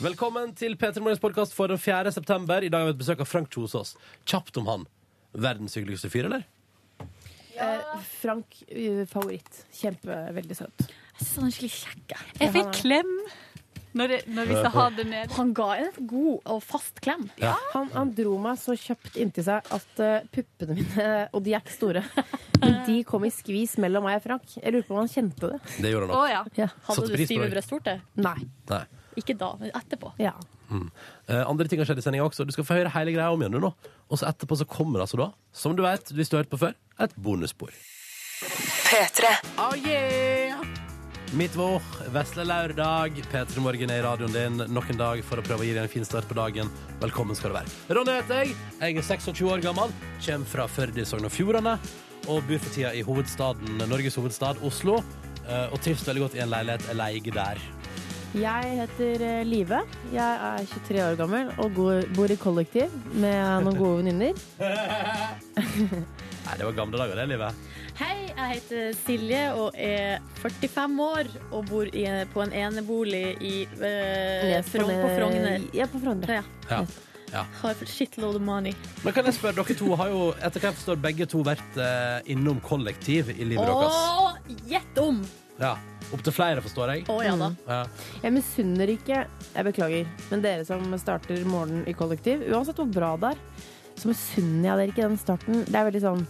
Velkommen til P3 Morgens podkast for den 4. september. I dag har vi et besøk av Frank Kjosås. Kjapt om han. Verdens hyggeligste fyr, eller? Eh, Frank, eh, favoritt. Kjempeveldig søt. Så Sånn han er skikkelig kjekk. jeg. Ja, Jeg han fikk er. klem når, det, når vi sa ha det ned. Han ga en god og fast klem. Han, han dro meg så kjapt inntil seg at eh, puppene mine Og de er ikke store. Men de kom i skvis mellom meg og Frank. Jeg lurer på om han kjente det. Det gjorde han Å nok. ja. Satte Hadde du pris på stive det. brystvorter? Nei. Nei. Ikke da, men etterpå. Ja. Eh, andre ting har skjedd i sendinga også. Du skal få høre hele greia om igjen du, nå. Og så etterpå så kommer altså da, som du vet, hvis du har hørt på før, et bonusspor. Oh yeah! Midtvår, vesle lørdag. P3 Morgen er i radioen din nok en dag for å prøve å gi deg en fin start på dagen. Velkommen skal du være. Ronny heter jeg. Jeg er 26 år gammel. Kjem fra Førde i Sogn og Fjordane. Og bor for tida i hovedstaden, Norges hovedstad, Oslo. Eh, Og trives veldig godt i en leilighet jeg leier der. Jeg heter eh, Live. Jeg er 23 år gammel og går, bor i kollektiv med noen gode venninner. Nei, det var gamle dager, det livet. Hei, jeg heter Silje og er 45 år og bor i, på en enebolig i eh, Frogn på Frogner. Ja, på Frogner. Ja. Ja. Har shitload of money. Men kan jeg spørre, dere to har jo etter hva jeg forstår begge to vært eh, innom kollektiv i livet deres. Åh, gjett om! Ja. Opptil flere, forstår jeg. Å ja da. Ja. Jeg misunner ikke, jeg beklager, men dere som starter morgenen i kollektiv, uansett hvor bra det er, så misunner jeg dere ikke den starten. Det er veldig sånn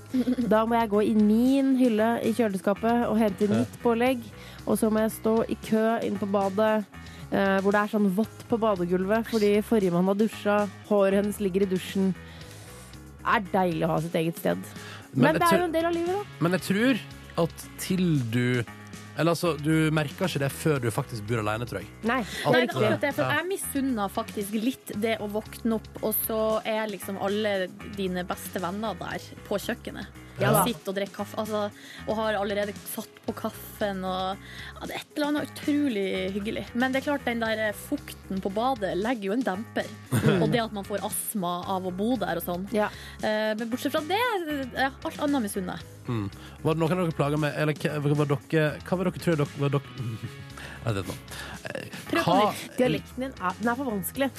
Da må jeg gå i min hylle i kjøleskapet og hente Ja. mitt pålegg, og så må jeg stå i kø inn på badet. eh, hvor det er sånn vått på badegulvet fordi forrige mann har dusja, håret hennes ligger i dusjen. Det er deilig å ha sitt eget sted. Men, Men, det er jo jeg en del av livet, da. tror, men jeg tror at til du Eller altså, du merker ikke det før du faktisk bor alene, tror jeg. Nei, Nei, det det er er akkurat riktig. det, for Ja. jeg misunner faktisk litt det å våkne opp, og så er liksom alle dine beste venner der på kjøkkenet. Ja da. og sitter og drikker kaffe, altså, og har allerede satt på kaffen. Og, ja, det er et eller annet utrolig hyggelig. Men det er klart, den der fukten på badet legger jo en demper. Og det at man får astma av å bo der og sånn. Ja. Eh, Men bortsett fra det, eh, ja, alt annet misunner jeg. Var det noen av dere plaga med Eller hva- hva var dere Hva var dere tror dere var dere Jeg vet ikke. Eh, Prøv på hva- Dialekten din er, den er for vanskelig.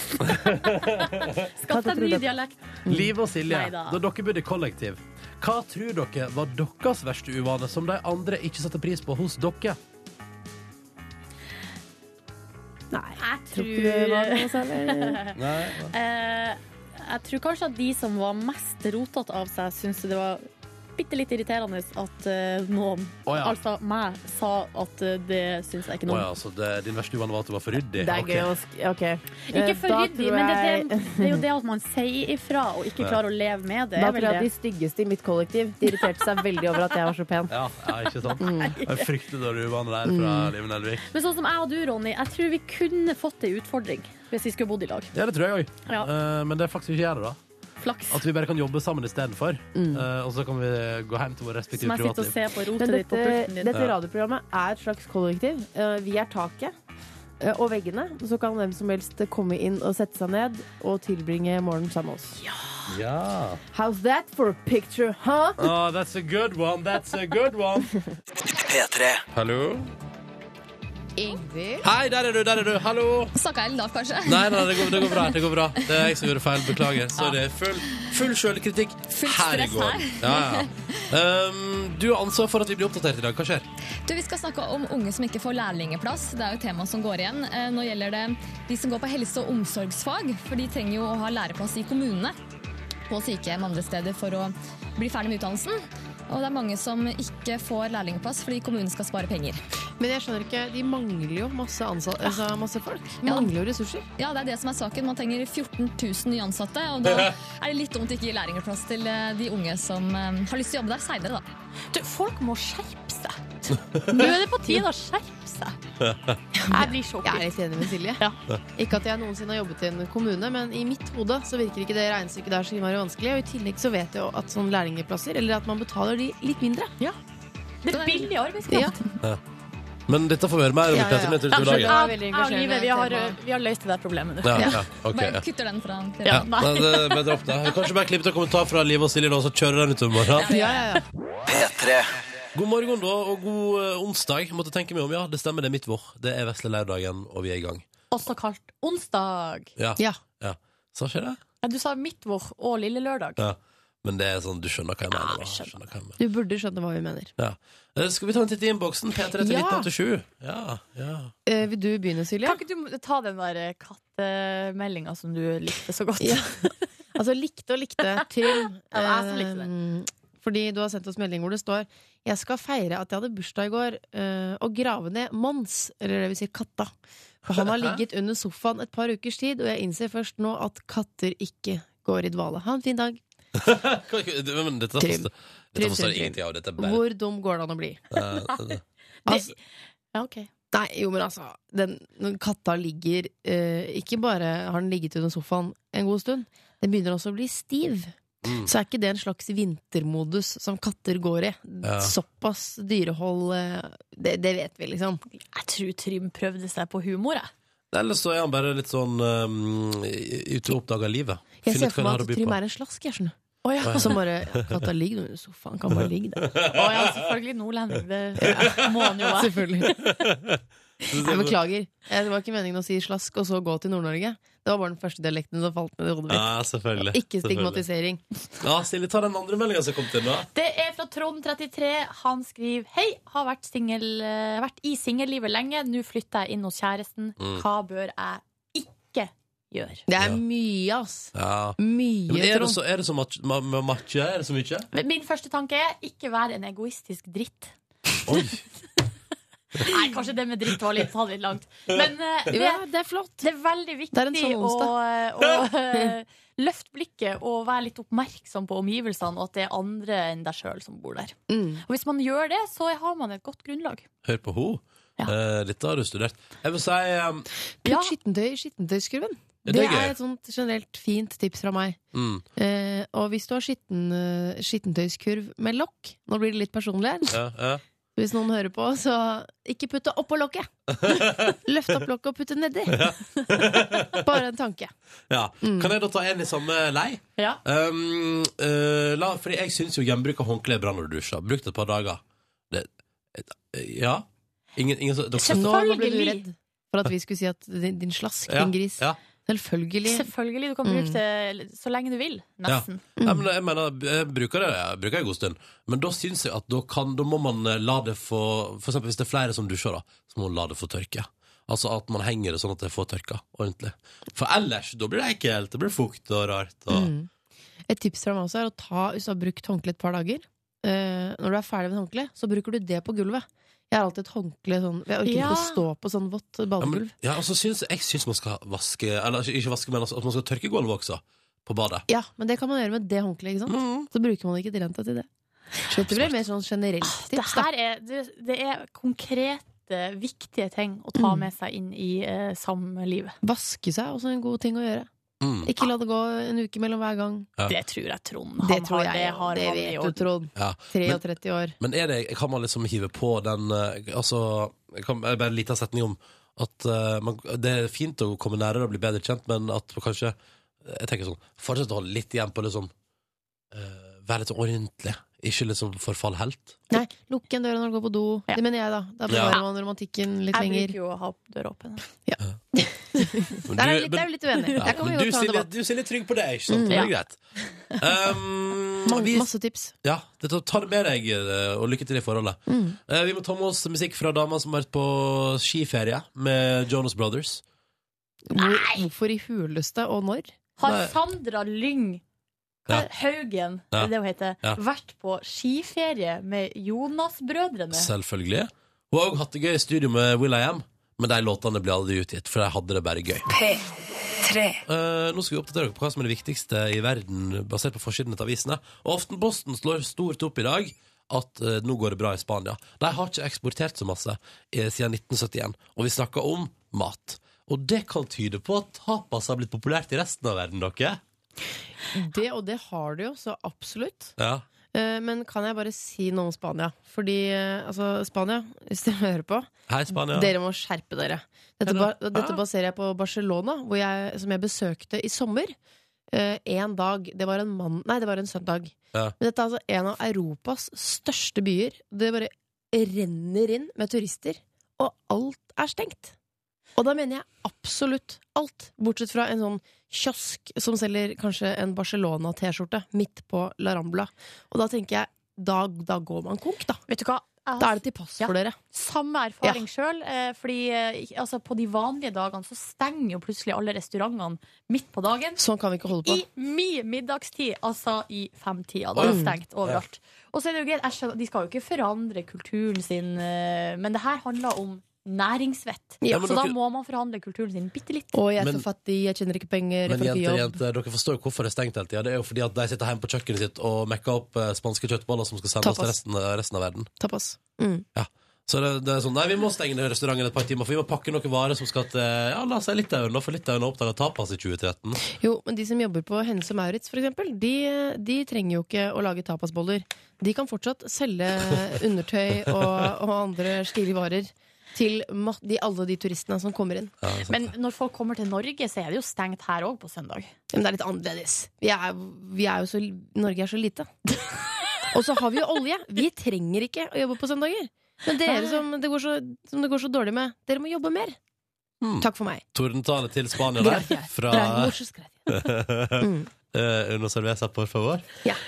Skaff deg en ny trodde- dialekt. Liv og Silje, Neida. da dere bodde i kollektiv, hva tror dere var deres verste uvane som de andre ikke satte pris på hos dere? Nei. Jeg Tror ikke det var tror noe særlig. Nei, Eh, jeg tror kanskje at de som var mest rotete av seg, syntes det var bitte litt irriterende at eh, noen, Å ja. altså meg, sa at eh, det syns jeg Å ikke noe ja, om. så det, din verste uvane var at du var for ryddig? Det er Ok. gøy å sk... OK. Ikke for ryddig, men det er, det, det det er jo det at man sier ifra og ikke klarer å leve med det. Da er vel tror jeg at de det. styggeste i mitt kollektiv De irriterte seg veldig over at jeg var så pen. Ja, ja, ikke sant? Det er Fryktelig dårlig uvane der fra Live Nelvik. Men sånn som jeg og du, Ronny, jeg tror vi kunne fått ei utfordring hvis vi skulle bodd i lag. Ja, det tror jeg òg. Ja. Eh, men det er faktisk ikke jeg, det, da. Flaks. At vi bare kan jobbe sammen istedenfor. Eh, og så kan vi gå hjem til våre Som respektive jeg sitter og privatliv. ser på rotet Men ditt på dette, pulten din. dette radioprogrammet er et slags kollektiv. Eh, Vi er taket eh, og veggene. Så kan hvem som helst komme inn og sette seg ned og tilbringe morgenen sammen med oss. Ja. How's that for a picture, huh? Oh, that's a good one, that's a good one. Hallo? Ingvild. Hei, der er du, der er du. Hallo. Snakka jeg lavt, kanskje? Nei, nei, det går, det går bra. Det går bra Det er jeg som gjorde feil. Beklager. Sorry. Full, full sjølkritikk Fullt her i stress går. Ja, ja. Um, du har ansvar for at vi blir oppdatert i dag. Hva skjer? Du, Vi skal snakke om unge som ikke får lærlingeplass. Det er jo et tema som går igjen. Eh, Nå gjelder det de som går på helse- og omsorgsfag, for de trenger jo å ha læreplass i kommunene. På sykehjem andre steder for å bli ferdig med utdannelsen. Og det er mange som ikke får lærlingplass fordi kommunen skal spare penger. Men jeg skjønner ikke, de mangler jo masse, ansat, altså masse folk. Ja. Mangler jo ressurser. Ja, det er det som er saken. Man trenger 14 000 nye ansatte. Og da er det litt dumt å ikke gi lærlingplass til eh, de unge som eh, har lyst til å jobbe der seinere, da. Du, folk må skjerpe seg. Nå er det på tide å skjerpe seg. Jeg blir Jeg er sjokkert. litt enig med Silje. Ja. Ikke at jeg noensinne har jobbet i en kommune, men i mitt hode så virker ikke det regnestykket der så innmari vanskelig. Og i tillegg så vet jeg jo at sånn sånne lærlingeplasser, eller at man betaler de litt mindre. Det er billig arbeidskraft. Ja. Men dette får vi høre mer om. i Ja, ja, ja. Petter, men til utover Kanskje dagen. det var veldig Jeg og Live, engasjerende vi har, tema. vi har løst det der problemet nå. Ja, ja, ok, Bare ja. kutter den fra Ja, Ja, nei. nei. det er bedre opp det. Kanskje bare klipp til kommentar fra Liv og Silje, da, og så kjører den utover morgenen. Ja, ja, ja. God morgen, da, og god eh, onsdag. Måtte tenke meg om, ja. Det stemmer, det er mitt vår. Det er vesle lørdagen, og vi er i gang. også kalt onsdag. Ja. Ja. Sa ikke jeg det? Ja, Du sa midtvår og lille lørdag. Ja. Men det er sånn, du skjønner hva jeg mener. da. skjønner. Skjønner hva jeg mener. Du burde skjønne hva vi mener. Eh, Skal vi ta en titt i innboksen? P3 til Ja. 1987. Ja, ja. Eh, vil du begynne, Silje? Kan ikke du ta den der kattemeldinga som du likte så godt? Ja. Altså likte og likte. Trym. Ja, det er jeg som likte det. Eh, Fordi du har sendt oss melding hvor det står Jeg skal feire at jeg hadde bursdag i går eh, og grave ned Mons, eller det vil si katta. For han har ligget under sofaen et par ukers tid, og jeg innser først nå at katter ikke går i dvale. Ha en fin dag. Kan ikke- du- Men dette Trym. forstår, dette Trym, forstår trym, trym. ingenting av. Dette er bare Hvor dum går det an å bli? Eh, det- Altså, Ja, ok. nei, jo, men altså den, den katta ligger eh, Ikke bare har den ligget under sofaen en god stund, den begynner også å bli stiv. mm. så er ikke det en slags vintermodus som katter går i. Ja. Såpass dyrehold, eh, det, det vet vi, liksom. Jeg tror Trym prøvde seg på humor, jeg. Ellers så er han bare litt sånn um, ute og oppdager livet. Jeg Finner ser ut hva for han meg har å at by Trym på. er en slask, jeg skjønner. Å ja. Og så bare Katta ligger under sofaen, kan bare ligge der. Å ja, selvfølgelig nordlending. Det må han jo være. Selvfølgelig. Jeg beklager. Eh, Det var ikke meningen å si slask og så gå til Nord-Norge. Det var bare den første dialekten som falt ned i hodet mitt. Ja, selvfølgelig. Ikke stigmatisering. selvfølgelig. Ja, Silje, ta den andre meldinga som kom til nå. Det er fra Trond33. Han skriver Hei, har vært, singel- eh, vært i singellivet lenge. Nå flytter jeg inn hos kjæresten. Mm. Hva bør jeg ikke gjøre? Det Ja. er mye, ass. Ja. Ja, Men Mye, er det Trond. så, er det så match, ma, ma, matche? Er det så mye? Men Min første tanke er ikke vær en egoistisk dritt. Oi. Nei, kanskje det med dritt var litt, ta det litt langt. Men eh, det, Ja, det er flott. det er veldig Det er en viktig sånn å, onsdag. å eh, løfte blikket og være litt oppmerksom på omgivelsene, og at det er andre enn deg sjøl som bor der. Mm. Og hvis man gjør det, så har man et godt grunnlag. Hør på henne. Eh, Ja. dette har du studert. Jeg vil si um, Putt Ja. skittentøy i skittentøyskurven. Ja, det det er gøy. er et sånt generelt fint tips fra meg. mm, Eh, og hvis du har skitten, eh, skittentøyskurv med lokk Nå blir det litt personlig her. ja, ja. Hvis noen hører på, så ikke putt det oppå lokket! Løft opp lokket og putt det nedi. Bare en tanke. Ja. Kan jeg da ta en i samme lei? Ja. Um, eh, la, fordi jeg syns jo gjenbruk av håndkle er bra når du dusjer. Brukt et par dager. Det, ja. Ingen, ingen, som- dere, Nå, nå ble du Selvfølgelig. redd for at vi skulle si at din, din slask, ja, din gris. Ja. Selvfølgelig. Selvfølgelig. Du kan Mm. bruke det så lenge du vil. Nesten. Nei, men jeg mener, jeg bruker det jeg bruker det en god stund, men da syns jeg at da, kan, da må man eh, la det få For eksempel hvis det er flere som dusjer, da, så må man la det få tørke. Altså at man henger det sånn at det får tørka ordentlig. For ellers, da blir det ekkelt. Det blir fukt og rart. Og... Mm. Et tips fra meg også er å ta Hvis du har brukt håndkle et par dager eh, Når du er ferdig med håndkle, så bruker du det på gulvet. Jeg har alltid et håndkle sånn Jeg orker Ja. ikke å stå på sånn vått Ja, men, badegulv. ja, og så syns jeg syns man skal vaske Eller ikke- ikke vaske, men altså, at man skal tørke gulvet også. På badet. Ja, men det kan man gjøre med det håndkleet, ikke sant? Mm. Så bruker man ikke direnta til det. Så dette blir mer sånn generelt Ah, Det tips, da. her er, det, det er konkrete, viktige ting å ta Mm. med seg inn i eh, samlivet. Vaske seg er også en god ting å gjøre. Mm. Ikke la det gå en uke mellom hver gang. Det tror jeg Trond Det han tror har- jeg, det har det han i vet du, orden. Trond. Ja. 33 år. Men er det, kan man liksom hive på den eh, Altså, jeg kan jeg bare en liten setning om at eh, man, det er fint å komme nærere og bli bedre kjent, men at man kanskje Jeg tenker sånn, fortsett å holde litt igjen på liksom eh, Være litt sånn ordentlig. Ikke liksom forfall helt. Nei, lukke en dør når du går på do. Ja. Det mener jeg, da. Da Ja. bevarer man romantikken litt Jeg lenger. bruker jo å ha døra åpen. Men Der er du- vi litt, men- der er vi litt uenige. ja, Der kan vi men jo du, ta en Silje, debatt. du Silje er trygg på det, ikke sant? Mm. Det er greit. Um, Ma- vi, Mm, Masse tips. ja, det, tar- ta det med deg, eh, og lykke til i forholdet. Eh, vi må ta med oss musikk fra dama som har vært på skiferie med Jonas Brothers. Hvor, hvorfor i huleste og når? Har Nei. Sandra Lyng hva, Ja. Haugen, Ja. er det hun heter, Ja. vært på skiferie med Jonas-brødrene? Selvfølgelig. Hun har òg hatt det gøy i studio med Will I Am, men de låtene ble aldri utgitt, for de hadde det bare gøy. Eh, nå skal vi oppdatere dere på hva som er det viktigste i verden, basert på forsiden av avisene. Og Aftenposten slår stort opp i dag at eh, nå går det bra i Spania. De har ikke eksportert så masse eh, siden 1971, og vi snakker om mat. Og det kan tyde på at tapas har blitt populært i resten av verden, dere. Det og det har du jo, så absolutt. Ja. Eh, Men kan jeg bare si noe om Spania? Fordi, eh, altså, Spania, hvis dere hører på Hei, Spania. Dere må skjerpe dere. Dette, ba dette baserer jeg på Barcelona, hvor jeg, som jeg besøkte i sommer. Én dag. Det var en mann Nei, det var en søndag. Ja. Men dette er altså en av Europas største byer. Det bare renner inn med turister, og alt er stengt. Og da mener jeg absolutt alt, bortsett fra en sånn kiosk som selger kanskje en Barcelona-T-skjorte midt på La Rambla. Og da tenker jeg, da, da går man konk, da. Vet du hva? Jeg Da har er det til pass Ja. for dere. samme erfaring selv sjøl. Fordi eh, ikke- altså, på de vanlige dagene så stenger jo plutselig alle restaurantene midt på dagen. Sånn kan vi ikke holde på. I min middagstid, altså i femtida. Da er det stengt overalt. Og så er det jo greit, jeg skjønner, De skal jo ikke forandre kulturen sin, eh, men det her handler om næringsvett. Ja, men så da dere- må man forhandle kulturen sin bitte litt. Å, jeg er Men- så fattig, jeg tjener ikke penger, jeg Men får ikke jenter, jobb. jenter, dere forstår jo hvorfor det er stengt hele tida. Det er jo fordi at de sitter hjemme på kjøkkenet sitt og mekker opp eh, spanske kjøttboller som skal sendes til Tapas. resten, resten av verden. Tapas. Mm. Så det, det er sånn, nei, vi må stenge ned restauranten et par timer, for vi må pakke noen varer som skal til ja, la oss si Litauen, da, for Litauen har oppdaga tapas i 2013. Jo, men de som jobber på Hennes og Maurits, for eksempel, de, de trenger jo ikke å lage tapasboller. De kan fortsatt selge undertøy og, og andre slike varer til ma- de, alle de turistene som kommer inn. Ja, sant. Men når folk kommer til Norge, så er det jo stengt her òg på søndag. Men det er litt annerledes. Vi er, vi er jo så, Norge er så lite. Og så har vi jo olje. Vi trenger ikke å jobbe på søndager. Men dere som det går så, som det går så dårlig med, dere må jobbe mer. Hmm. Takk for meg. Tordentale til Spania der, fra eh, Una cerveza, por favor.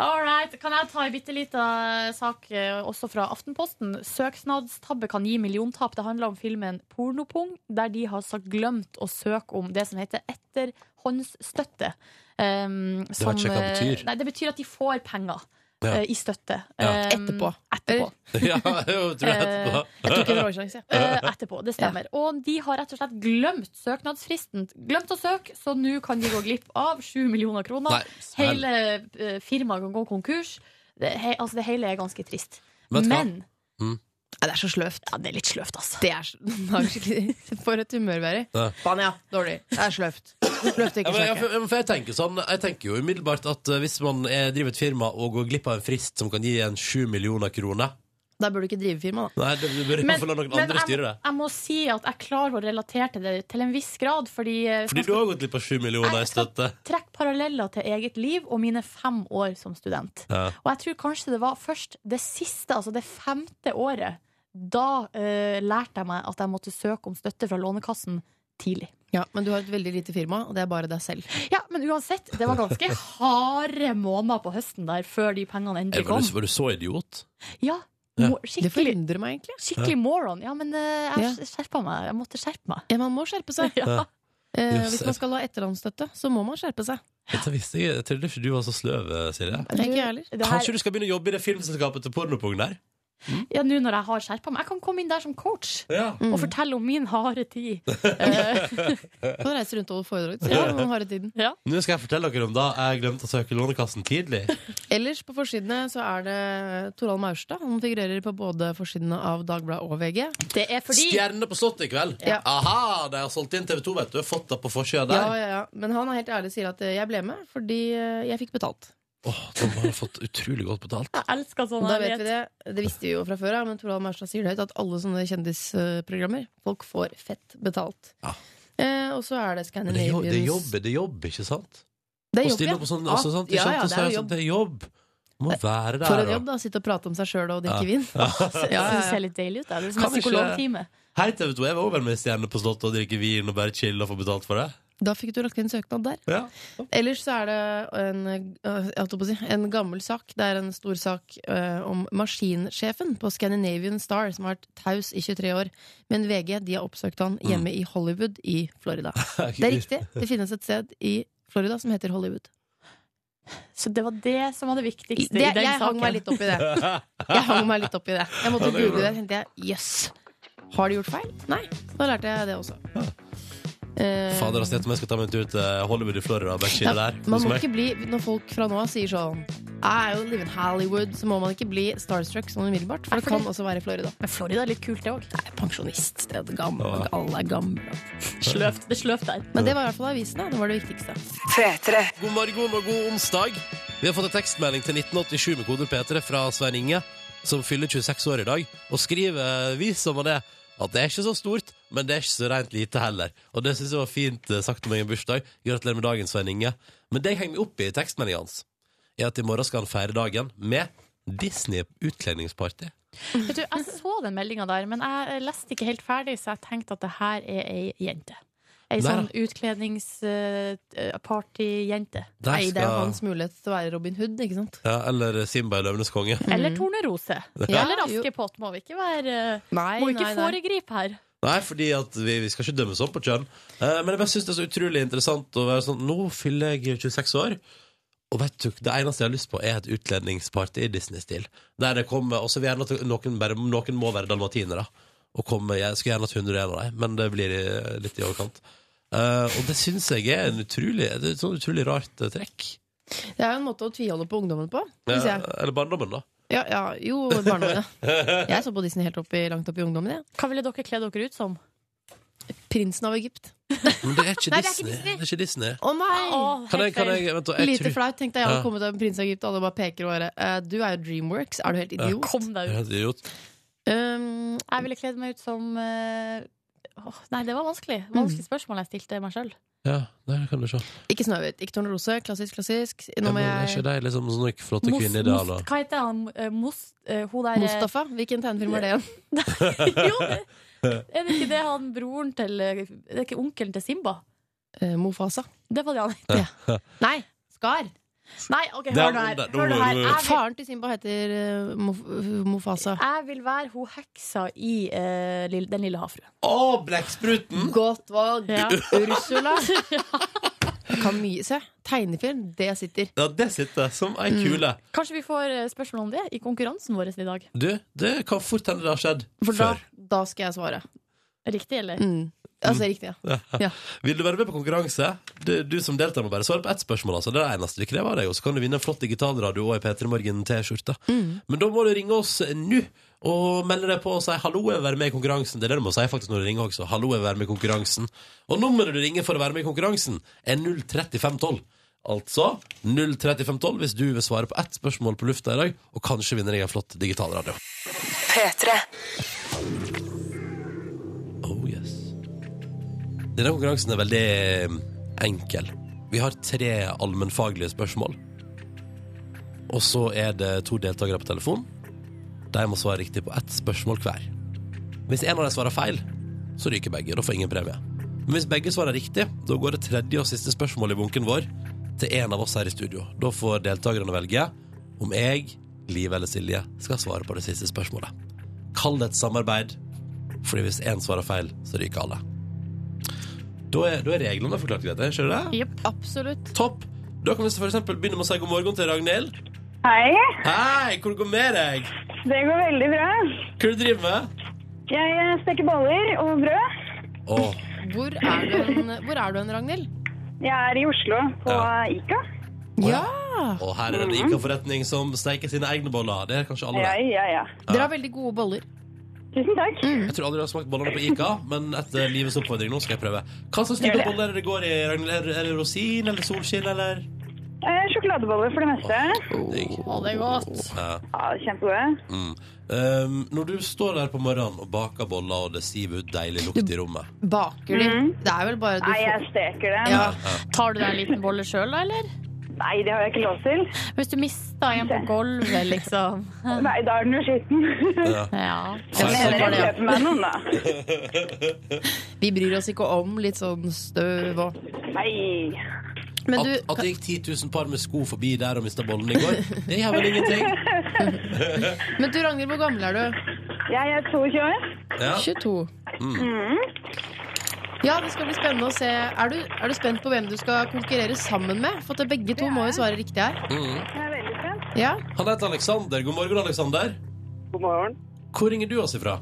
All right. Kan jeg ta en bitte liten sak eh, også fra Aftenposten? Søknadstabbe kan gi milliontap. Det handler om filmen Pornopung, der de har så glemt å søke om det som heter etterhåndsstøtte. Um, det ikke hva det betyr. Nei, det betyr at de får penger Ja. eh, i støtte. Ja. Um, Etterpå. etterpå. ja, jo, tror jeg etterpå. Jeg tok en råsjanse. jeg. Eh, etterpå, det stemmer. Og de har rett og slett glemt søknadsfristen. Glemt å søke, så nå kan de gå glipp av 7 millioner kroner. Nei, smell. Hele eh, firmaet kan gå konkurs. Det, he, altså, det hele er ganske trist. Vet du hva? Men Nei, Det er så sløvt. ja, det er litt sløvt, altså. Det er s- det er skikkelig For et humør vi er i. Ja. Faen, ja. Dårlig. Det er sløvt. Sløvt å Ja, ikke men, jeg, snakke. for jeg, tenker sånn, jeg tenker jo umiddelbart at eh, hvis man eh, driver et firma og går glipp av en frist som kan gi en sju millioner kroner Da burde du ikke drive firma, da. Nei, det det bør i hvert fall la noen andre jeg, styre det. jeg må si at jeg klarer å relatere til det til en viss grad, fordi, eh, Fordi man du skal har gått glipp av sju millioner Nei, i støtte. trekke paralleller til eget liv og mine fem år som student. Ja. Og jeg tror kanskje det var først det siste, altså det femte året, da eh, lærte jeg meg at jeg måtte søke om støtte fra Lånekassen tidlig. Ja, men du har et veldig lite firma, og det er bare deg selv. Ja, Men uansett, det var ganske harde måneder på høsten der før de pengene endelig Jeg var, kom. du, var du så idiot? Ja, Ja. mo Det skikkelig, forundrer meg egentlig. skikkelig moron. Ja, men eh, jeg skjerpa meg. Jeg måtte skjerpe meg. Ja, man må skjerpe seg. Ja. Eh, Yes. hvis man skal ha etterlandsstøtte, så må man skjerpe seg. Dette visste jeg. jeg trodde ikke du var så sløv, eh, Silje. Det er ikke jeg heller. Det her- Kanskje du skal begynne å jobbe i det filmselskapet til Pornopung der? Ja, nå når jeg har skjerpa meg. Jeg kan komme inn der som coach Ja. og Mm. fortelle om min harde tid. Du kan reise rundt og holde foredrag. så man har det tiden. Nå skal jeg fortelle dere om da jeg glemte å søke Lånekassen tidlig. Ellers på forsidene så er det Toralv Maurstad. Han figurerer på både forsidene av Dagbladet og VG. Det er fordi Stjerne på Slottet i kveld! Ja. Aha, de har solgt inn TV 2, vet du. Fått det på forsida Ja, der. ja, ja. Men han er helt ærlig og sier at eh, jeg ble med fordi eh, jeg fikk betalt. Åh, de har fått utrolig godt betalt. jeg elsker sånn Da vet ærlighet. vi det. Det visste vi jo fra før, ja, men Toralv Maurstad sier det høyt at alle sånne kjendisprogrammer Folk får fett betalt. Ja. Eh, og så er det Men det er jo- Scandinavians det er jobb, det er jobb, ikke sant? Det er Å jobb, stille ja. Ah, opp på sånn, også, sant? Ja, ja, Og så er det er jeg jo sånn, det er jobb. Må være der. For en og- jobb, da. Sitte og prate om seg sjøl og drikke vin. Det Ja, ja, synes ja. jeg er litt deilig ut. da. Det er som Kan en vi ikke- psykologtime. Hei, TV 2. Jeg var over med Stjerne på Slottet og drikke vin og bare chille og få betalt for det. Da fikk du lagt inn søknad der. Ja. Ellers så er det en, eh, jeg holdt på å si, en gammel sak. Det er en stor sak eh, om maskinsjefen på Scandinavian Star, som har vært taus i 23 år. Men VG de har oppsøkt han Mm. hjemme i Hollywood i Florida. Det er riktig. Det finnes et sted i Florida som heter Hollywood. Så det var det som var det Det, viktigste i den jeg hang saken. meg litt opp i det. Jeg hang meg litt opp i det. Jeg måtte google det, tenkte jeg. Jøss. Har de gjort feil? Nei. Da lærte jeg det også. Eh, Fader, ass, jeg tror jeg skal ta meg en tur til Hollywood i Florida og bare chille der. Man Hos må meg. ikke bli, Når folk fra nå av sier sånn I live in Hollywood, så må man ikke bli starstruck sånn umiddelbart. For det kan også være i Florida. Men Florida er litt kult, det òg. Nei, pensjonist. Det er gammel, alle er gamle. Sløvt. Det er sløvt der. Men det var i hvert fall avisene. Det var det viktigste. God morgen og god onsdag. Vi har fått en tekstmelding til 1987 med koder P3 fra Svein Inge, som fyller 26 år i dag, og skriver, vis som han er, at det er ikke så stort, men det er ikke så rent lite heller. Og det synes jeg var fint eh, sagt om egen bursdag. Gratulerer med dagen, Svein Inge. Men det jeg henger meg opp i i tekstmeldingen hans, er at i morgen skal han feire dagen med Disney-utkledningsparty. Mm. Vet du, jeg så den meldinga der, men jeg eh, leste ikke helt ferdig, så jeg tenkte at det her er ei jente. Ei Nei da. sånn utkledningspartyjente. Der Nei, det er jo skal- hans mulighet til å være Robin Hood, ikke sant? ja, eller Simba i Løvenes konge. Eller tornerose. Ja, Eller jo. askepott. Må vi ikke være eh, Nei, Må ikke nei, nei. foregripe her. Nei, fordi at vi, vi skal ikke dømmes opp på kjønn. Eh, men jeg bare synes det er så utrolig interessant å være sånn Nå fyller jeg 26 år, og vet du, det eneste jeg har lyst på, er et utkledningsparty i Disney-stil. Der det kommer Og så vil jeg gjerne at noen, bare, noen må være dalmatinere. Og komme, jeg skulle gjerne hatt 101 av dem, men det blir i- litt i overkant. Eh, og det syns jeg er en utrolig, det er et sånn utrolig rart eh, trekk. Det er jo en måte å tviholde på ungdommen på, syns Eh, jeg. eller barndommen, da. Ja, ja, jo, barndommen, ja. Jeg så på Disney helt opp i, langt opp i ungdommen, jeg. Hva ville dere kledd dere ut som? Prinsen av Egypt. Men det er ikke, Nei, det er ikke Disney. Disney. Det er ikke Disney. Å nei! Å, Kan jeg, helt kan feil. jeg, vent, da, jeg Lite tror- flaut. Tenkte jeg jeg hadde Ja. kommet av en prins av Egypt, og alle bare peker og bare eh, Du er jo Dreamworks, er du helt idiot? Kom deg ut. Ja, det er idiot. Um, Jeg ville kledd meg ut som eh, åh, Nei, det var vanskelig. Vanskelig spørsmål jeg stilte meg sjøl. Ja, der kan du se. ikke Snøhvit, ikke Tornerose. Klassisk, klassisk. Ja, Nå må men er ikke jeg de liksom sånne flotte kvinneidealer? Hva heter han? Eh, Mos, eh, hun der eh, Mustafa? Hvilken tegnefilm er det igjen? jo, det- er det ikke det han broren til eh, Det er ikke onkelen til Simba? Eh, Mofasa. Det var det han het. Nei, Skar. Nei, OK, Det er hør nå han her. der. Nå Hør nå må her. du- Jeg vil, Faren til Simba heter eh, Mof Mofasa. jeg vil være hun heksa i eh, Lill- Den lille havfruen. Å, blekkspruten! Mm. Godt valg. Ja. Ursula. Jeg kan mye. Se, tegnefilm, det sitter. Ja, det sitter som ei kule. Kanskje vi får eh, spørsmål om det i konkurransen vår i dag. Du, det kan fort hende det har skjedd For da, før. da skal jeg svare. Riktig, eller? Mm. Altså riktig, ja. Vil du være med på konkurranse? Du, du som deltar må bare svare på ett spørsmål. Altså. Det er det eneste vi krever av deg. Og så kan du vinne en flott digitalradio og ei P3 Morgen-T-skjorte. Men da må du ringe oss nå og melde deg på og si 'hallo, jeg vil være med i konkurransen'. Det er det du må si faktisk når du ringer også. 'Hallo, jeg vil være med i konkurransen'. Og nummeret du ringer for å være med i konkurransen, er 03512. Altså 03512 hvis du vil svare på ett spørsmål på lufta i dag, og kanskje vinner deg en flott digitalradio. Oh yes. Denne konkurransen er veldig eh, enkel. Vi har tre allmennfaglige spørsmål. Og så er det to deltakere på telefon. De må svare riktig på ett spørsmål hver. Hvis en av dem svarer feil, så ryker begge. Da får ingen premie. Men hvis begge svarer riktig, da går det tredje og siste spørsmålet i bunken vår til en av oss her i studio. Da får deltakerne velge om jeg, Liv eller Silje, skal svare på det siste spørsmålet. Kall det et samarbeid. Fordi hvis én svarer feil, så ryker alle. Da er, da er reglene forklart greit. Skjønner du det? Absolutt. Topp! Da kan vi for eksempel begynne med å si god morgen til Ragnhild. Hei, Hei, hvordan går det med deg? det går veldig bra. Hva er det du driver med? Jeg eh, steker boller og brød. Åh, Hvor er du hen, hvor er du hen Ragnhild? Jeg er i Oslo på Ja. Ica. Ja. og her er det en ICA-forretning som steiker sine egne boller. Det er kanskje alle Ja, det. ja, ja. Dere har veldig gode boller. Tusen takk. Jeg tror aldri jeg har smakt bollene på ICA, men etter livets oppfordring nå skal jeg prøve. Hva slags Gjør type det. boller er det det går i, Ragnhild? Er, er det rosin eller solskinn eller Eh, Sjokoladeboller for det meste. Digg. det er godt. Ja. Ja, Kjempegode. Mm. Um, når du står der på morgenen og baker boller, og det siver ut deilig lukt i rommet Baker de? Det er vel bare du Mm. Nei, får jeg steker det. Ja. Tar du deg en liten bolle sjøl, da, eller? Nei, det har jeg ikke lov til. Hvis du mister en på gulvet, liksom. Nei, da er den jo skitten. ja. Ja. Men så var heller jeg det, ja. kjøper meg noen, da. Vi bryr oss ikke om litt sånn støv og Nei. Men At, du, at det gikk 10 000 par med sko forbi der og mista bollen i går, det gjør vel ingenting? men du Ragnhild, hvor gammel er du? Jeg er 22 år. Ja. Mm. 22. Ja, det skal bli spennende å se. Er du, er du spent på hvem du skal konkurrere sammen med? For at begge to må jo svare riktig her. Mm. Jeg er veldig spent. Ja, Han heter Aleksander. God morgen, Aleksander. God morgen. Hvor ringer du oss ifra?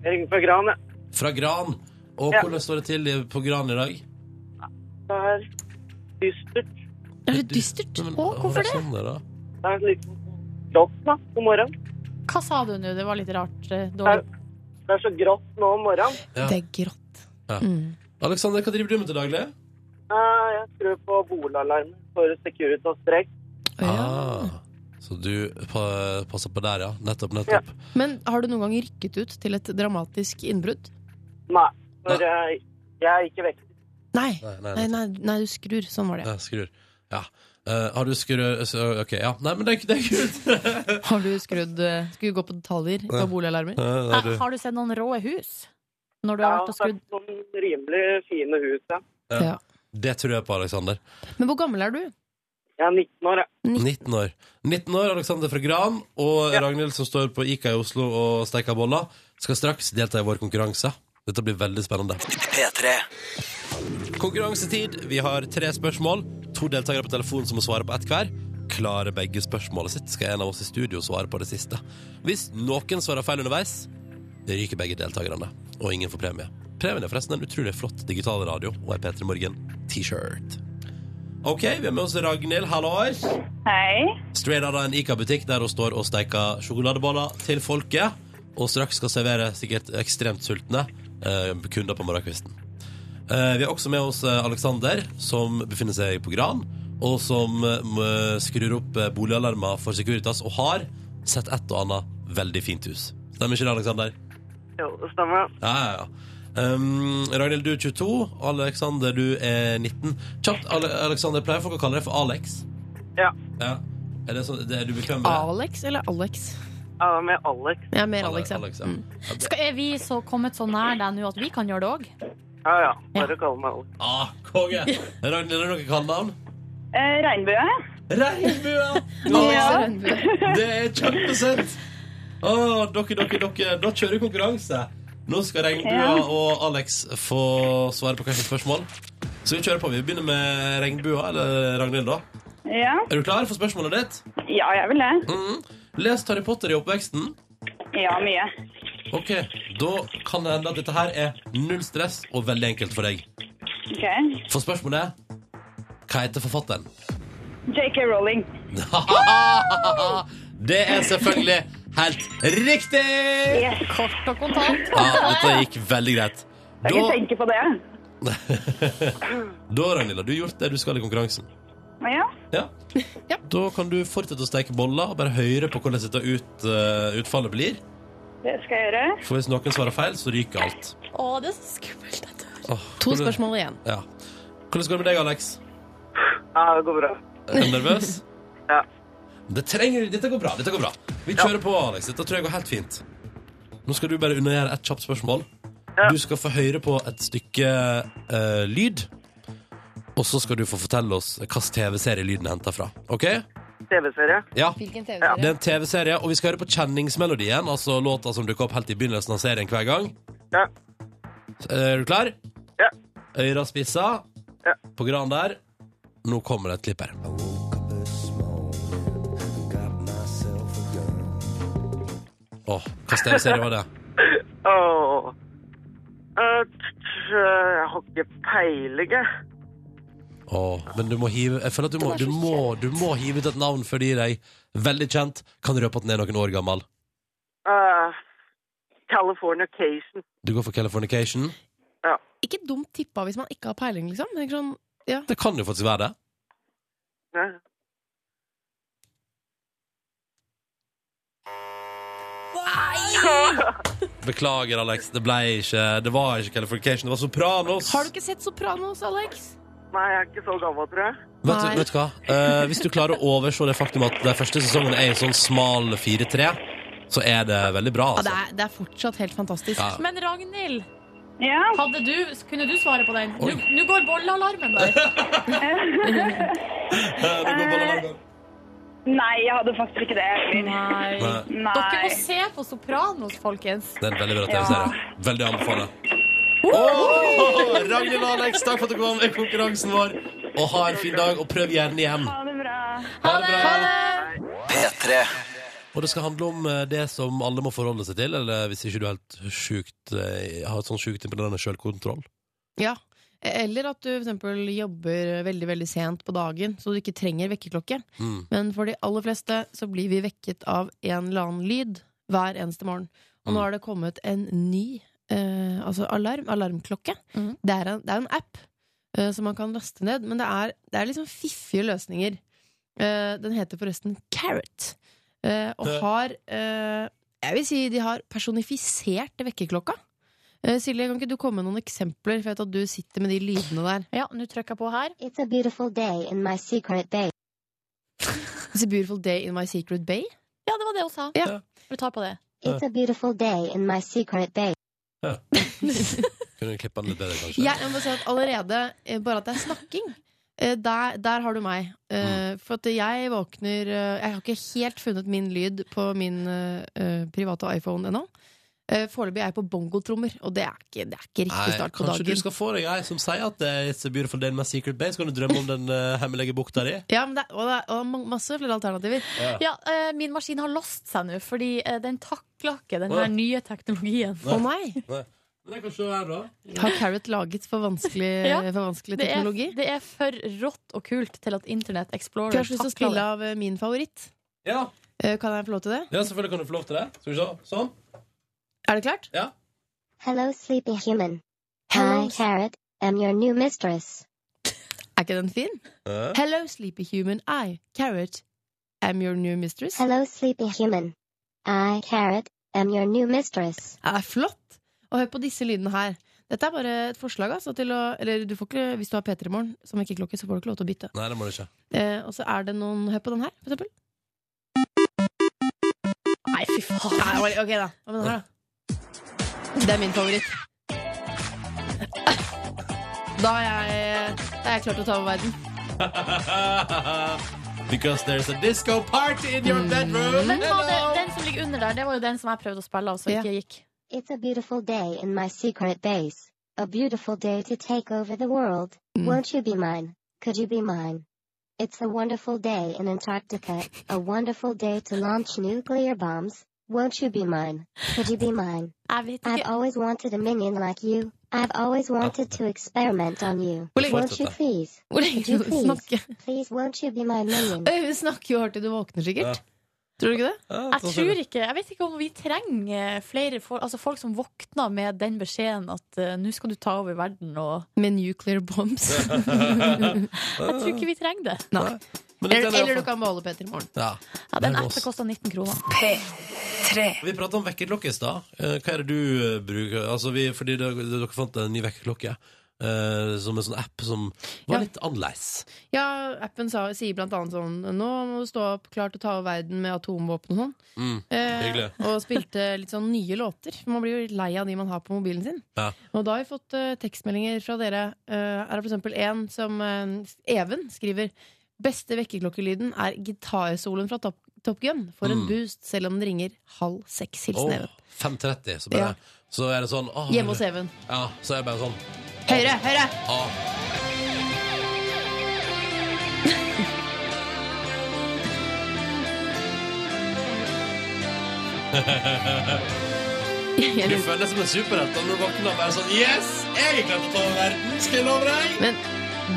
Jeg ringer fra Gran. jeg. Fra Gran. Og Ja. hvordan står det til i- på Gran i dag? Det er dystert. Er det dystert? Å, hvorfor det? Det er litt grått da, om morgenen. Hva sa du nå? Det var litt rart. eh, Dårlig. Det er så grått nå om morgenen. Ja. det er grått. Ja. Mm. Aleksander, hva driver du med til daglig? Eh, Jeg skrur på bolalarmen for Securitas streik. Ja. Ah, så du pa, passer på der, ja. Nettopp, nettopp. Men har du noen gang rykket ut til et dramatisk innbrudd? Nei, for eh, jeg er ikke vektig. Nei, Nei. nei, Nei, nettopp. nei, nei, du skrur. Sånn var det. Ja, skrur. Ja. Eh, Eh, har du skru... så- Ok, ja. Nei, men det, er- det er kult. Har du skrudd eh, Skulle gå på detaljer på boligalarmer? Eh, Eh, det er du. Har du sett noen rå hus? Når du Ja, har vært og det er skrudd noen rimelig fine hus, ja. Ja. Det tror jeg på, Aleksander. Men hvor gammel er du? Jeg er 19 år, jeg. 19 år. 19 år, Alexander fra Gran og Ragnhild som står på Ica i Oslo og steker boller, skal straks delta i vår konkurranse. Dette blir veldig spennende. Konkurransetid. Vi har tre spørsmål. To deltakere på telefon som må svare på ett hver. Klarer begge spørsmålet sitt, skal en av oss i studio svare på det siste. Hvis noen svarer feil underveis, ryker begge deltakerne, og ingen får premie. Premien er forresten en utrolig flott digital radio og ei P3 Morgen-T-shirt. OK, vi har med oss Ragnhild. Hallois. Hei. Straight out av en Ica-butikk der hun står og steiker sjokoladeboller til folket. Og straks skal servere sikkert ekstremt sultne eh, kunder på morgenkvisten. Eh, vi har også med oss eh, Alexander, som befinner seg på Gran. Og som eh, m- skrur opp eh, boligalarmer for Securitas, og har sett et og annet veldig fint hus. Stemmer ikke det, Alexander? Jo, det stemmer. det. Ja, ja, ja. Um, Ragnhild, du er 22. Alexander, du er 19. Kjapt, Ale Alexander, pleier folk å kalle deg for Alex? Ja. ja. Er det sånn, det er du bekvem med det? Alex eller Alex? Ja, det er med Alex. Jeg er mer Alex, ja. Alex, ja. Mm. Skal, Er vi så kommet så nær deg nå at vi kan gjøre det òg? Ja, ja. Bare kall meg Alex. Ah, konge! Ragnhild, er det noe kallenavn? Eh, Regnbue. Regnbua! Ja. altså. Det er kjempesøtt! Å, dere, dere, dere, da kjører konkurranse. Nå skal Regnbua Ja. og Alex få svare på hvert sitt spørsmål. Så vi kjører på. Vi begynner med Regnbua, eller Ragnhild, da. Ja. Er du klar for spørsmålet ditt? ja, jeg vil det. Mhm. Lest Harry Potter i oppveksten. Ja, mye. Ok, Da kan det hende at dette her er null stress og veldig enkelt for deg. Ok. For spørsmålet er hva heter forfatteren? JK Rowling. Det er selvfølgelig helt riktig! Yes. Kort og kontant. Ja, dette gikk veldig greit. Jeg kan Da, ikke tenke på det. da Ragnhild, har du gjort det du skal i konkurransen. Men ja. Ja. Da kan du fortsette å steke boller og bare høre på hvordan dette ut, eh, utfallet blir. Det skal jeg gjøre. For hvis noen svarer feil, så ryker alt. Å, det er så skummelt. Jeg dør. Åh, To hvordan- spørsmål igjen. Ja. Hvordan går det med deg, Alex? Ja, det går bra. Er du nervøs? Ja. Det trenger, dette går bra. dette går bra Vi kjører på, Alex. Dette tror jeg går helt fint. Nå skal du bare undergjøre et kjapt spørsmål. Ja. Du skal få høre på et stykke eh, lyd. Og så skal du få fortelle oss hvilken TV-serie lyden er henta fra. Ok? TV-serie. Ja, Hvilken Det TV-serie? er en TV-serie, og vi skal høre på kjenningsmelodien. Altså låta som dukker opp helt i begynnelsen av serien hver gang. Ja. Eh, Er du klar? Ja. Øyra spissa. Ja. På gran der. Nå kommer det et klipp her. Åh, hvilken TV-serie var det? Åh. Eh, t- t- Jeg har ikke peiling, jeg. Åh, men du må hive Jeg føler at du må, du må, du må hive ut et navn før de gir deg. Veldig kjent. Kan røpe at den er noen år gammel. Eh, California Cation. Du går for Californication. Ikke dumt tippa hvis man ikke har peiling, liksom. Det er ikke sånn, Det kan jo faktisk være det. Ja. Beklager, Alex. Det ble ikke Det var ikke Californication. Det var Sopranos. har du ikke sett Sopranos, Alex? Nei, jeg er ikke så gammel, tror jeg. Vet, Nei. du- vet du hva? Eh, hvis du klarer å overse det faktum at den første sesongen er i sånn smal 4-3, så er det veldig bra, Ja, det altså. er, det er fortsatt helt fantastisk. Ja. Men Ragnhild, Ja. hadde du, kunne du svare på den? Oi. Nå nå går bollealarmen der. Eh, det går bare langt. Nei, jeg hadde faktisk ikke det. egentlig. Nei. Nei, Dere må Nei. se på Sopranos, folkens. Det er en veldig bra Ja. TV-serie. Veldig anbefaler. Åh, Ragnhild og Alex, takk for at dere var med i konkurransen vår. Og ha en fin dag, og prøv gjerne igjen. Ha det bra. Ha det bra. Og det skal handle om eh, det som alle må forholde seg til, eller hvis ikke du er helt sjukt eh, har et sånn sjukt imponerende sjølkontroll. Ja. Eller at du for eksempel jobber veldig veldig sent på dagen, så du ikke trenger vekkerklokke. Mm. Men for de aller fleste så blir vi vekket av en eller annen lyd hver eneste morgen. Og Mm. nå har det kommet en ny eh, altså alarm, alarmklokke. Mhm. Det, er en, det er en app eh, som man kan laste ned, men det er, det er liksom fiffige løsninger. Eh, den heter forresten Carrot, eh, og Ja. har eh, Jeg vil si de har personifisert vekkerklokka. Eh, Silje, kan ikke du komme med noen eksempler? For jeg vet at du sitter med de lydene der. Ja, nå trykker jeg på her. It's a beautiful day in my secret bay. It's a beautiful day in my secret bay. Ja, det var det hun sa. Ja. Vi tar på det. It's a beautiful day in my secret bay. Kunne du klippe den litt bedre, kanskje? Jeg, jeg må si at allerede, eh, bare at det er snakking, eh, der, der har du meg. Eh, Mm. For at jeg våkner eh, Jeg har ikke helt funnet min lyd på min eh, eh, private iPhone ennå. Eh, Foreløpig er jeg på bongotrommer, og det er ikke, det er ikke riktig Nei, start på kanskje dagen. du skal få deg ei som sier at det er It's a beautiful day in my secret bay, så kan du drømme om den eh, hemmelige bukta di. Ja, men det, er- og det er og ma- masse flere alternativer. Ja, eh, min maskin har låst seg nå, fordi eh, den takla ikke den Å, ja. her nye teknologien. Å nei! Men jeg kan se her, da. Har Carrot laget for vanskelig, Ja, for vanskelig Det er, teknologi? det er for rått og kult til at Internett Explorer Kanskje du skal takler spille det. av eh, min favoritt? Ja. Eh, Kan jeg få lov til det? ja, selvfølgelig kan du få lov til det. Skal vi se. Sånn. Er det klart? Ja. Hello, sleepy human. Hello. Hi, Carrot. I'm your new mistress. Er ikke den fin? Eh, Hello, sleepy human. I, Carrot, am your new mistress. Hello, sleepy human. I, Carrot, am your new mistress. Det er flott! Og hør på disse lydene her. Dette er bare et forslag. Altså, til å, eller du får ikke, hvis du har P3 i morgen som vekkerklokke, så får du ikke lov til å bytte. Nei, det må du ikke. Eh, og så er det noen Hør på den her, for eksempel. Nei, fy faen. Nei, Ah, oi, ok, da. Hva med den her, da? Det er min favoritt. Da har jeg, da har jeg klart å ta over verden. Because there's a disco party in your Mm. bedroom. Men ta det, Hello! den som ligger under der, det var jo den som jeg prøvde å spille av, som Ja. ikke gikk. It's a beautiful day in my secret base. A beautiful day to take over the world. Won't you be mine? Could you be mine? It's a wonderful day in Antarctica. A wonderful day to launch nuclear bombs. Won't you be mine? Could you be mine? Jeg vet I've ikke. always wanted a minion like you. I've always wanted to experiment on you. Hvor lenge- Won't you please? Hvor lenge Could you skal du snakke? please? Please, won't you be my minion? Eh, Hun snakker jo hardt til du våkner, sikkert. Tror du ikke det? Ja, Jeg sånn ser tror det. ikke, jeg vet ikke om vi trenger flere for, altså folk som våkner med den beskjeden at eh, nå skal du ta over verden og Med nuclear bombs. Jeg tror ikke vi trenger det. Nei. Men dette Eller, er det i eller hvert du kan beholde Peter i morgen. fall- Ja. Ja, den Det er appen låst. koster 19 kroner. Vi pratet om vekkerklokke i stad. Eh, Hva er det du eh, bruker? Altså, vi, fordi dere, dere fant en ny vekkerklokke. eh, som en sånn app som var Ja. litt annerledes. Ja, appen sa, sier blant annet sånn Nå må du stå opp klart til å ta over verden med atomvåpen og sånn. Mm, Eh, hyggelig. og spilte litt sånn nye låter. For man blir jo litt lei av de man har på mobilen sin. Ja. Og da har vi fått eh, tekstmeldinger fra dere. Eh, er det for eksempel en som eh, Even skriver Beste vekkerklokkelyden er gitarsoloen fra Top, Top Gun. For en Mm. boost, selv om den ringer halv seks. Hilsen Åh, Even. 5.30, så bare Ja. Så er det sånn åh, Hjemme hos Even. Ja, så er jeg bare sånn Høyre! Høyre! åh. Du føler deg som en superhelt når du våkner opp og er sånn Yes! Jeg klarte å ta over verden! Skal jeg love deg? Men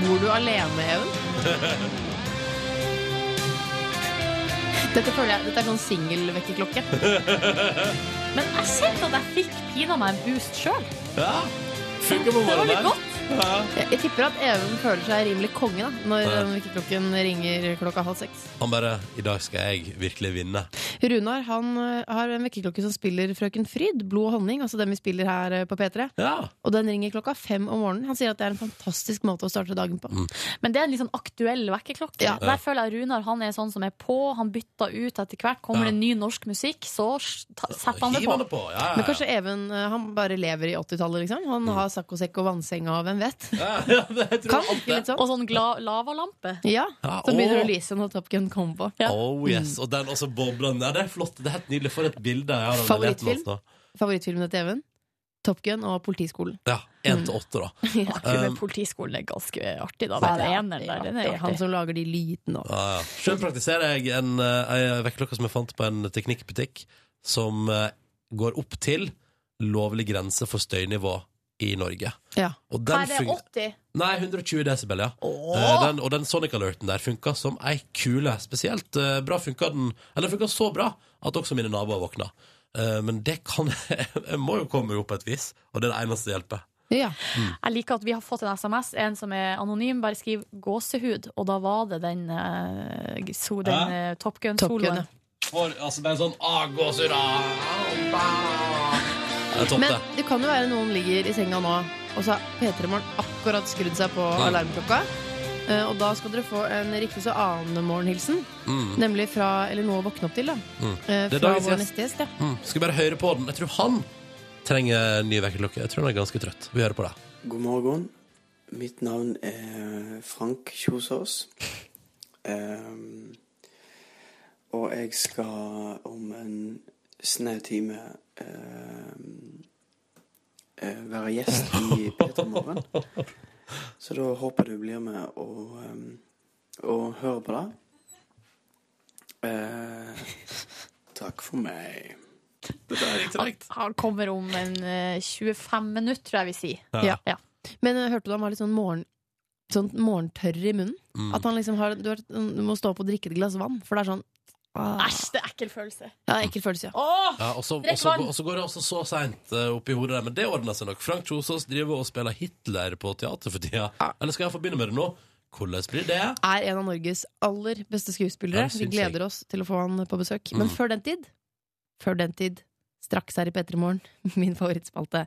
bor du alene, Even? Dette føler jeg, dette er sånn singelvekkerklokke. Men jeg kjente at jeg fikk pina meg en boost sjøl. Ja. Funker på Det var morgenen litt der. godt. Ja. Jeg, jeg tipper at Even føler seg rimelig konge da, når Ja. den vekkerklokken ringer klokka halv seks. Han bare I dag skal jeg virkelig vinne. Runar han eh, har en vekkerklokke som spiller Frøken Fryd, Blod og honning, altså den vi spiller her eh, på P3. Ja. Og den ringer klokka fem om morgenen. Han sier at det er en fantastisk måte å starte dagen på. Men det er en litt sånn aktuell vekkerklokke. Ja. Der føler jeg Runar han er sånn som er på. Han bytter ut etter hvert. Kommer Ja. det ny norsk musikk, så s- ta- setter han det Hiv på. han det på. Ja, Men ja, kanskje Even eh, han bare lever i 80-tallet, liksom. Han har saccosekk og vannsenga og hvem vet. ja. ja, det Mm. tror jeg Kan alltid. virke litt sånn. Og sånn gla- lavalampe. Ja, Ja, Så begynner åh. det å lyse når Top Gun kommer på. Oh yes, Mm. og den også bobler Ja, det er flott, det er helt nydelig For et bilde jeg har av den leiligheten Favorittfilm? hans nå. favorittfilmene til Even? Top Gun og Politiskolen. Ja, 1 Mm. til 8 da Akkurat Um, med politiskolen er ganske artig, da. Den eneren der, den er Han artig. som lager de lydene og ja, ja. Selv praktiserer jeg en, eh, en vekkerklokke som jeg fant på en teknikkbutikk Som eh, går opp til lovlig grense for støynivå i Norge Ja. Og Hva den er det, fung- 80? Nei, 120 decibel, ja. Eh, Den, og den Sonic Alerten der funka som ei kule. Spesielt eh, bra funka den Eller den funka så bra at også mine naboer våkna. Eh, men det kan jeg, må jo komme opp på et vis, og det er det eneste som hjelper. ja. Jeg liker at vi har fått en SMS, en som er anonym. Bare skriv 'gåsehud', og da var det den, eh, so, den Hæ? eh, Top Top Gun, Gun-soloen. ja. For altså bare sånn ah, gåsehud ah, ah. Det er topp, Men det. det kan jo være noen ligger i senga nå, og så har P3 Morgen akkurat skrudd seg på alarmklokka. Eh, Og da skal dere få en riktig så annen morgenhilsen. Mm. Nemlig fra Eller noe å våkne opp til, da. Mm. Eh, Det er Fra dagens vår gjest. neste gjest, ja. Mm. Skal vi bare høre på den? Jeg tror han trenger ny vekkerklokke. Jeg tror han er ganske trøtt. Vi hører på det. God morgen. Mitt navn er Frank Kjosås. Ehm, og jeg skal om en snautime ehm, eh, være gjest i P3 Morgen. Så da håper jeg du blir med og, ehm, og hører på det. Eh, takk for meg. Han, han kommer om en eh, 25 minutter, tror jeg vi sier. Ja. Ja. Men eh, hørte du han var litt sånn, morgen, sånn morgentørr i munnen? Mm. At han liksom har du, har du må stå opp og drikke et glass vann, for det er sånn ah. Æsj, det er ekkel følelse. Ja, ekkel følelse, ja. Ja, og så og Drikk så- vann. og så går det også så seint oppi hodet der, men det ordner seg nok. Frank Kjosås driver og spiller Hitler på teater for tida. Eller skal jeg få begynne med det nå? Hvordan blir det? Er en av Norges aller beste Ja, skuespillere. det Vi syns jeg. gleder oss til å få han på besøk. Men Mm. før den tid, før den tid, straks her i P3 Morgen, min favorittspalte,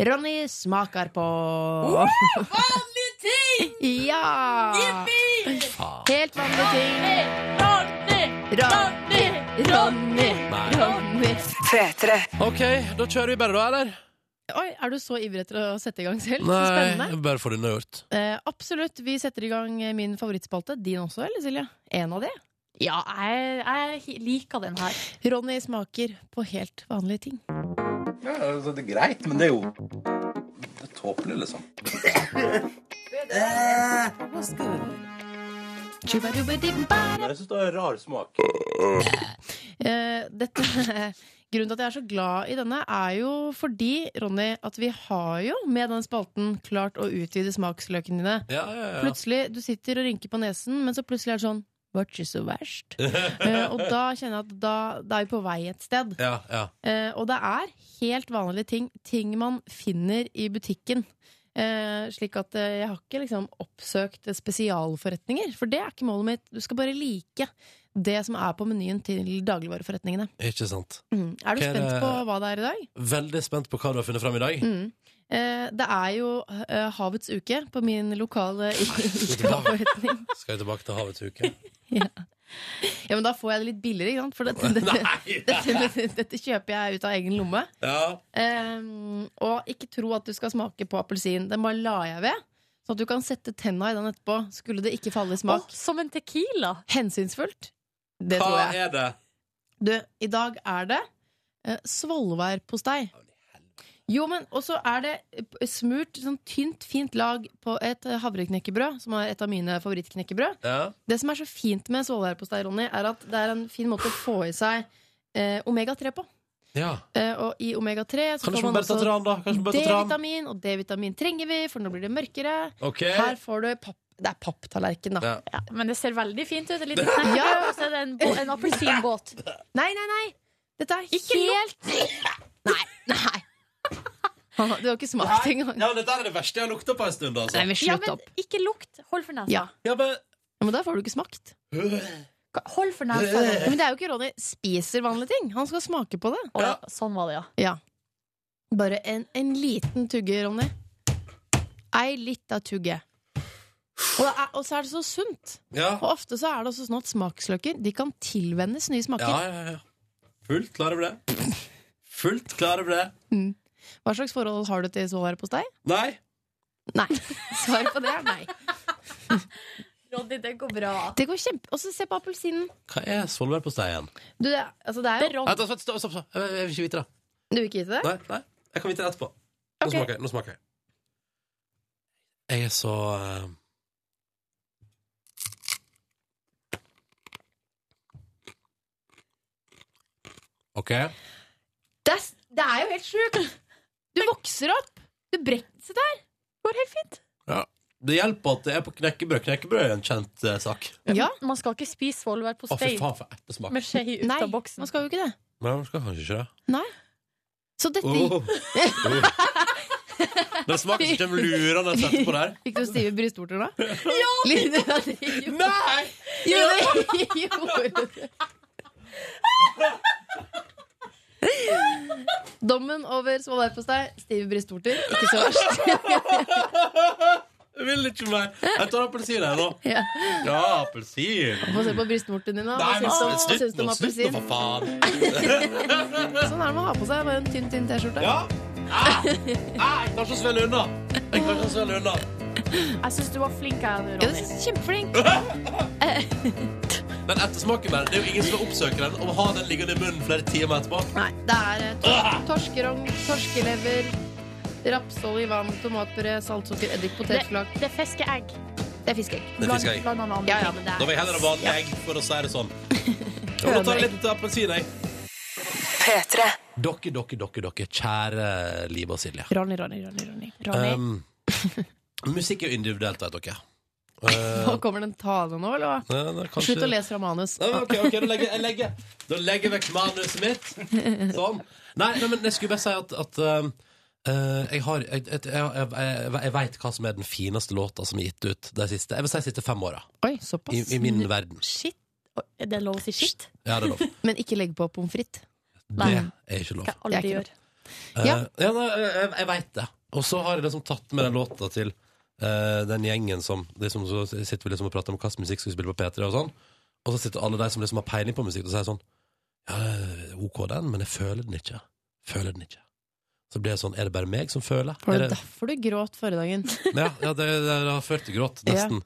Ronny smaker på Vanlige ting! Ja! Jippi! Helt vanlige ting. Ronny, Ronny, Nei. Ronny. OK, da kjører vi bare, da, eller? Oi, er du så ivrig etter å sette i gang selv? Så Nei, spennende. jeg bare få det unnagjort. Eh, absolutt. Vi setter i gang min favorittspalte. Din også, eller Silje? En av de? Ja, jeg, jeg liker den her. Ronny smaker på helt vanlige ting. Ja, altså, det er greit, men det er jo Det er tåpelig, liksom. Jeg syns det er rar smak. Eh, dette, grunnen til at jeg er så glad i denne, er jo fordi, Ronny, at vi har jo med den spalten klart å utvide smaksløkene dine. Ja, ja, ja. Plutselig, Du sitter og rynker på nesen, men så plutselig er det sånn Var ikke så verst. Eh, og da kjenner jeg at da, da er vi på vei et sted. Ja, ja. Eh, og det er helt vanlige ting. Ting man finner i butikken. Eh, slik at eh, jeg har ikke liksom oppsøkt spesialforretninger, for det er ikke målet mitt. Du skal bare like det som er på menyen til dagligvareforretningene. Ikke sant. Mm. Er du Hva er spent det- på hva det er i dag? Veldig spent på hva du har funnet fram i dag. Mm. Eh, det er jo eh, Havets uke på min lokale forretning. Skal vi tilbake til Havets uke? Ja. ja, men da får jeg det litt billigere, ikke sant? For dette, dette, dette, dette kjøper jeg ut av egen lomme. Ja. Ehm, og ikke tro at du skal smake på appelsin. Den bare la jeg ved. Sånn at du kan sette tenna i den etterpå. Skulle det ikke falle i smak. som en tequila! Hensynsfullt. Det hva tror jeg. er det? Du, i dag er det eh, svolværpostei. Jo, men også er det eh, smurt sånn tynt, fint lag på et eh, havreknekkebrød, som er et av mine favorittknekkebrød. Ja. Det som er så fint med svolværpostei, Ronny, er at det er en fin måte å få i seg eh, omega-3 på. ja. Eh, og i omega-3 så Kanskje får man man bare tar tran, da? Kanskje man bare tar tran? D-vitamin, og D-vitamin trenger vi, for nå blir det mørkere. Ok. Her får du papp... Det er papptallerken, da. Ja. Men det ser veldig fint ut. Et lite knekkebrød, Ja. og så er det en, bå- en appelsinbåt. Nei, nei, nei! Dette er helt Nei, nei! Du har ikke smakt Nei, engang. ja, men dette er det verste jeg har lukta på en stund. Altså. Nei, men slutt Ja, men opp. Ikke lukt. Hold for nesa. Ja. Ja, men... da får du ikke smakt. Hold for nesa. Ja, Men det er jo ikke Ronny spiser vanlige ting. Han skal smake på det. Å, ja. Sånn var det, ja. Ja. Bare en, en liten tugge, Ronny. Ei lita tugge. Og, det er, og så er det så sunt. Ja. Og ofte så er det også sånn at smaksløker De kan tilvennes nye smaker. Ja, ja, ja. Fullt klar over det. Fullt klar over det. Mm. Hva slags forhold har du til svolværpostei? Nei. Nei. Svaret på det er nei. Roddy, det går bra. Det går kjempe... Og så se på appelsinen. Hva er svolværpostei igjen? Du, det, er- altså, det er jo Nei, Stopp, stopp, stopp. stopp. Jeg jeg vil ikke vite det. Du vil ikke vite det? Nei, nei. Jeg kan vite det etterpå. Nå Ok. smaker jeg. Nå smaker jeg. Jeg er så eh, OK. Det er, s- det er jo helt sjukt! Du vokser opp! Du brekker Se der! Det går helt fint. Ja. Det hjelper at det er på knekkebrød. Knekkebrød er en kjent eh, sak. Man skal ikke spise Å, fy svolværpostei faen, for ettersmak. med skje ut Nei, av boksen. man skal jo ikke det. Nei, man skal kanskje ikke det. Nei. Så dette Åh. Den smaken som kommer lurende etterpå der. Fikk du stive brystvorter da? Nei! Jo, det gjorde det. Dommen over svolværpostei, stive brystvorter, ikke så verst. Jeg vil ikke mer. Jeg tar appelsin her nå. Ja. Ja, appelsin. Få se på brystvorten din, da. Nei, Hva men syns du- slutt hva syns du nå, om slutt nå, appelsin? for faen. Sånn er det man har på seg. Bare en tynn, tynn T-skjorte. Ja. Ah, jeg klarer ikke å svelge unna. Jeg klarer ikke å svelge unna. Jeg syns du var flink, jeg, Ja, du Ronny. er kjempeflink. Den ettersmaken der, det er jo ingen som vil oppsøke den og ha den liggende i munnen flere timer etterpå. Nei, det er eh, Ah! tors torskerogn, torskelever, rapsolje, vann, tomatpuré, saltsukker, eddik, potetflak. Det er fiskeegg. Det er fiskeegg. Det er fiskeegg. Bland- bland med andre ting. Da vil jeg heller ha vanlig egg, for å si det sånn. Jo, nå tar jeg litt appelsin, jeg. P3. Dere, dere, dere, dere, kjære Liv og Silje. Ronny, Ronny, Ronny. Ronny. Um, musikk er jo individuelt, vet dere. Nå Uh, kommer den tale nå, eller hva? ja, det er kanskje- Slutt å lese fra manus. Nei, men ok, ok, da legger jeg legger, da legger jeg vekk manuset mitt. Sånn. Nei, nei, men jeg skulle bare si at, at um, eh, jeg, har, jeg, jeg, jeg, jeg, jeg veit hva som er den fineste låta som er gitt ut de siste, jeg vil si de siste fem åra. Oi, såpass. I, I min verden. Shit. Er det lov å si shit? Ja, det er lov. Men ikke legg på pommes frites. Det er ikke lov. Det er ikke lov. Eh, Ja. ja, nei, jeg, jeg veit det. Og så har jeg liksom tatt med den låta til eh, den gjengen som liksom, Så sitter vi liksom og prater om hvilken musikk skal vi spille på P3 og sånn. Og så sitter alle de som liksom har peiling på musikk, og sier sånn Ja, det er OK den, men jeg føler den ikke. Føler den ikke. Så blir det sånn Er det bare meg som føler? Var Er det det, derfor du gråt forrige dagen? ja, ja, det, det har ført til gråt, Ja. nesten.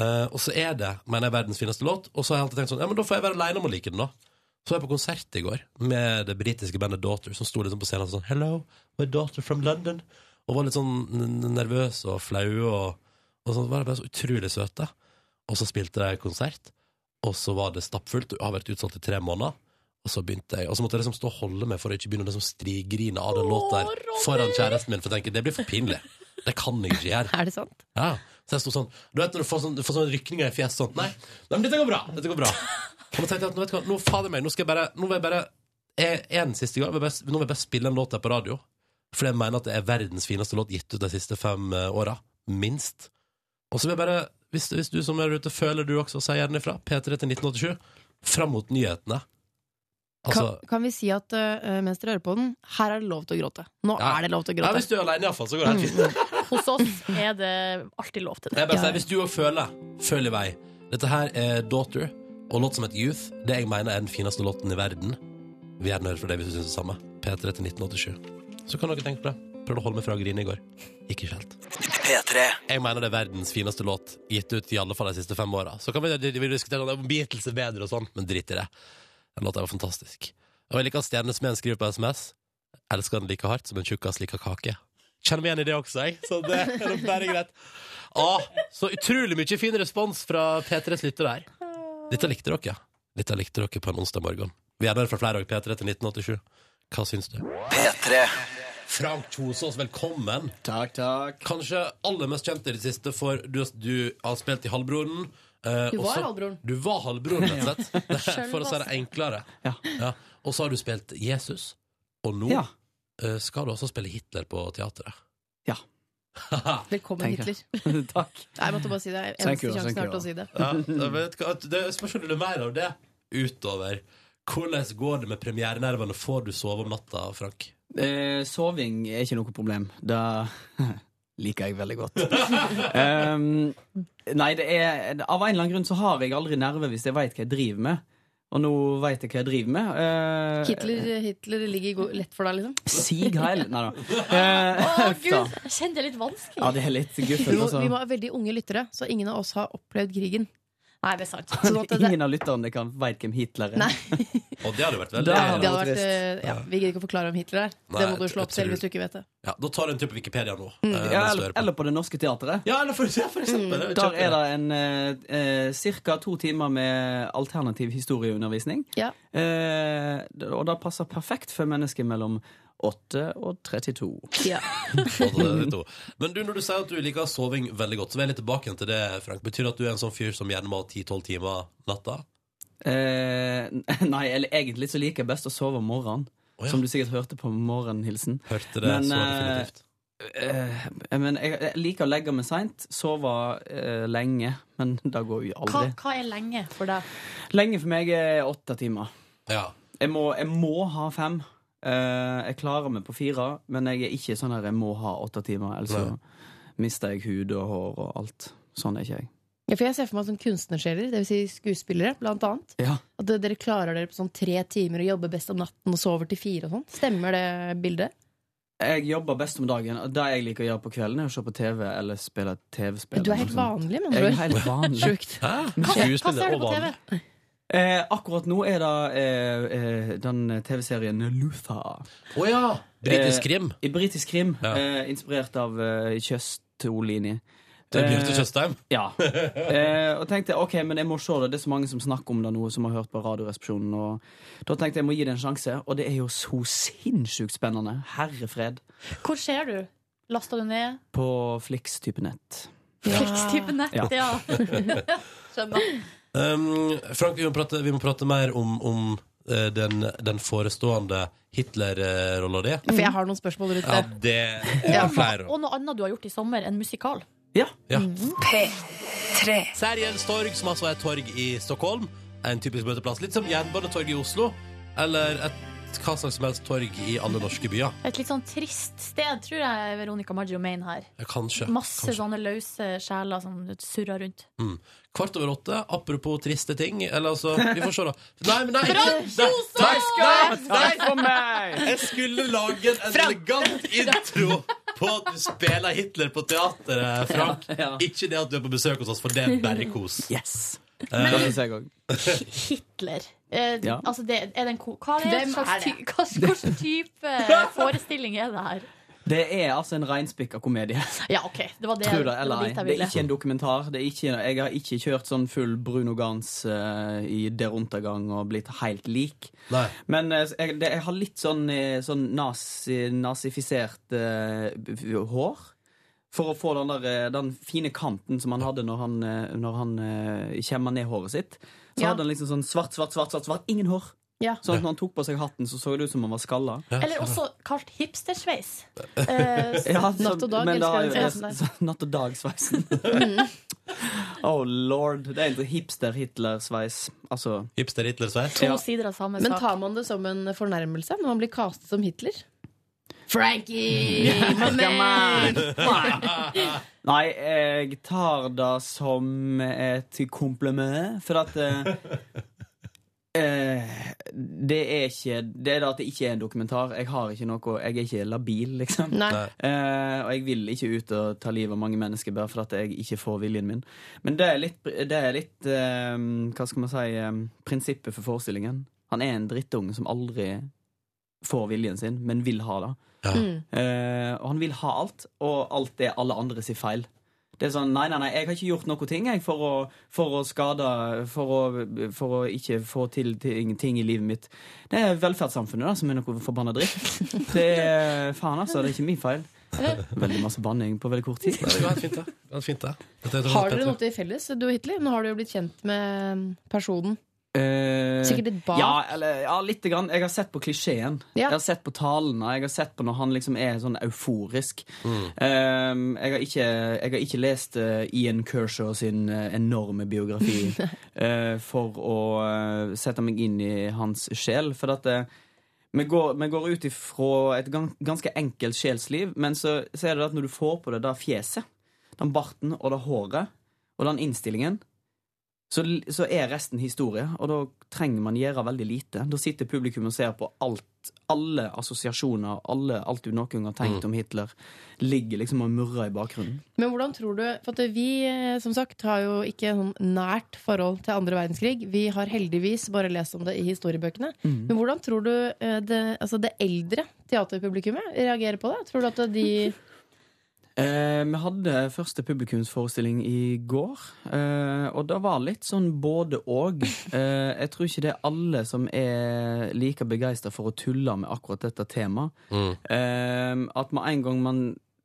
Eh, og så er det, mener jeg, verdens fineste låt. Og så har jeg alltid tenkt sånn Ja, men da får jeg være aleine om å like den, da. Så var jeg på konsert i går med det britiske bandet Daughter, som sto liksom på scenen og sånn Hello, my daughter from London. Og var litt sånn n- n- nervøs og flau og, og sånn. Var bare så utrolig søte. Og så spilte de konsert, og så var det stappfullt. Og har vært utsolgt i tre måneder. Og så begynte jeg, og så måtte jeg liksom stå og holde meg for å ikke begynne å liksom strigrine av den låta her foran kjæresten min, for jeg tenker det blir for pinlig. Det kan jeg ikke gjøre. Er det sant? Ja. Så jeg sto sånn Du vet når du får sånn, du får sånn rykninger i fjeset sånn Nei, nei, men dette går bra. Dette går bra. Og nå tenkte jeg at nå, vet du hva, nå fader meg, nå skal jeg bare Nå vil jeg bare eh, En siste gang. jeg vil bare- Nå vil jeg bare spille en låt her på radio. For jeg mener at det er verdens fineste låt gitt ut de siste fem eh, åra. Minst. Og så vil jeg bare hvis, hvis du som er der ute føler du også, si gjerne ifra. P3 til 1987. Fram mot nyhetene. Altså Kan, kan vi si at øh, mens dere hører på den, her er det lov til å gråte. Nå Ja. er det lov til å Ja, gråte. hvis du er alene, iallfall, så går det helt fint. Hos oss er det alltid lov til det. Jeg bare sier, Hvis du òg føler, føl i vei. Dette her er Daughter og låt som het Youth. Det jeg mener er den fineste låten i verden. Vi vil gjerne høre fra deg hvis du syns det samme. P3 til 1987. Så kan dere tenke på det. Prøvde å holde meg fra å grine i går. Gikk ikke helt. P3. Jeg mener det er verdens fineste låt, gitt ut i alle fall de siste fem åra. Så kan vi, vi diskutere om Beatles er bedre og sånn, men drit i det. Den låta var fantastisk. Og jeg liker at Stjernesmeden skriver på SMS. Elsker den like hardt som en tjukkas liker kake. Kjenner meg igjen i det også, jeg. Så det er nok bare greit. Ah, så utrolig mye fin respons fra P3s lyttere her. Dette likte dere. Dette likte dere på en onsdag morgen. Vi er der fra flere år, P3 til 1987. Hva syns du? P3. Frank Kjosås, velkommen. Takk, takk. Kanskje aller mest kjent i det siste, for du, du har spilt i Halvbroren. eh, Du og var så- halvbroren. Du var halvbroren, rett og slett. Det er Sjølvaste. For å si det enklere. Ja. Og så har du spilt Jesus, og nå Ja. eh, skal du også spille Hitler på teateret. Ja. Velkommen, Tenker Hitler. jeg. Takk. Nei, jeg måtte bare si det. Jeg- Thank Eneste you, sjansen thank jeg you. har til å si det. Ja, jeg vet hva, at det spørs om det er mer av det utover. Hvordan går det med premierenervene? Får du sove om natta, Frank? Eh, soving er ikke noe problem. Det liker jeg veldig godt. Ehm, nei, det er Av en eller annen grunn så har jeg aldri nerver hvis jeg veit hva jeg driver med. Og nå veit jeg hva jeg driver med. Eh, Hitler, Hitler ligger go- lett for deg, liksom? Sig Heil Nei da. Eh, Å, da. Gud, jeg kjenner det er litt vanskelig. Ja, det er litt Vi guffent, må, vi må altså. ha veldig unge lyttere, så ingen av oss har opplevd krigen. Nei, det er sant. Ingen av lytterne kan veit hvem Hitler er. Og det hadde vært Det veldig hadde det hadde vært, eh, ja, vi gidder ikke å forklare om Hitler her. Nei, det må du slå jeg opp selv tror- hvis du ikke vet det. Ja, da tar du en tur på Wikipedia nå. Mm. eh, Ja, mens du eller, hører på. eller på Det Norske Teatret. Ja, eller for, ja, for eksempel. Det er Der er kjempebra. det en eh, ca. to timer med alternativ historieundervisning. Eh, d- og det passer perfekt for mennesker mellom 8 og 32. Og så er det to. Men du, når du sier at du liker soving veldig godt, så vil jeg litt tilbake igjen til det, Frank. Betyr det at du er en sånn fyr som gjerne må ha 10-12 timer natta? Eh, nei, eller egentlig så liker jeg best å sove om morgenen. Som du sikkert hørte på morgenhilsen. Hørte det så eh, definitivt. eh, men jeg, jeg liker å legge meg seint, sove eh, lenge, men det går jo Hva, aldri. hva er lenge for deg? Lenge for meg er åtte timer. Jeg, må, jeg må ha fem. Eh, jeg klarer meg på fire, men jeg er ikke sånn her jeg må ha åtte timer. Altså, mister jeg hud og hår og alt. Sånn er ikke jeg. Ja, for jeg ser for meg som kunstnersjeler, dvs. Si skuespillere, blant annet. Ja. At de- dere klarer dere på sånn tre timer og jobber best om natten og sover til fire og sånn. Stemmer det bildet? Jeg jobber best om dagen. og Det jeg liker å gjøre på kvelden, er å se på TV eller spille TV-spill. Du er helt vanlig, med Jeg andre er helt vanlig. Sjukt. Hæ? Hva- hva ser du på TV? Eh, akkurat nå er det eh, eh, den TV-serien Luther. Å ja! Britisk krim. Eh, i britisk krim eh, inspirert av eh, Tjøstolini. Det er Bjarte Tjøstheim. Ja. Eh, og tenkte ok, men jeg må se det. Det er så mange som snakker om det nå, som har hørt på Radioresepsjonen. Og da tenkte jeg jeg må gi det en sjanse, og det er jo så sinnssykt spennende. Herrefred. Hvor ser du? Lasta du ned? På Flix-type nett. Flix-type nett, ja. Skjønner. Um, Frank, vi må prate, vi må prate mer om, om eh, den, den forestående Hitler-rolla di. For jeg har noen spørsmål rundt Ja, det. det jeg har flere. Og noe annet du har gjort i sommer enn musikal. Ja. P3. Serjens torg, som altså er et torg i Stockholm. En typisk møteplass. Litt som Jernbanetorget i Oslo. Eller et hva slags som helst torg i alle norske byer. Et litt sånn trist sted, tror jeg Veronica Maggio mener her. Ja, Kanskje. Masse kanskje. sånne løse sjeler som surrer rundt. Mm. Kvart over åtte, apropos triste ting. Eller altså, vi får se, da. Nei, men nei! Frank Nei, Kjosås! nei, nei, nei. Takk for meg! Jeg skulle lage en elegant intro på at du spiller Hitler på teateret, Frank. Ikke det at du er på besøk hos oss, for det er bare kos. Yes. Eh, Det synes jeg òg. Hitler. Eh, Ja. altså det, er det en ko hva er det? Hvem slags er det? ty- hva, hvilken type forestilling er det her? Det er altså en reinspikka komedie. Ja, OK. Det var det, Tror det, det, eller var dit ei. jeg Det er ville. ikke en dokumentar. Det er ikke, jeg har ikke kjørt sånn full Bruno Gans eh, i deruntergang og blitt helt lik. Nei. Men eh, jeg, det, jeg har litt sånn, eh, sånn nazi, nazifisert eh, b- b- hår. For å få den, der, eh, den fine kanten som han hadde når han, eh, når han eh, kjemmer ned håret sitt. Så Ja. hadde han liksom sånn svart, svart, svart, svart, svart ingen hår. Ja. Sånn at når han tok på seg hatten, så så det ut som han var skalla. Eller også kalt hipstersveis. Eh, Ja, så- men da er jo- sveisen så- Natt og dag-sveisen. Mm. oh lord. Det er egentlig hipster-Hitler-sveis. Altså Hipster-Hitler-sveis? Ja. sider av samme Men tar man det som en fornærmelse når man blir castet som Hitler? Frankie! my man! Nei, jeg tar det som et kompliment, for at eh, eh, det er ikke Det er da at det ikke er en dokumentar. Jeg har ikke noe Jeg er ikke labil, liksom. Nei. Nei. Eh, og jeg vil ikke ut og ta livet av mange mennesker bare for at jeg ikke får viljen min. Men det er litt, det er litt eh, Hva skal man si eh, Prinsippet for forestillingen. Han er en drittunge som aldri får viljen sin, men vil ha det. Ja. Mm. Eh, og han vil ha alt, og alt det alle andre sier feil. Det er sånn, nei, nei, nei, Jeg har ikke gjort noe ting jeg, for, å, for å skade for å, for å ikke få til ting, ting i livet mitt. Det er velferdssamfunnet da, som er noe forbanna dritt. Det er faen, altså. Det er ikke min feil. Veldig masse banning på veldig kort tid. Det var helt fint, det. Det var fint, det. Dette er- Har dere noe til felles, du og Hitler? Nå har du jo blitt kjent med personen. Eh, Sikkert litt bak. Ja, altså, eller, ja litt. Grann. Jeg har sett på klisjeen. Ja. Jeg har sett på talene. Jeg har sett på når han liksom er sånn euforisk. Eh, jeg, har ikke, jeg har ikke lest eh, Ian Kershaw sin eh, enorme biografi eh, for å eh, sette meg inn i hans sjel. For at eh, vi går, vi går ut ifra et gan- ganske enkelt sjelsliv, men så, så er det at når du får på deg det fjeset, den barten og det håret og den innstillingen, så, l- så er resten historie, og da trenger man gjøre veldig lite. Da sitter publikum og ser på alt, alle assosiasjoner, alle, alt du noen gang har tenkt om Hitler, ligger liksom og murrer i bakgrunnen. Men hvordan tror du For at vi eh, som sagt har jo ikke sånn nært forhold til andre verdenskrig. Vi har heldigvis bare lest om det i historiebøkene. Mhm. Men hvordan tror du eh, det, altså det eldre teaterpublikummet reagerer på det? Tror du at de Eh, vi hadde første publikumsforestilling i går, eh, og det var litt sånn både og. Eh, jeg tror ikke det er alle som er like begeistra for å tulle med akkurat dette temaet. Mm. Eh, at med en gang man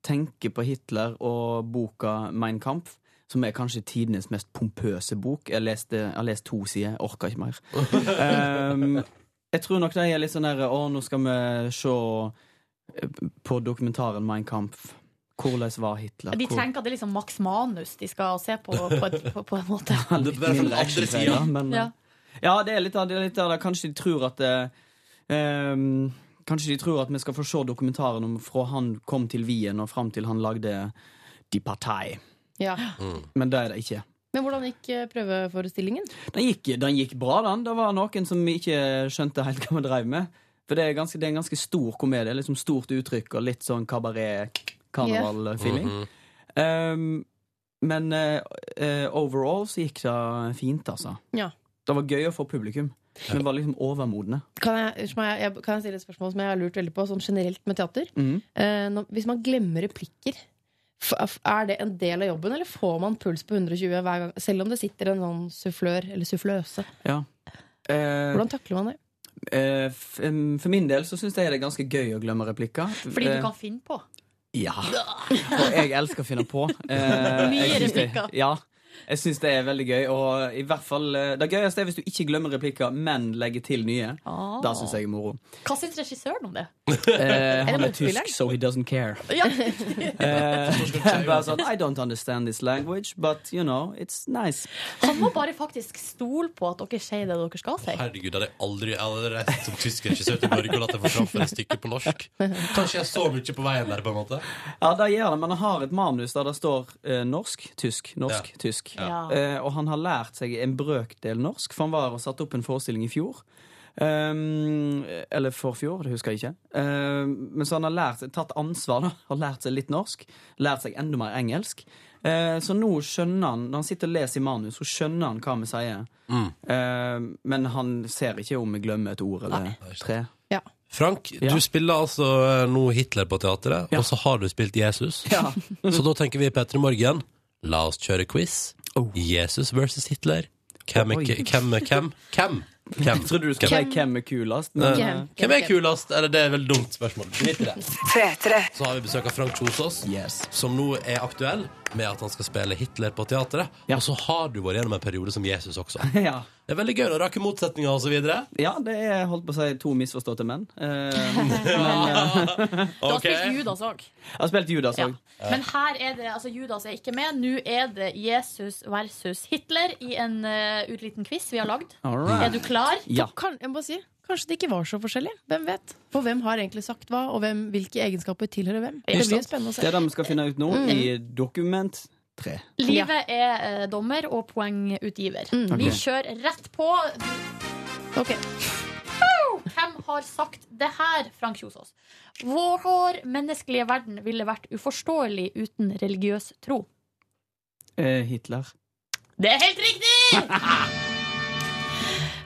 tenker på Hitler og boka Mein Kampf, som er kanskje tidenes mest pompøse bok Jeg, leste, jeg har lest to sider, jeg orker ikke mer. Eh, jeg tror nok de er litt sånn der Å, nå skal vi se eh, på dokumentaren Mein Kampf. Hvordan var Hitler? De Hvor- tenker at det er liksom Max Manus de skal se på, på, et, på, på en måte. Det er bare fra den andre siden. Men, eh, Ja. ja. det er litt av det. er Litt av det. Kanskje de tror at eh, ehm, Kanskje de tror at vi skal få se dokumentaren om fra han kom til Wien og fram til han lagde de Partei. Ja. Men det er det ikke. Men hvordan gikk eh, prøveforestillingen? Den gikk, den gikk bra, den. Det var noen som ikke skjønte helt hva vi drev med. For det er, ganske, det er en ganske stor komedie. Liksom stort uttrykk og litt sånn kabaret-karneval-feeling. um, men eh, eh, overall så gikk det fint, altså. Ja. Det var gøy å få publikum. Men var liksom overmodne. Kan jeg, som jeg, jeg, kan jeg stille et spørsmål som jeg har lurt veldig på, sånn generelt med teater? Mm. Eh, når, hvis man glemmer replikker, f- er det en del av jobben, eller får man puls på 120 hver gang? Selv om det sitter en sånn sufflør eller suffløse. Ja. Eh, Hvordan takler man det? eh, f- em, for min del så syns jeg det er ganske gøy å glemme replikker. Fordi Eh, du kan finne på. Ja. Og jeg elsker å finne på. Eh, Mye jeg syns det- replikker. Ja. Jeg syns det er veldig gøy. Og i hvert fall, eh, det gøyeste er hvis du ikke glemmer replikker, men legger til nye. Ah. Da syns jeg er moro. Hva syns regissøren om det? Eh, han er det tysk, motspilleren? so he doesn't care. Ja. Eh, det er bare sånn, I don't understand this language, but you know, it's nice. Han må bare faktisk stole på at dere sier det dere skal si. Herregud, hadde jeg aldri jeg hadde reist som tysk regissør til Norge og latt deg få framføre et stykke på norsk. Kanskje jeg så mye på veien der, på en måte. Ja, det gjør det, men han har et manus der det står eh, norsk, tysk, norsk, tysk. Ja. Eh, og han har lært seg en brøkdel norsk, for han var og satte opp en forestilling i fjor. Um, eller forfjor, det husker jeg ikke. Um, men så han har lært, tatt ansvar, da. Har lært seg litt norsk. Lært seg enda mer engelsk. Eh, så nå skjønner han, når han sitter og leser i manus, så skjønner han hva vi sier. Mm. Eh, men han ser ikke om vi glemmer et ord eller tre. Frank, Ja. du spiller altså eh, nå Hitler på teatret, og så har du spilt Jesus. så da tenker vi i P3 Morgen, la oss kjøre quiz. Jesus versus Hitler. Hvem er Oh. Oi. hvem? Hvem? er hvem? hvem? Jeg trodde du skulle Hvem? si hvem er kulest. Eh, men, eh, Hvem er kulest? Eller det er vel dumt spørsmål. Drit i det. Så har vi besøk av Frank Kjosås, som nå er aktuell med at han skal spille Hitler på teatret. Og så har du vært gjennom en periode som Jesus også. Ja. Det er veldig gøy å rake motsetninger og så videre. Ja, det er holdt på å si to misforståtte menn. Eh, men, Du har spilt Judas òg. Jeg har spilt Judas òg. Men her er det, altså Judas er ikke med. Nå er det Jesus versus Hitler i en uh, liten quiz vi har lagd. All right. Er du klar? Ja. Kan, jeg må si, kanskje det ikke var så forskjellig. Hvem vet? Og hvem har egentlig sagt hva, og hvem, hvilke egenskaper tilhører hvem? Det blir jo spennende å Det er se. det vi skal finne ut nå Mm. i Dokument 3. Livet er eh, dommer og poengutgiver. Mm. Ok. Vi kjører rett på. Ok. Hvem har sagt det her, Frank Kjosås? Vår menneskelige verden ville vært uforståelig uten religiøs tro. Eh, Hitler. Det er helt riktig!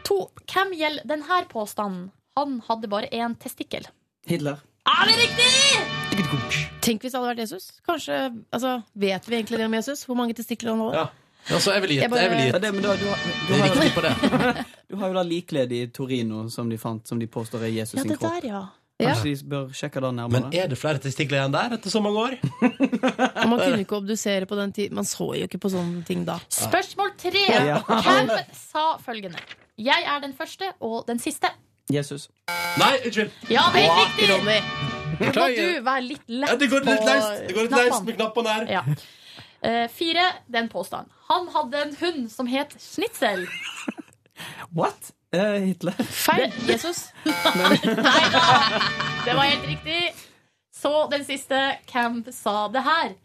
to. Hvem gjelder denne påstanden? Han hadde bare én testikkel. Hitler. Er det riktig? Tenk hvis det hadde vært Jesus. Kanskje, altså, Vet vi egentlig det om Jesus? Hvor mange testikler han hadde? Altså, jeg vil gi Jeg et. bare- Jeg vil gi Ja, et. det, men da, du, har, du, Det er har, riktig på det. du har jo da likledet i Torino som de fant, som de påstår er Jesus sin kropp. ja. Kanskje de bør sjekke det nærmere. Men er det flere testikler igjen der etter så mange år? Og man kunne ikke obdusere på den tid. Man så jo ikke på sånne ting da. Spørsmål tre. Ja. Hvem sa følgende? Jeg er den første og den siste. Jesus. Nei, unnskyld. Ja, det er Wow, helt riktig! Nå må du være litt lett Ja, det går litt på løst. Det går litt løst med knappene her. Ja. Eh, fire, det er en påstand. Han hadde en hund som het Schnitzel. What? Eh, Hitler. Feil. Jesus. Nei da. Det var helt riktig. Så den siste. Hvem sa det her?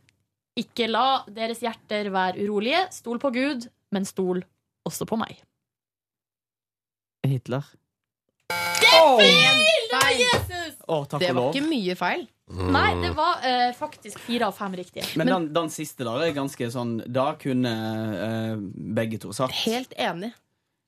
Ikke la deres hjerter være urolige. Stol på Gud, men stol også på meg. Hitler. Feil! Det var Jesus! Å, takk Det og var lov. ikke mye feil. Nei, det var eh, faktisk fire av fem riktige. Men den, den siste der er ganske sånn Da kunne eh, begge to sagt. Helt enig.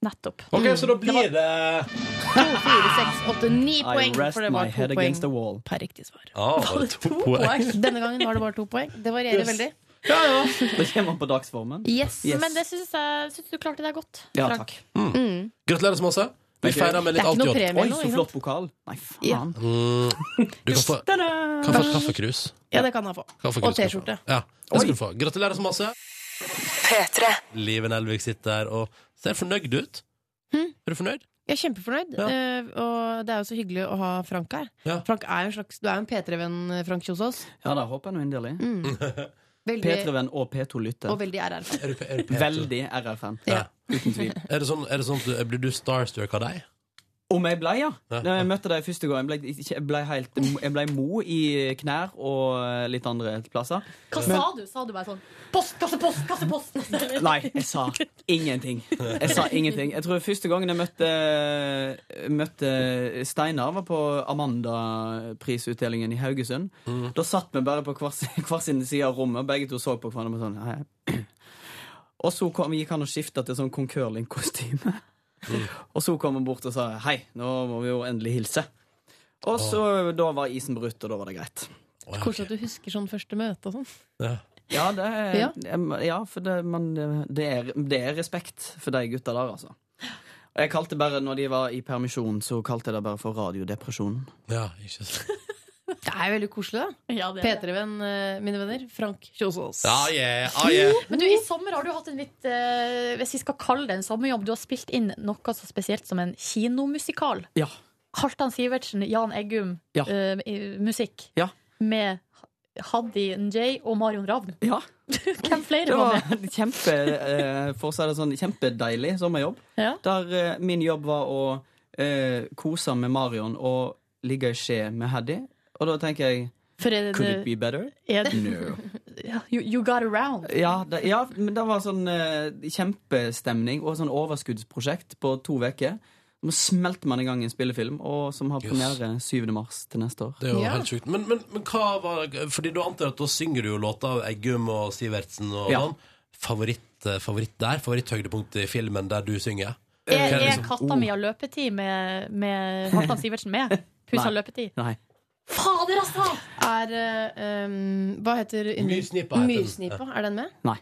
Nettopp. Ok, så da blir det To, fire, seks, åtte, ni poeng. I rest For det my var to head poeng against the wall. per riktig svar. Ah, var det to poeng? Denne gangen var det bare to poeng. Det varierer Yes. veldig. Det kommer an på dagsformen. Yes. Yes. Men det syns jeg syns du klarte deg godt. Ja, Frank. takk. Mm. Gratulerer så masse. Vi Takk. feirer med litt alt i år. Oi, så flott pokal. Nei, faen. Mm, du kan få, Ta-da! kan få kaffekrus. Ja, det kan han få. Kaffekrus Og kan du få. T-skjorte. Ja, det skal du få. Gratulerer så masse. P3. Liven Elvik sitter der og ser fornøyd ut. Er du fornøyd? Jeg er kjempefornøyd, Ja. eh, og det er jo så hyggelig å ha Frank her. Ja. Frank er jo en slags, Du er jo en P3-venn, eh, Frank Kjosås. Ja, det håper jeg nå inderlig. Veldig- P3-venn og P2-lytter. Mm. Og veldig RR-fan. Er du, er du P2? Veldig RR-fan. Ja. Uten tvil. Er det sånn, er det sånn at du, blir du starstruck av deg? Om jeg ble, ja. Da jeg møtte deg første gang, jeg ble, ikke- jeg ble, helt, jeg ble mo i knær og litt andre plasser. Hva Men- sa du? Sa du bare sånn Post, kasse, post, kasse, post! Eller? Nei, jeg sa ingenting. Jeg sa ingenting. Jeg tror første gangen jeg møtte, møtte Steinar, var på Amanda-prisutdelingen i Haugesund. Da satt vi bare på hver, sin- hver sin side av rommet, og begge to så på hverandre med sånn «Hei». Og så kom, gikk han og skifta til sånn Kong Curling-kostyme. Og så kom han bort og sa 'hei, nå må vi jo endelig hilse'. Og så da var isen brutt, og da var det greit. Koselig at du husker sånn første møte og sånn. Ja, det er, Ja. em, ja for det, man, det, er, det er respekt for de gutta der, altså. Og jeg kalte bare, når de var i permisjon, så kalte jeg det bare for radiodepresjonen. Ja, ikke sant. Det er veldig koselig, da. det er det. P3-venn, eh, mine venner. Frank Kjosås. Ah, yeah, ah, yeah. Men du, I sommer har du hatt en litt eh, Hvis vi skal kalle det en sommerjobb, du har spilt inn noe så spesielt som en kinomusikal. Ja. Halvdan Sivertsen, Jan Eggum, Ja. eh, i- musikk. Ja. Med Haddy Njay og Marion Ravn. Ja. Hvem flere Det var var med? kjempe, eh, for å si det sånn, kjempedeilig sommerjobb. Der eh, min jobb var å eh, kose med Marion og ligge i skje med Haddy. Og da tenker jeg For er det- Could it be better? er det- No. Ja, You, you got around. Ja, det, ja, men det var sånn eh, kjempestemning og sånn overskuddsprosjekt på to uker. Nå smelter man i gang en spillefilm, og som har premiere 7. mars til neste år. Det er jo helt sjukt. Men, men, men hva var Fordi da antar jeg at da synger du jo låter av Eggum og Sivertsen og Ja. sånn. Favoritt, eh, favoritt der? Favoritthøydepunkt i filmen der du synger? Eh, Er, Hva er liksom- katta mi av løpetid med, med Halvdan Sivertsen med? Pussa Nei. løpetid? Nei. Fader, altså! Er eh, um, Hva heter Myrsnipa heter den. Myrsnipa, Er den med? Nei.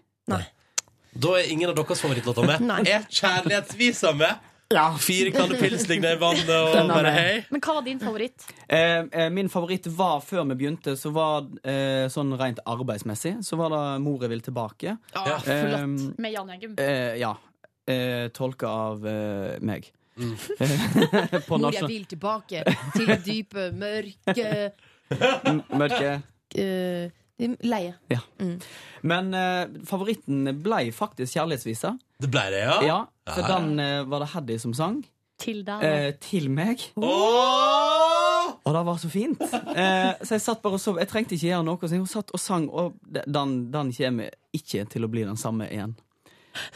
Da er ingen av deres favorittlåter med. Er Kjærlighetsvisa med? Fire kanner pilsning ned i vannet og Den er bare med. hei. Men hva var din favoritt? Eh, eh, min favoritt var før vi begynte, så var eh, sånn rent arbeidsmessig, så var det 'More vil tilbake'. Ah, Eh, Med Jan Eggum. eh, ja. Eh, tolka av eh, meg. På Mm. Mor, jeg nasjon- vil tilbake til det dype, mørke M- Mørke. eh, Leie. Ja. Men eh, favoritten ble faktisk 'Kjærlighetsvisa'. Det ble det, ja? Ja, for Ja, ja. den eh, var det Haddy som sang. Til Eh, deg. til meg. Og det var så fint. Eh, så jeg satt bare og sov. Jeg trengte ikke gjøre noe. Så hun satt og sang, og de- den, den kommer ikke til å bli den samme igjen.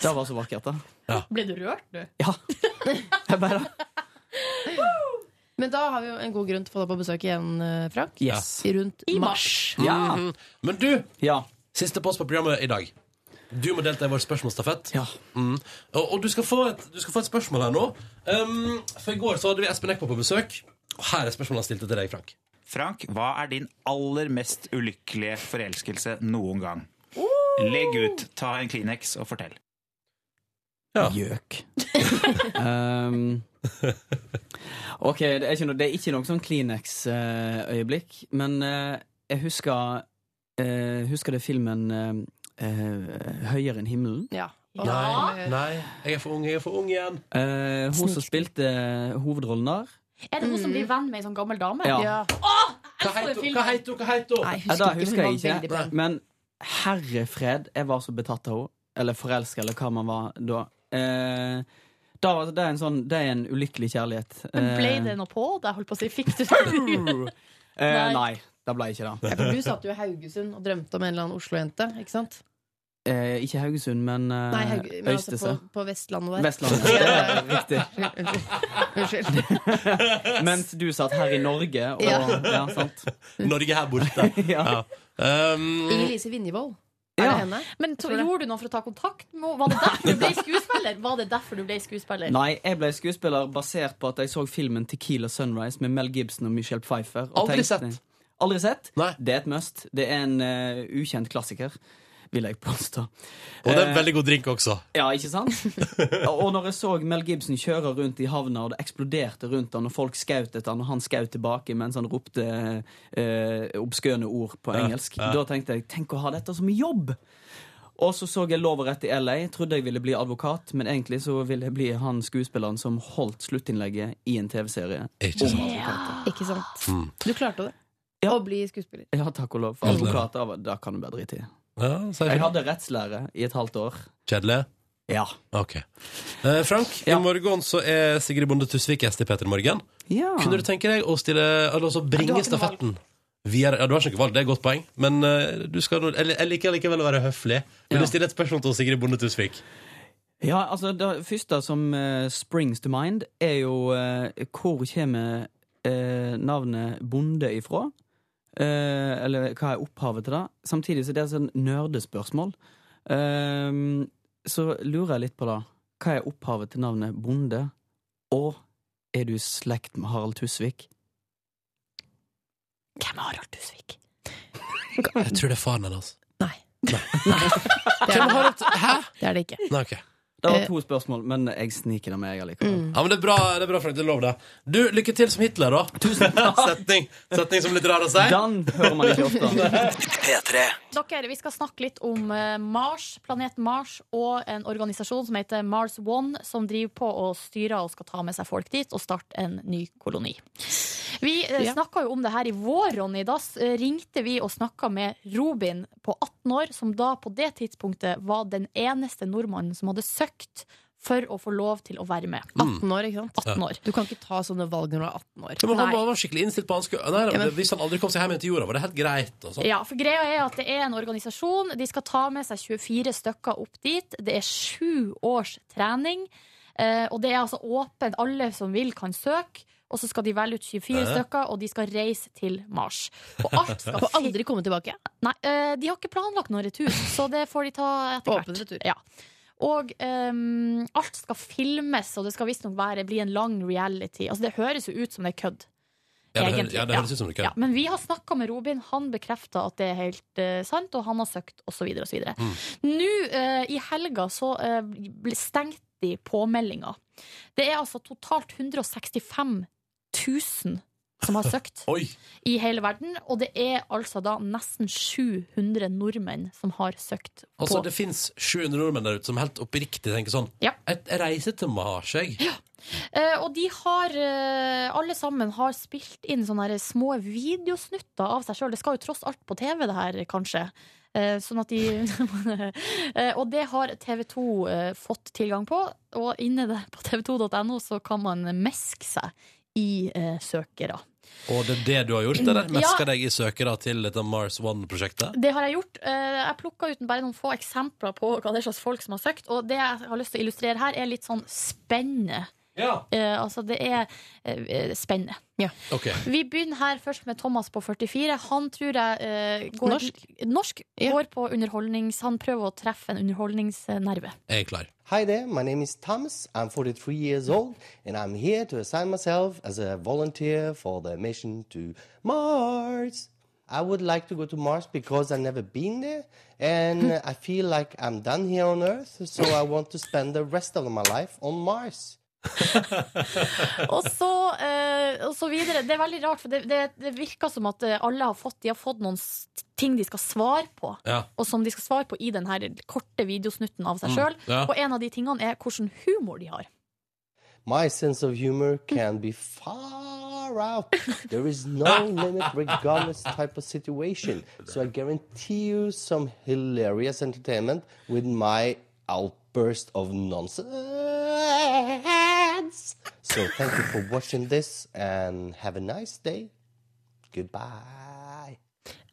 Det var så vakkert, da. Ble du rørt, du? Men da har vi jo en god grunn til å få deg på besøk igjen, eh, Frank. Yes. Rundt I mars. Ja. Mhm. Men du, siste post på programmet i dag. Du må delta i vår spørsmålsstafett. Mm. Og, og du, skal få et, du skal få et spørsmål her nå. Um, for I går så hadde vi Espen Eckbo på besøk. Og her er spørsmålet han stilte til deg, Frank. Frank, hva er din aller mest ulykkelige forelskelse noen gang? Legg ut, ta en Kleenex og fortell. Gjøk. um, ok, det er, ikke noe, det er ikke noe sånn Kleenex-øyeblikk, men eh, jeg husker eh, Husker det filmen eh, eh, 'Høyere enn himmelen'? Ja. Nei, nei, jeg er for ung, jeg er for ung igjen. Eh, hun som spilte hovedrollen der. Er det hun som blir venn med ei sånn gammel dame? Ja. Ja. Åh, jeg Hva så heter en hun? film. Hva heter hun? Hva heter hun? Ja, da husker jeg ikke. Men herre fred, jeg var så betatt av henne. Eller forelska, eller hva man var da. Eh, da var, det, er en sånn, det er en ulykkelig kjærlighet. Men ble Eh, det noe på deg? Holdt på å si, fikk du det? Eh, eh, Nei. nei, det ble ikke det. Ja, for du satt jo i Haugesund og drømte om en eller annen Oslo-jente. Ikke sant? eh, ikke Haugesund, men, eh, Nei, Haug men altså på, Øystese. på Vestlandet der. Vestlandet. Ja, Det ja, er riktig. ja. Unnskyld. Unnskyld. Mens du satt her i Norge. Og, ja. Ja. sant. Norge her borte. Um, ja. Inger Lise Vinjevold. Er Ja. det henne? Men tror to, det. gjorde du noe for å ta kontakt med henne? Var det derfor du ble skuespiller? Var det derfor du ble skuespiller? Nei, jeg ble skuespiller basert på at jeg så filmen Tequila Sunrise med Mel Gibson og Michelle Pfeiffer. Og Aldri sett. Aldri sett? Det er et must. Det er en eh, ukjent klassiker, vil jeg påstå. Og det er en Eh, veldig god drink også. ja, ikke sant? og når jeg så Mel Gibson kjøre rundt i havna, og det eksploderte rundt han, og folk skjøt etter han, og han skjøt tilbake mens han ropte eh, obskøne ord på Ja, engelsk, ja. da tenkte jeg tenk å ha dette som jobb! Og så så jeg Lov og rett i LA. Trodde jeg ville bli advokat, men egentlig så ville jeg bli han skuespilleren som holdt sluttinnlegget i en TV-serie. Ikke om sant. advokater. Ikke sant. Mm. Du klarte det. Å bli skuespiller. Ja, takk og lov. For advokater, det kan du bare drite i. Ja, så er det- Jeg hadde rettslære i et halvt år. Kjedelig? Ja. Ok. Eh, Frank, i morgen så er Sigrid Bonde Tusvik gjest i P3 Morgen. Ja. Kunne du tenke deg å stille, eller altså bringe Ja, du har ikke noe stafetten videre? Ja, du har ikke noe valg, det er et godt poeng. Men eh, du skal, nå- eller- jeg liker likevel å være høflig. Vil Ja. du stille et spørsmål til Sigrid Bonde Tusvik? Ja, altså Det første som eh, springs to mind, er jo eh, hvor kommer eh, navnet Bonde ifra? Eh, eller hva er opphavet til det? Samtidig så er det et sånn nerdespørsmål. Eh, så lurer jeg litt på det. Hva er opphavet til navnet Bonde? Og er du i slekt med Harald Tusvik? Hvem er Harald Tusvik? Jeg tror det er faren hennes. Det er det, det, er det ikke. Nei, ok. Det var to spørsmål, men jeg sniker det med jeg allikevel. Ja, men det er bra, det er bra Frank. Det er lov, det. Du, lykke til som Hitler, da. Tusen takk. Setning, setning som er litt rar å si. Den hører man ikke ofte. P3. Dere, Vi skal snakke litt om eh, Mars, planeten Mars og en organisasjon som heter Mars One, som driver på og styrer og skal ta med seg folk dit og starte en ny koloni. Vi eh, Ja. snakka jo om det her i vår, Ronny. Da s- eh, ringte vi og snakka med Robin på 18 år, som da på det tidspunktet var den eneste nordmannen som hadde søkt for å få lov til å være med. Mm. 18 år, ikke sant? 18 år. Du kan ikke ta sånne valg når du er 18 år. Men han, var- han var skikkelig innstilt på han skulle nei, Ja, men- det- Hvis han aldri kom seg hjem igjen til jorda, var det helt greit. Og sånn. sånt. Ja, for greia er at det er en organisasjon. De skal ta med seg 24 stykker opp dit. Det er sju års trening. eh, Og det er altså åpent. Alle som vil, kan søke. Og så skal de velge ut 24 Hæ? stykker, og de skal reise til Mars. Og alt skal Får aldri komme tilbake. Nei, eh, de har ikke planlagt noen retur, så det får de ta etter hvert. Ja. Og ehm, alt skal filmes, og det skal visstnok være- bli en lang reality. Altså, det høres jo ut som det er kødd. Ja, det hø- egentlig. ja, det høres ut som det er kødd. Ja, men vi har snakka med Robin, han bekrefta at det er helt eh, sant, og han har søkt, osv. osv. Nå eh, i helga så eh, ble- stengte de påmeldinga. Det er altså totalt 165 000 som har søkt i hele verden, og det er altså da nesten 700 nordmenn som har søkt. på- Altså, det fins 700 nordmenn der ute som helt oppriktig tenker sånn Jeg jeg reiser til Mars, jeg. Eh, og de har, eh, alle sammen har spilt inn sånne her små videosnutter av seg sjøl. Det skal jo tross alt på TV, det her, kanskje. Eh, sånn at de Eh, Og det har TV 2 eh, fått tilgang på. Og inne der på tv2.no så kan man meske seg i eh, søkere. Og det er det du har gjort, eller? Ja. Meska deg i søkere til dette Mars One-prosjektet? Det har jeg gjort. Eh, Jeg plukka ut bare noen få eksempler på hva det er slags folk som har søkt. Og det jeg har lyst til å illustrere her, er litt sånn spennende. Eh, altså, det er eh, spennende. Ok. Vi begynner her først med Thomas på 44. Han tror jeg eh, går, Norsk. norsk går på underholdnings... Han prøver å treffe en underholdningsnerve. Jeg er klar. Hi there, my name is Thomas. I'm 43 years old, and I'm here to assign myself as a volunteer for the mission to Mars. I would like to go to Mars because I've never been there, Hmm. and I feel like I'm done here on Earth, so I want to spend the rest of my life on Mars. Og så, eh, og så videre. Det er veldig rart, for det, det, det virker som at eh, alle har fått, de har fått noen s- ting de skal svare på. Ja. Og som de skal svare på i den her korte videosnutten av seg Mm, sjøl. ja. Og en av de tingene er hvilken humor de har. My sense of humor can be far out. There is no limit regardless type of situation. So I guarantee you some hilarious entertainment with my outburst of nonsense. So thank you for watching this and have a nice day. Goodbye.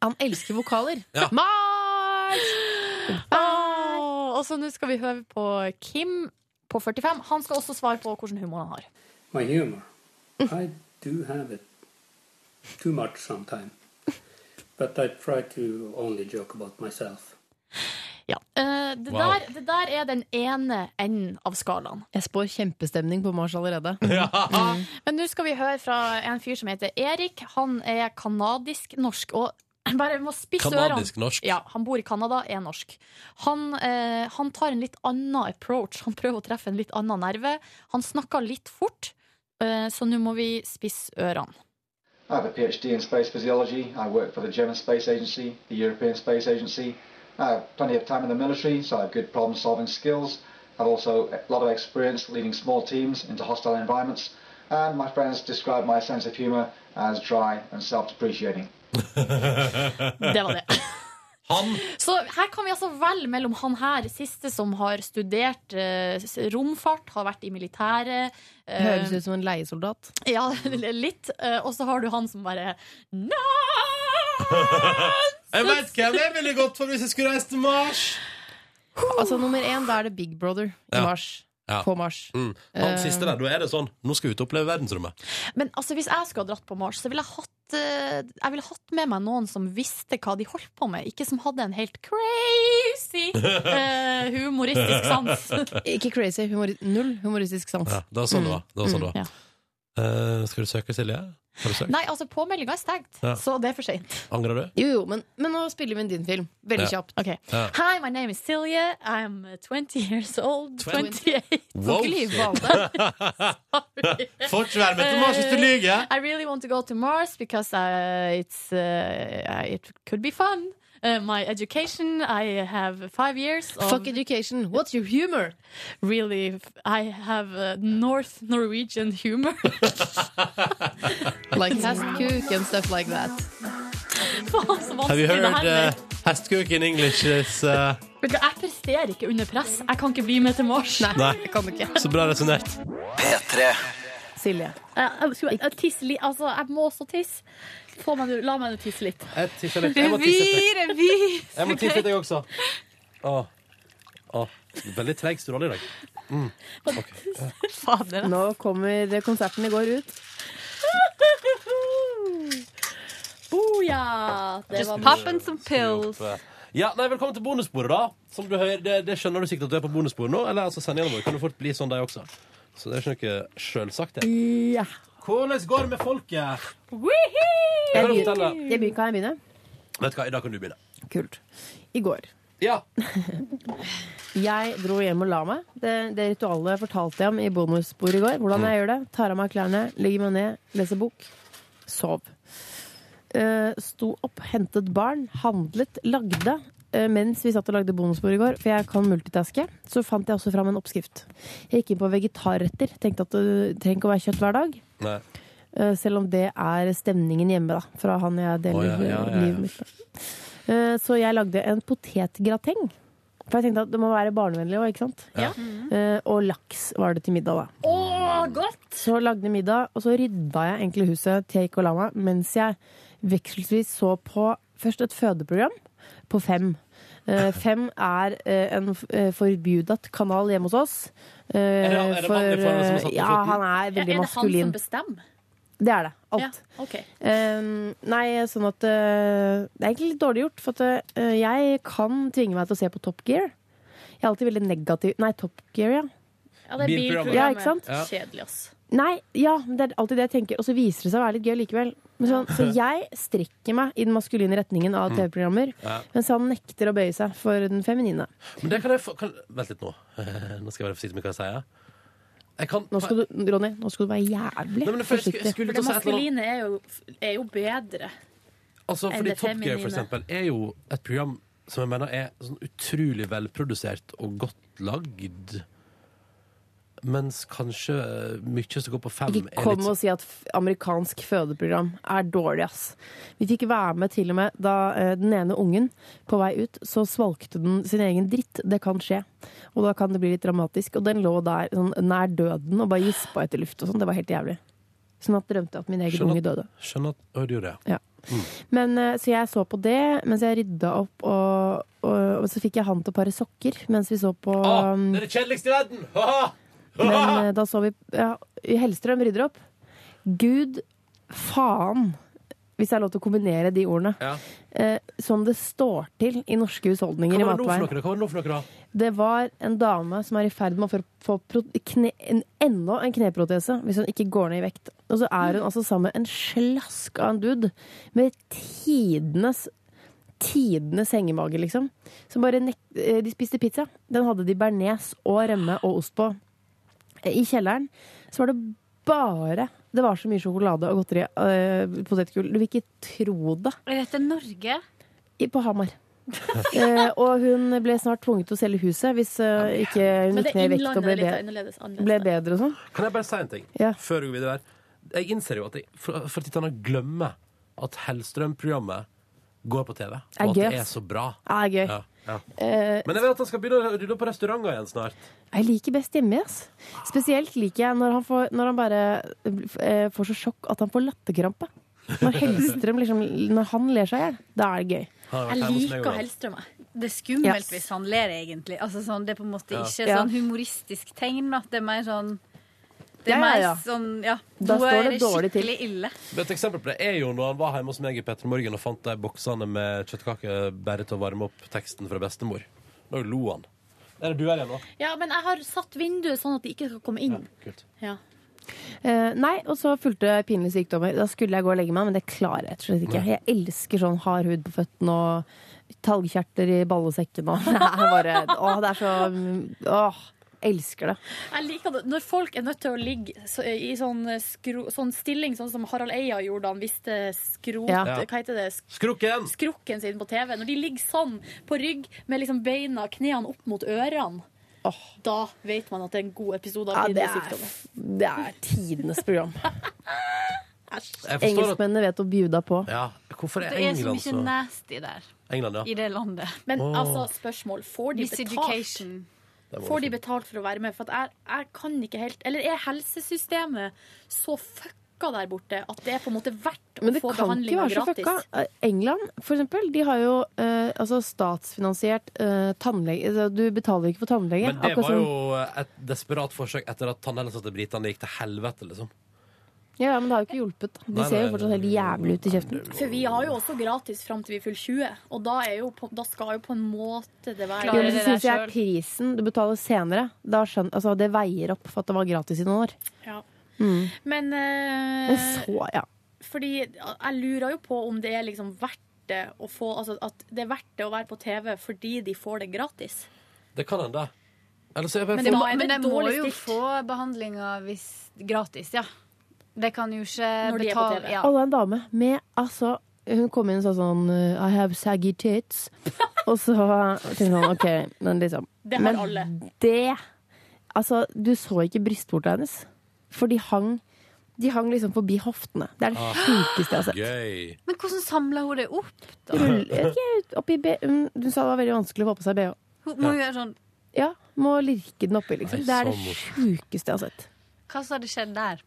Han elsker vokaler. Ja. Mars! Ah, og så nå skal vi høre på Kim på 45. Han skal også svare på hvilken humor han har. my humor. I do have it too much sometimes, but I try to only joke about myself. Eh, det, Wow. der, det der er den ene enden av skalaen. Jeg spår kjempestemning på Mars allerede. Men nå skal vi høre fra en fyr som heter Erik. Han er kanadisk-norsk. og bare må spisse ørene. Kanadisk-norsk? Ja, Han bor i Canada, er norsk. Han, eh, han tar en litt annen approach. Han prøver å treffe en litt annen nerve. Han snakker litt fort, eh, så nå må vi spisse ørene. I have a PhD in space physiology. I work for the German Space Agency, the European Space Agency. I have plenty of time in the military, so I have good problem solving skills. I've also a lot of experience leading small teams into hostile environments. And my friends describe my sense of humour as dry and self depreciating. Det var det. Han Så her kan vi altså velge mellom han her, siste som har studert eh, s- romfart, har vært i militæret eh, Høres ut som en leiesoldat. Ja, litt. Eh, og så har du han som bare Nei! Jeg veit hvem jeg ville gått for hvis jeg skulle reist til Mars! Altså nummer én, da er det Big Brother i Ja. Mars. Ja. På Mars. Mm. Han Eh. siste der, da er det sånn Nå skal vi ut og oppleve verdensrommet. Men altså, hvis jeg skulle ha dratt på Mars, så ville jeg hatt eh, Jeg ville hatt med meg noen som visste hva de holdt på med, ikke som hadde en helt crazy eh, humoristisk sans. Ikke crazy. Humori null humoristisk sans. Ja, det var sånn det var. Det var, sånn det Mm, var. Eh, skal du søke, Silje? Har du søkt? Nei, altså, påmeldinga er stengt, Ja. så det er for seint. Angrer du? Jo, jo, men, men nå spiller vi inn din film. Veldig Ja. kjapt. Ok. Ja. Hi, my name is Silje. I'm uh, 20 years old. 28. Wow, Får ikke være med til Mars hvis du lyver! I really want to go to Mars because uh, it's, uh, uh, it could be fun. Uh, my education, I have five years of... Fuck education, what's your humor? Really, f- I have uh, North Norwegian humor. Like hestkuk and stuff like that. Faen, så Have you vanskelig det heard her uh, blir. Hestkuk in English is uh, Vet du, Jeg presterer ikke under press. Jeg kan ikke bli med til Mars. Nei. Så bra resonnert. P3. Silje. Jeg, jeg, skulle- jeg, tisse litt. altså, jeg må også tisse. Få meg, nå- la meg nå tisse litt. Jeg tisser litt. Jeg må tisse etter. revy! Jeg må tisse etter, jeg også. Åh. Åh. Veldig treig stråle i dag. Mm. Nå kommer konserten i går ut. Boja! Det var Poppin' some eh. pills. Ja, nei, Velkommen til bonussporet, da. Som du hører, det, det skjønner du sikkert at du er på bonussporet nå. Eller altså, sendingene våre kan jo fort bli sånn, de også. Så det er ikke noe sjølsagt, det. Hvordan går det med folket? Jeg Kan du begynner, fortelle? jeg begynner, kan jeg begynne? Vet du hva, I dag kan du begynne. Kult. I går. Ja. Jeg dro hjem og la meg. Det, det ritualet fortalte jeg om i bonusbordet i går. Hvordan jeg gjør det. Tar av meg klærne, legger meg ned, leser bok. Sov. Eh, sto opp, hentet barn, handlet, lagde. eh, mens vi satt og lagde bonusbord i går, for jeg kan multitaske, så fant jeg også fram en oppskrift. Jeg gikk inn på vegetarretter. Tenkte at det trenger ikke å være kjøtt hver dag. Nei. Eh, Selv om det er stemningen hjemme, da. Fra han jeg deler Å, ja, ja, ja, ja. livet mitt med. Eh, Så jeg lagde en potetgrateng. For jeg tenkte at det må være barnevennlig òg, ikke sant? Ja. Mm. Eh, Og laks var det til middag, da. godt! Så lagde jeg middag, og så rydda jeg egentlig huset til jeg gikk og la meg, mens jeg vekselvis så på først et fødeprogram på fem. Eh, fem er eh, en uh, forbudet kanal hjemme hos oss. Eh, Er det- er det vanlig for han som satt på Ja, foten? han er Ja, er det veldig han som maskulin. bestemmer? Det er det. Alt. Ja, ok. Eh, nei, sånn at eh, Det er egentlig litt dårlig gjort, for at eh, jeg kan tvinge meg til å se på Top Gear. Jeg er alltid veldig negativ Nei, Top Gear, ja. Ja, det er bilprogrammet. Bilprogrammet. Ja, ikke sant? Ja. Kjedelig, ass. Nei, ja, men det er alltid det jeg tenker, og så viser det seg å være litt gøy likevel. Men sånn, så jeg strekker meg i den maskuline retningen av Mm. TV-programmer, Ja. mens han nekter å bøye seg for den feminine. Men det kan jeg få kan, Vent litt nå. Nå skal jeg være forsiktig med hva jeg sier. Jeg kan Nå skal du, Ronny, nå skal du være jævlig Nei, men for jeg skulle- jeg skulle Det til å si et eller annet. maskuline er jo, er jo bedre. Altså, enn fordi det Top Gear for feminine. eksempel, er jo et program som jeg mener er sånn utrolig velprodusert og godt lagd. Mens kanskje eh, mye som går på fem, Ikke er kom litt og si at f- amerikansk fødeprogram er dårlig, ass. Vi fikk være med til og med da eh, den ene ungen på vei ut, så svalgte den sin egen dritt. Det kan skje. Og da kan det bli litt dramatisk. Og den lå der sånn, nær døden og bare gispa etter luft og sånn. Det var helt jævlig. Sånn at drømte jeg at min egen Skjønner unge at- døde. Skjønner at Å, du gjorde det, Ja. Men, eh, så jeg så på det mens jeg rydda opp, og, og, og så fikk jeg han til å pare sokker mens vi så på um, Ah, det kjedeligste i verden! men eh, da så vi ja, Hellstrøm rydder opp. Gud faen, hvis det er lov til å kombinere de ordene, Ja. eh, som det står til i norske husholdninger Hva i var det nå for noe, da? Hva var det matveien. nå for noe, da? Det var en dame som er i ferd med å få- få pro- kne, en, enda en kneprotese hvis hun ikke går ned i vekt. Og så er hun altså sammen med en slask av en dude med tidenes Tidenes hengemage, liksom. Som bare nek eh, de spiste pizza. Den hadde de bearnés og rømme og ost på. Eh, I kjelleren så var det bare Det var så mye sjokolade og godteri. Uh, potetgull. Du vil ikke tro det. Er dette Norge? I- På Hamar. eh, og hun ble snart tvunget til å selge huset hvis eh, ikke hun Men gikk det ned i vekt innlandet og ble, er litt annerledes. be ble bedre og sånn. Kan jeg bare si en ting? Ja. Før vi går videre der. Jeg innser jo at jeg for, for titt annet glemmer at Hellstrøm-programmet går på TV. Er Og at det gøy, er ass. så bra. Ja, det er gøy. Ja, ja. Eh, Men jeg vet at han skal begynne å rydde opp på restauranter igjen snart. Jeg liker best hjemme, ass. Spesielt liker jeg når han, får, når han bare eh, får så sjokk at han får latterkrampe. Når Hellstrøm liksom, når han ler seg i hjel, da er det gøy. Jeg liker Hellstrøm. jeg. Det er skummelt Yes. hvis han ler, egentlig. Altså, sånn, det er på en måte Ja. ikke Ja. sånn humoristisk tegn. Da. Det er mer sånn Det Ja, er ja, ja. mer sånn Ja, Da nå står er det det dårlig til. skikkelig ille. Et eksempel på det er jo når han var hjemme hos meg i Petter Morgen og fant de boksene med kjøttkaker bare til å varme opp teksten fra bestemor. Da lo han. Der er du her igjen nå. Ja, men jeg har satt vinduet sånn at de ikke skal komme inn. Kult. Ja. Eh, nei, og så fulgte pinlige sykdommer. Da skulle jeg gå og legge meg, men det klarer jeg rett og slett ikke. Nei. Jeg elsker sånn hard hud på føttene og talgkjertler i ballesekken og Det er bare Åh, det er så Åh, elsker det. Jeg liker det. Når folk er nødt til å ligge så, i sånn, skro, sånn stilling, sånn som Harald Eia gjorde da han visste skrot, Ja. hva heter det? Skrukken! skrukken sin på TV, når de ligger sånn på rygg med liksom beina og knærne opp mot ørene, da vet man at det er en god episode Ja, av det Tidlig er, sykdom. det er tidenes program. Jeg forstår at Engelskmennene vet å bjuda på. Ja, hvorfor er Det er så England mye så nasty der. England, I ja. det landet. Men altså. Åh. altså, spørsmål. Får de betalt? Miseducation. Det må Får du de betalt for å være med? For at jeg, jeg kan ikke helt Eller er helsesystemet så fucka der borte at det er på en måte verdt å Men det få kan ikke behandlinga være så gratis? fucka. Eh, England, for eksempel, de har jo eh, altså statsfinansiert eh, tannlege. Altså, Du betaler ikke for tannlege. Men det akkurat sånn. var som- jo et desperat forsøk etter at tannhelsesatte britene gikk til helvete, liksom. ja, ja, men det har jo ikke hjulpet. da. De Nei, ser jo nei, fortsatt helt jævlig ut i kjeften. For vi har jo også gratis fram til vi fyller 20, og da, er jo på, da skal jo på en måte det være Jo, men så synes jeg prisen du betaler senere, da skjønner, altså, det veier opp for at det var gratis i noen år. Ja. Mm. Men eh, Men så, ja. Fordi jeg lurer jo på om det er liksom verdt det å få Altså at det er verdt det å være på TV fordi de får det gratis. Det kan hende. Eller så er jeg bare Men det må, for- men det må dårlig jo stilt. få behandlinga hvis- gratis, ja. Det kan jo ikke Når de er på betale TV. ja. Og det er en dame med altså Hun kom inn og sa sånn I have saggy tits. og så tenkte jeg sånn OK, men liksom Det har men alle. det Altså, du så ikke brystvorta hennes. For de hang De hang liksom forbi hoftene. Det er det Ah. sjukeste jeg har sett. Gøy. Men hvordan samla hun det opp? Rull, jeg vet ikke, oppi B, hun, hun sa det var veldig vanskelig å få på seg bh. Hun må jo gjøre sånn Ja, må lirke den oppi, liksom. Nei, Det er det så sjukeste jeg har sett. Hva som hadde skjedd der?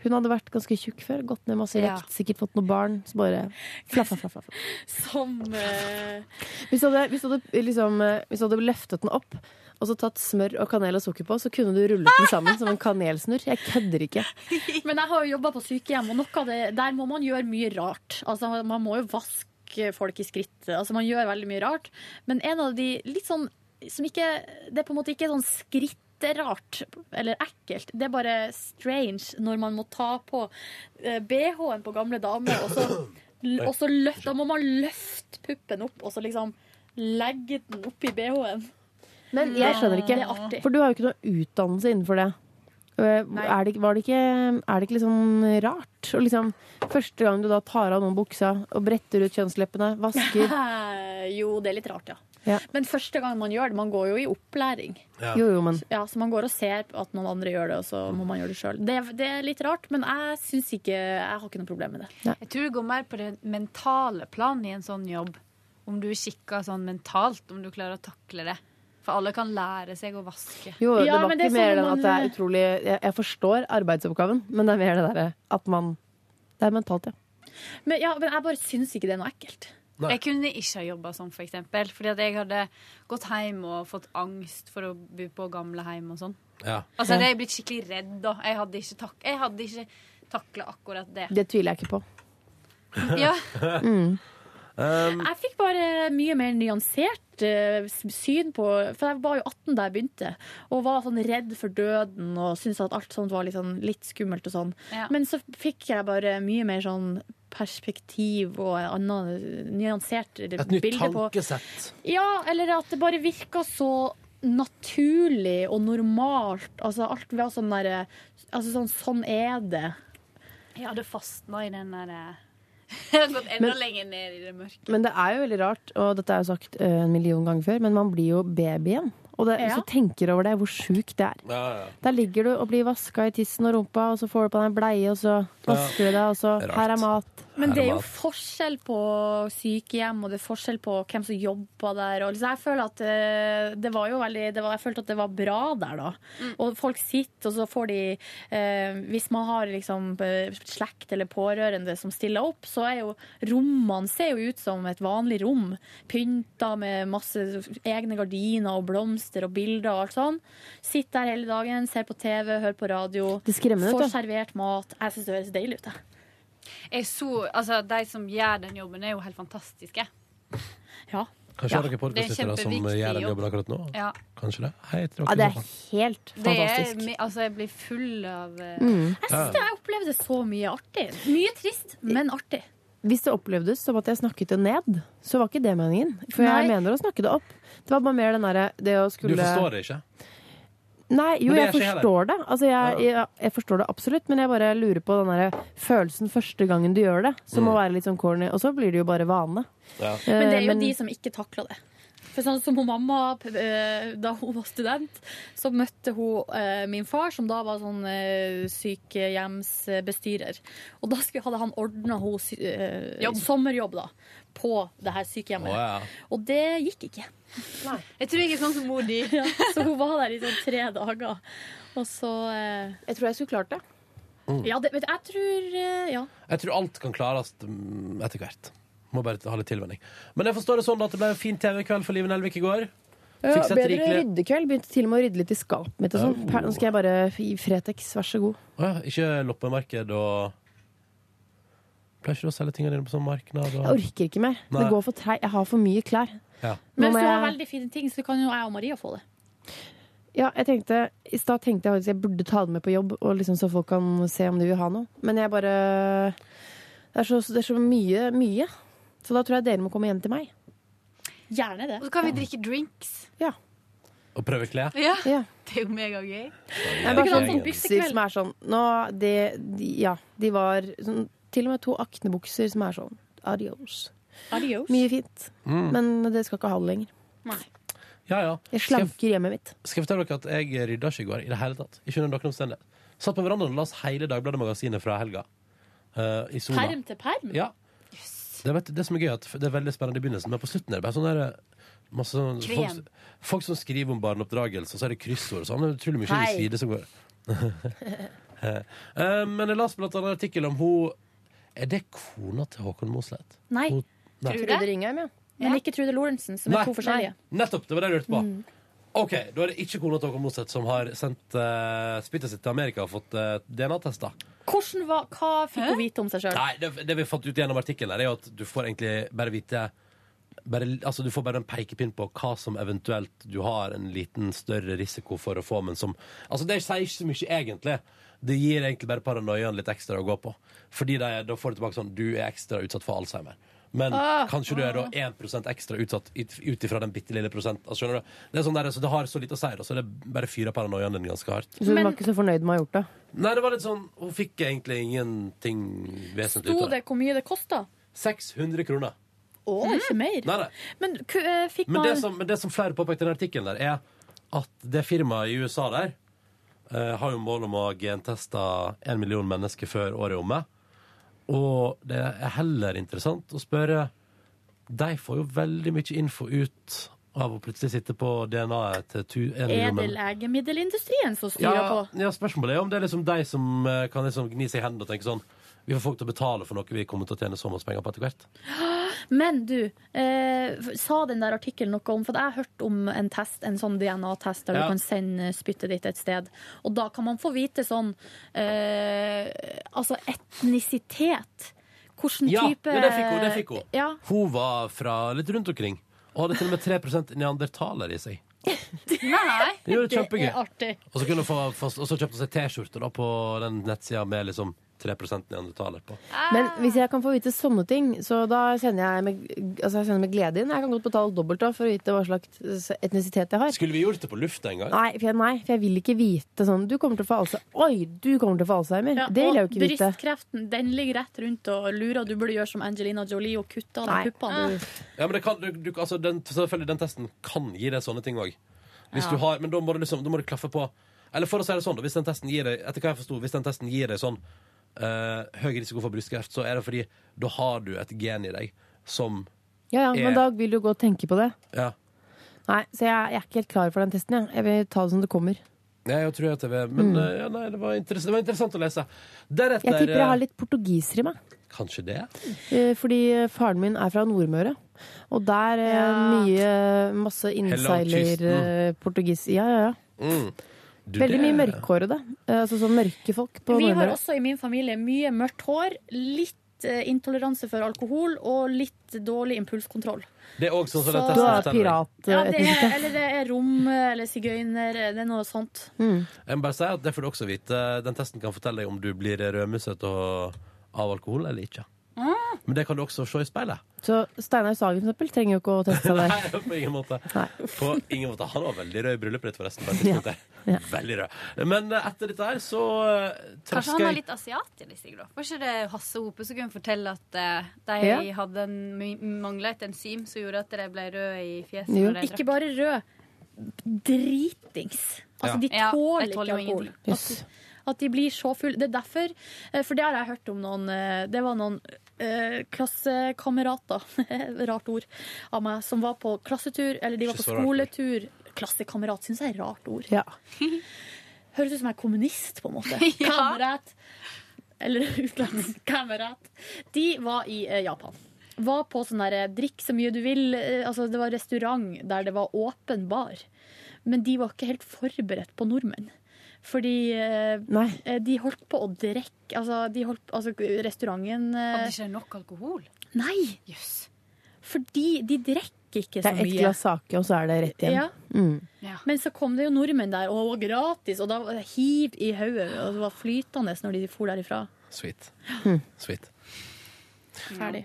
Hun hadde vært ganske tjukk før, gått ned masse Ja. vekt, sikkert fått noen barn. Så bare flaffa, flaffa, flaffa. Som eh, Hvis du hadde, hvis du hadde, liksom, eh, hvis du hadde løftet den opp og så tatt smør og kanel og sukker på, så kunne du rullet den sammen som en kanelsnurr. Jeg kødder ikke. Men jeg har jo jobba på sykehjem, og noe av det, der må man gjøre mye rart. Altså, man må jo vaske folk i skrittet. Altså, man gjør veldig mye rart. Men en av de litt sånn som ikke Det er på en måte ikke sånn skritterart eller ekkelt. Det er bare strange når man må ta på eh, BH-en på gamle damer, og så, Oi. og så løft, da må man løfte puppen opp, og så liksom legge den oppi BH-en. Men jeg skjønner Det er ikke. artig. For du har jo ikke noe utdannelse innenfor det. Eh, Er det, var det ikke, er det ikke litt sånn rart? Og liksom, første gang du da tar av noen buksa og bretter ut kjønnsleppene, vasker Eh, jo, det er litt rart, ja. Ja. Men første gang man gjør det, man går jo i opplæring. Ja. Jo, jo, men- Ja, så man går og ser at noen andre gjør det, og så må man gjøre det sjøl. Det, det er litt rart, men jeg syns ikke Jeg har ikke noe problem med det. Jeg tror det går mer på det mentale plan i en sånn jobb. Om du er kikka sånn mentalt, om du klarer å takle det. For alle kan lære seg å vaske. Jo, det var ikke mer enn enn at det er utrolig jeg, jeg forstår arbeidsoppgaven, men det er mer det derre at man Det er mentalt, ja. Men, ja, men jeg bare syns ikke det er noe ekkelt. Jeg kunne ikke ha jobba sånn, for eksempel. Fordi at jeg hadde gått hjem og fått angst for å bo på gamlehjem og sånn. Ja. Altså, jeg hadde blitt skikkelig redd, da. Jeg hadde ikke, tak jeg hadde ikke takla akkurat det. Det tviler jeg ikke på. Ja. Mm. Um, Jeg fikk bare mye mer nyansert eh, s- syn på For jeg var jo 18 da jeg begynte, og var sånn redd for døden og syntes at alt sånt var litt, sånn, litt skummelt og sånn. Ja. Men så fikk jeg bare mye mer sånn perspektiv og en annen nyansert et nytt bilde på tankesett. Ja, eller at det bare virka så naturlig og normalt. Altså alt var sånn derre Altså sånn, sånn er det. Jeg hadde fastna i den der eh, Jeg hadde gått enda Men- lenger ned i det mørke. Men det er jo veldig rart, og dette er jo sagt eh, en million ganger før, men man blir jo baby igjen. Og det, Ja. hvis du tenker over det, hvor sjukt det er. Ja, ja. Der ligger du og blir vaska i tissen og rumpa, og så får du på deg en bleie, og så vasker du deg, og så Rart. Her er mat. Men det er jo Herman. forskjell på sykehjem, og det er forskjell på hvem som jobber der. Og liksom, jeg føler at eh, det var jo veldig det var, Jeg følte at det var bra der, da. Mm. Og folk sitter, og så får de eh, Hvis man har liksom eh, slekt eller pårørende som stiller opp, så er jo rommene ser jo ut som et vanlig rom. Pynta med masse egne gardiner og blomster og bilder og alt sånn. Sitter der hele dagen, ser på TV, hører på radio. Det er skremmende ut, Får da. servert mat. Jeg syns det høres deilig ut, jeg. Jeg så, altså, de som gjør den jobben, er jo helt fantastiske. Ja. Kanskje har dere podcastlyttere som gjør den jobben akkurat nå? Ja. Kanskje det? Hei, jeg heter Ja, det er Joakim. helt Det er, fantastisk. mi- altså, jeg blir full av eh, Mm. Jeg synes det- jeg opplevde så mye artig. Mye trist, men artig. Hvis det opplevdes som at jeg snakket det ned, så var ikke det meningen. For Nei. jeg mener å snakke det opp. Det var bare mer den derre det å Du skulle forstår det ikke? Nei, jo, Men det jeg er ikke jeg forstår det. Altså, jeg, jeg, jeg forstår det absolutt, men jeg bare lurer på den derre følelsen første gangen du gjør det, Mm. som må være litt sånn corny. Og så blir det jo bare vane. Eh, Men det er jo men- de som ikke takler det. For sånn som hun mamma, p- eh, Da hun var student, så møtte hun eh, min far, som da var sånn eh, sykehjemsbestyrer. Og da skulle, hadde han ordna henne eh, sommerjobb da, på det her sykehjemmet. Å, ja. Og det gikk ikke. Jeg tror jeg er sånn som mor di. Ja, så hun var der i sånn tre dager. Og så eh, Jeg tror jeg skulle klart det. Mm. Ja, det, vet du, jeg tror eh, Ja. Jeg tror alt kan klares mm, etter hvert. Må bare ha litt tilvenning. Men jeg forstår det sånn at det ble en fin TV-kveld for Liven Elvik i går. Ja, Fikk sett bedre rikelig ryddekveld. Begynte til og med å rydde litt i skapet mitt. Og sånn. Per- Nå skal jeg bare gi Fretex, vær så god. Å ja, Ikke loppemarked og Pleier ikke du å selge tingene dine på sånn marknad? Og... Jeg orker ikke mer. Nei. Det går for treigt. Jeg har for mye klær. Ja. Nå Men må hvis du har jeg- veldig fine ting, så kan jo jeg og Maria få det. Ja, jeg tenkte, I stad tenkte jeg faktisk jeg burde ta det med på jobb, og liksom så folk kan se om de vil ha noe. Men jeg bare Det er så, det er så mye, mye. Så da tror jeg dere må komme igjen til meg. Gjerne det. Og så kan vi drikke drinks. Ja. Og prøve klær? Ja. Det er jo megagøy. Jeg bare sånn bukser som er sånn nå, det, de, Ja, de var sånn, Til og med to aknebukser som er sånn adios. Adios. Mye fint. Mm. Men det skal ikke ha det lenger. Ja, ja. Jeg Skal jeg- slanker hjemmet mitt. Skal jeg fortelle dere at jeg rydda ikke i går i det hele tatt? Ikke under noen omstendighet. Satt på verandaen og las hele Dagbladet-magasinet fra helga. eh, I sola. Perm til perm? Ja. Det, vet, du, det som er gøy, er at det er veldig spennende i begynnelsen, men på slutten er det bare sånn der eh, masse sånn, Krem. folk, folk som skriver om barneoppdragelse, og så er det kryssord og sånn. Det er utrolig mye Hei. side som går. Eh, men jeg las blant annet en artikkel om hun Er det kona til Håkon Mosleth? Nei. Hun- Nei. Trude Ringheim, ja. Men ikke Trude Lorentzen, som er Nei. to forskjellige. Nettopp! Det var det jeg lurte på. Mm. Ok, Da er det ikke kona til Håkon Mosleth som har sendt eh, spyttet sitt til Amerika og fått eh, DNA-tester. Hvordan var, hva fikk hun vite om seg sjøl? Nei, det, det vi fant ut gjennom artikkelen, her er jo at du får egentlig bare vite bare, altså Du får bare en pekepinn på hva som eventuelt du har en liten større risiko for å få, men som Altså, det sier ikke så mye, egentlig. Det gir egentlig bare paranoiaen litt ekstra å gå på. Fordi det, er- da får du tilbake sånn Du er ekstra utsatt for Alzheimer. Men Ah. kanskje du er da 1 ekstra utsatt ut ifra den bitte lille prosenten. Altså, skjønner du? Det er sånn der, så det har så lite å si, da, så det bare fyrer paranoiaen din ganske hardt. Så hun var ikke så fornøyd med å ha gjort det. Nei, det var litt sånn Hun fikk egentlig ingenting vesentlig ut Sto av det. det hvor mye det kosta? 600 kroner. Å, ikke mer? Nei, nei. Mm. Men ku- eh, fikk Men man det som, men det som flere påpekte i den artikkelen, der, er at det firmaet i USA der eh, har jo mål om å ha gentesta en million mennesker før året er omme. Og det er heller interessant å spørre De får jo veldig mye info ut av å plutselig sitte på DNA-et til tu, en Er million det mennesker. legemiddelindustrien som styrer Ja, på? ja, spørsmålet er om det er liksom de som eh, kan liksom gni seg i hendene og tenke sånn Vi får folk til å betale for noe vi kommer til å tjene så masse penger på etter hvert. Men du, eh, f- sa den der artikkelen noe om For jeg har hørt om en test, en sånn DNA-test der Ja. du kan sende spyttet ditt et sted. Og da kan man få vite sånn eh, Altså etnisitet. Hvilken Ja, type ja, det fikk hun. Det fikk hun. Ja, hun var fra litt rundt omkring. Og hadde til og med 3 neandertaler i seg. Nei! Det er jo kjempegøy. er Eh, artig. Og så, kunne hun få, få- og så kjøpte hun seg T-skjorte da på den nettsida med liksom 3 neandertaler på. Ah. Men hvis jeg kan få vite sånne ting, så da sender jeg med, altså jeg sender med glede inn. Jeg kan godt betale dobbelt da, for å vite hva slags etnisitet jeg har. Skulle vi gjort det på lufta en gang? Nei for, jeg, nei, for jeg vil ikke vite sånn Du kommer til å få Alzheimer. Oi, du kommer til å få Alzheimer. det vil jeg jo Og ikke vite. Brystkreften den ligger rett rundt og lurer. Du burde gjøre som Angelina Jolie og kutte av Nei. de puppene. Ja, men det kan, du, du, altså, den, selvfølgelig, den testen kan gi deg sånne ting òg. Ja. Men da må, du liksom, da må du klaffe på Eller for å si det sånn, da, hvis den testen gir deg Etter hva jeg forstod, hvis den testen gir deg sånn eh, høy risiko for brystkreft, så er det fordi da har du et gen i deg som Ja, ja, er- men da vil du gå og tenke på det. ja. Nei, så jeg, jeg er ikke helt klar for den testen. Jeg, jeg vil ta det som det kommer. Nei, jeg tror at det var, men Mm. eh, ja, nei, det, var interess- det var interessant å lese. Deretter Jeg tipper jeg har eh, litt portugiser i meg. Kanskje det? Eh, Fordi eh, faren min er fra Nordmøre. Og der er mye masse kysten. innseiler-portugis. Ja, ja, ja. Mm. Du, Veldig det- mye mørkhårede. Eh, Altså sånn mørke folk på Vi har Nordmøre. også i min familie mye mørkt hår, litt eh, intoleranse for alkohol og litt dårlig impulskontroll. Det er også sånn som Så- den Du testen er bestemmer. Ja, det er, eller det er rom eller sigøyner, det er noe sånt. Jeg må bare si at det får du også vite. Den testen kan fortelle deg om du blir rødmusset og- av alkohol eller ikke. Ah. Men det kan du også se i speilet. Så Steinar Sagen for eksempel, trenger jo ikke å teste seg der. På ingen måte. På ingen måte. Han var veldig rød i bryllupet ditt, forresten. på et Ja. tidspunkt der. Veldig rød. Men eh, etter dette her så eh, Kanskje trasker han jeg- har litt asiat i seg, da. Var ikke det Hasse Hope som kunne fortelle at eh, de Ja. hadde en, mangla et enzym som gjorde at de ble røde i fjeset? Jo. når de Ikke drakk? bare rød. Dritings. Altså, Ja. de Ja, de tåler tåler ikke jo alkohol. ingenting. At, at de blir så fulle. Det er derfor eh, For det har jeg hørt om noen eh, Det var noen eh, klassekamerater, rart ord, av meg, som var på klassetur, eller de var på Ikke så rart ord. skoletur. Klassekamerat syns jeg er rart ord. Ja. Høres ut som jeg er kommunist, på en måte. Ja. Kamerat. Eller utlandskamerat. De var i eh, Japan. Var på sånn der eh, drikk så mye du vil. eh, altså Det var restaurant der det var åpen bar. Men de var ikke helt forberedt på nordmenn. Fordi eh, eh, de holdt på å drikke altså, de holdt, altså restauranten eh, Hadde ikke de nok alkohol? Nei! Fordi de drikker ikke Det så er mye. ett glass sake, og så er det rett igjen. Ja. Mm. Men så kom det jo nordmenn der, og gratis, og da var det hiv i hodet. Og det var flytende når de for derifra. Sweet. Hmm. Sweet. Ferdig.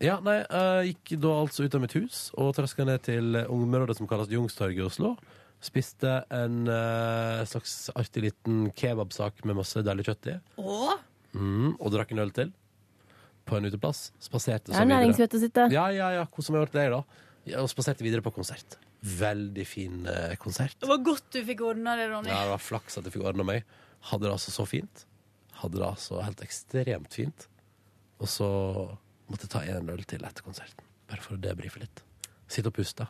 Ja, nei, jeg gikk da altså ut av mitt hus og traska ned til området som kalles Youngstorget i Oslo. Spiste en eh, slags artig liten kebabsak med masse deilig kjøtt i. Åh? Mm, og drakk en øl til. På en uteplass. Spaserte Det er næringsvettet sitt, det. Ja, ja, ja. Hvordan har jeg gjort det, da? Ja, og spaserte videre på konsert. Veldig fin eh, konsert. Det var godt du fikk ordna det, Ronny. Ja, det var flaks at jeg fikk ordna meg. Hadde det altså så fint. Hadde det altså helt ekstremt fint. Og så måtte jeg ta en øl til etter konserten, bare for å debrife litt. Sitte og puste.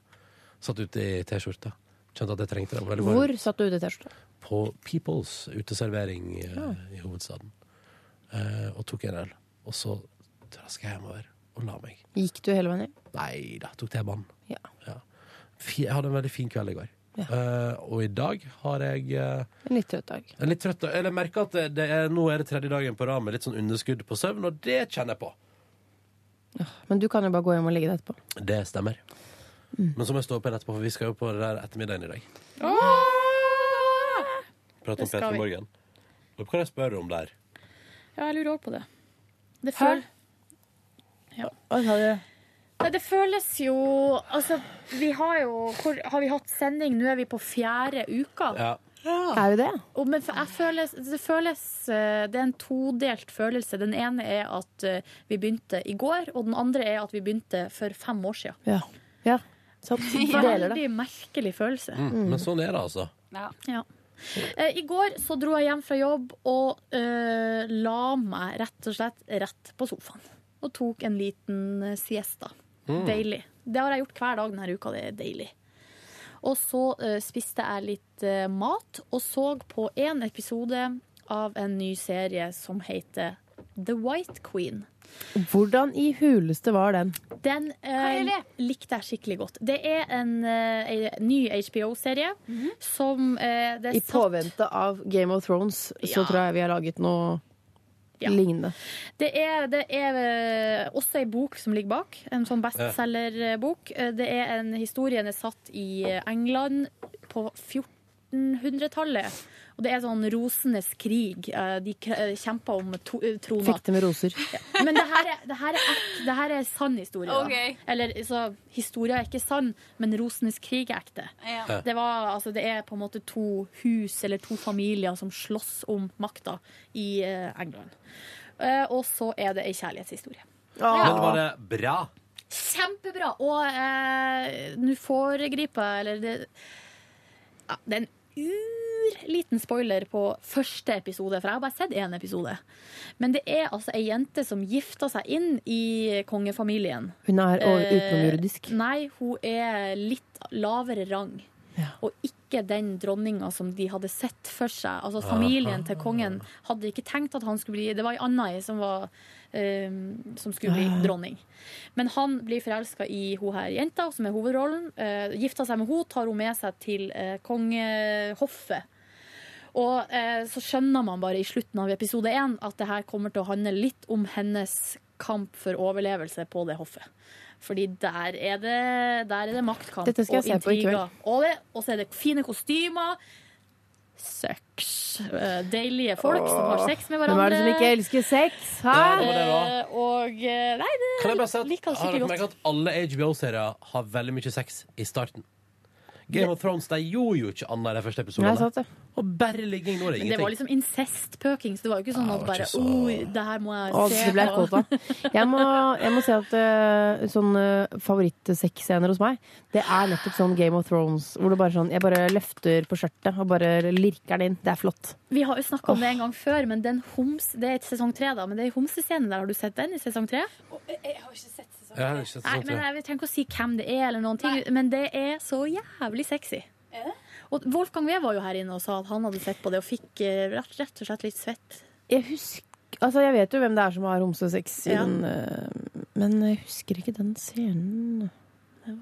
Satt ute i T-skjorta. Kjente at jeg trengte det. det. var veldig varmt Hvor satt du ute i T-skjorta? på Peoples uteservering eh, Ja. i hovedstaden. Eh, og tok en øl. Og så traska jeg hjemover og la meg. Gikk du hele veien hjem? Nei da, tok T-banen. Ja. Fi- Jeg hadde en veldig fin kveld i går. Eh, og i dag har jeg eh, En litt trøtt dag. en litt trøtt Eller jeg merker at det, det er, nå er det tredje dagen på rad med litt sånn underskudd på søvn, og det kjenner jeg på. Men du kan jo bare gå hjem og ligge deg etterpå. Det stemmer. Men så må jeg stå opp igjen etterpå, for vi skal jo på det der ettermiddagen i dag. Prate Det om skal Peter vi. Morgen. Hva kan jeg spørre om der? Ja, jeg lurer også på det. Det føl... Ja. Nei, det føles jo Altså, vi har jo Hvor har vi hatt sending? Nå er vi på fjerde uka. Ja. Er vi det? Og, men for- jeg føles, det føles eh, Det er en todelt følelse. Den ene er at eh, vi begynte i går, og den andre er at vi begynte for fem år siden. Ja. ja. Sant. Deler det. Veldig merkelig følelse. Mm. Men sånn er det, altså. Ja. Eh, I går så dro jeg hjem fra jobb og eh, la meg rett og slett rett på sofaen. Og tok en liten eh, siesta. Mm. Deilig. Det har jeg gjort hver dag denne uka. Det er deilig. Og så eh, spiste jeg litt eh, mat og så på en episode av en ny serie som heter The White Queen. Hvordan i huleste var den? Den eh, likte jeg skikkelig godt. Det er en, eh, ei- ny HBO-serie som eh, det er Mhm. I påvente av Game of Thrones så Ja. tror jeg vi har laget noe Ja. lignende. Det er, det er eh, også ei bok som ligger bak, en sånn bestselgerbok. Eh, Det er en historien er satt i eh, England på 1400-tallet. Og det er sånn rosenes krig. Eh, De k- eh, kjemper om to eh, trona. Fikk det med roser. Men det her er, det her er, ek, det her er sann historie. da. Ok. Eller så, historia er ikke sann, men rosenes krig er ekte. Ja. Det, var, altså, det er på en måte to hus eller to familier som slåss om makta i eh, England. Eh, og så er det ei kjærlighetshistorie. Men var det bra? Kjempebra! Og eh, nå foregriper jeg, eller det ja, Det er en liten spoiler på første episode, for jeg har bare sett én episode. Men det er altså ei jente som gifter seg inn i kongefamilien. Hun er over- utenomjordisk. Eh, Nei, hun er litt lavere rang. Og ikke den dronninga som de hadde sett for seg. Altså Familien til kongen hadde ikke tenkt at han skulle bli Det var ei anna ei som, var, eh, som skulle bli Ja, ja. dronning. Men han blir forelska i hun her jenta, som er hovedrollen. Eh, gifter seg med henne, tar hun med seg til eh, kongehoffet. Og eh, så skjønner man bare i slutten av episode én at det her kommer til å handle litt om hennes kamp for overlevelse på det hoffet. Fordi der er det, der er det maktkamp Dette skal jeg se på i kveld. Og, det, og så er det fine kostymer. Sex. Eh, Deilige folk som har sex Hvem med hverandre. er det som ikke elsker sex? Hæ? Eh, Og eh, Nei, det Kan jeg bare si at, liker jeg har skikkelig dere godt. merket at alle HBO-serier har veldig mye sex i starten? Game of Thrones de gjorde jo ikke annet i de første Nei, episodene. sant det. Og bare ligging nå er det Men det ingenting. var Ah, liksom incestpøking, så det var jo ikke sånn at det var bare ikke så- Oi, det her må jeg Å, se det ble jeg på». kåt av. Jeg må, jeg må si at uh, sånn uh, favorittsexscener hos meg, det er nettopp sånn Game of Thrones, hvor det bare sånn Jeg bare løfter på skjørtet og bare lirker den inn. Det er flott. Vi har jo snakka om det en gang før, men den homs, det er et sesong tre, da. Men det er homsescenen der, har du sett den i sesong tre? Jeg har ikke sett sesong Ja, det er ikke sant, liksom- Nei, sant, men ja. jeg trenger ikke å si hvem det er, eller noen ting, men det er så jævlig sexy. Og Wolfgang Wee var jo her inne og sa at han hadde sett på det, og fikk eh, rett, rett og slett litt svett. Jeg husker Altså, jeg vet jo hvem det er som har homsesex, Ja. siden, uh, men jeg husker ikke den scenen.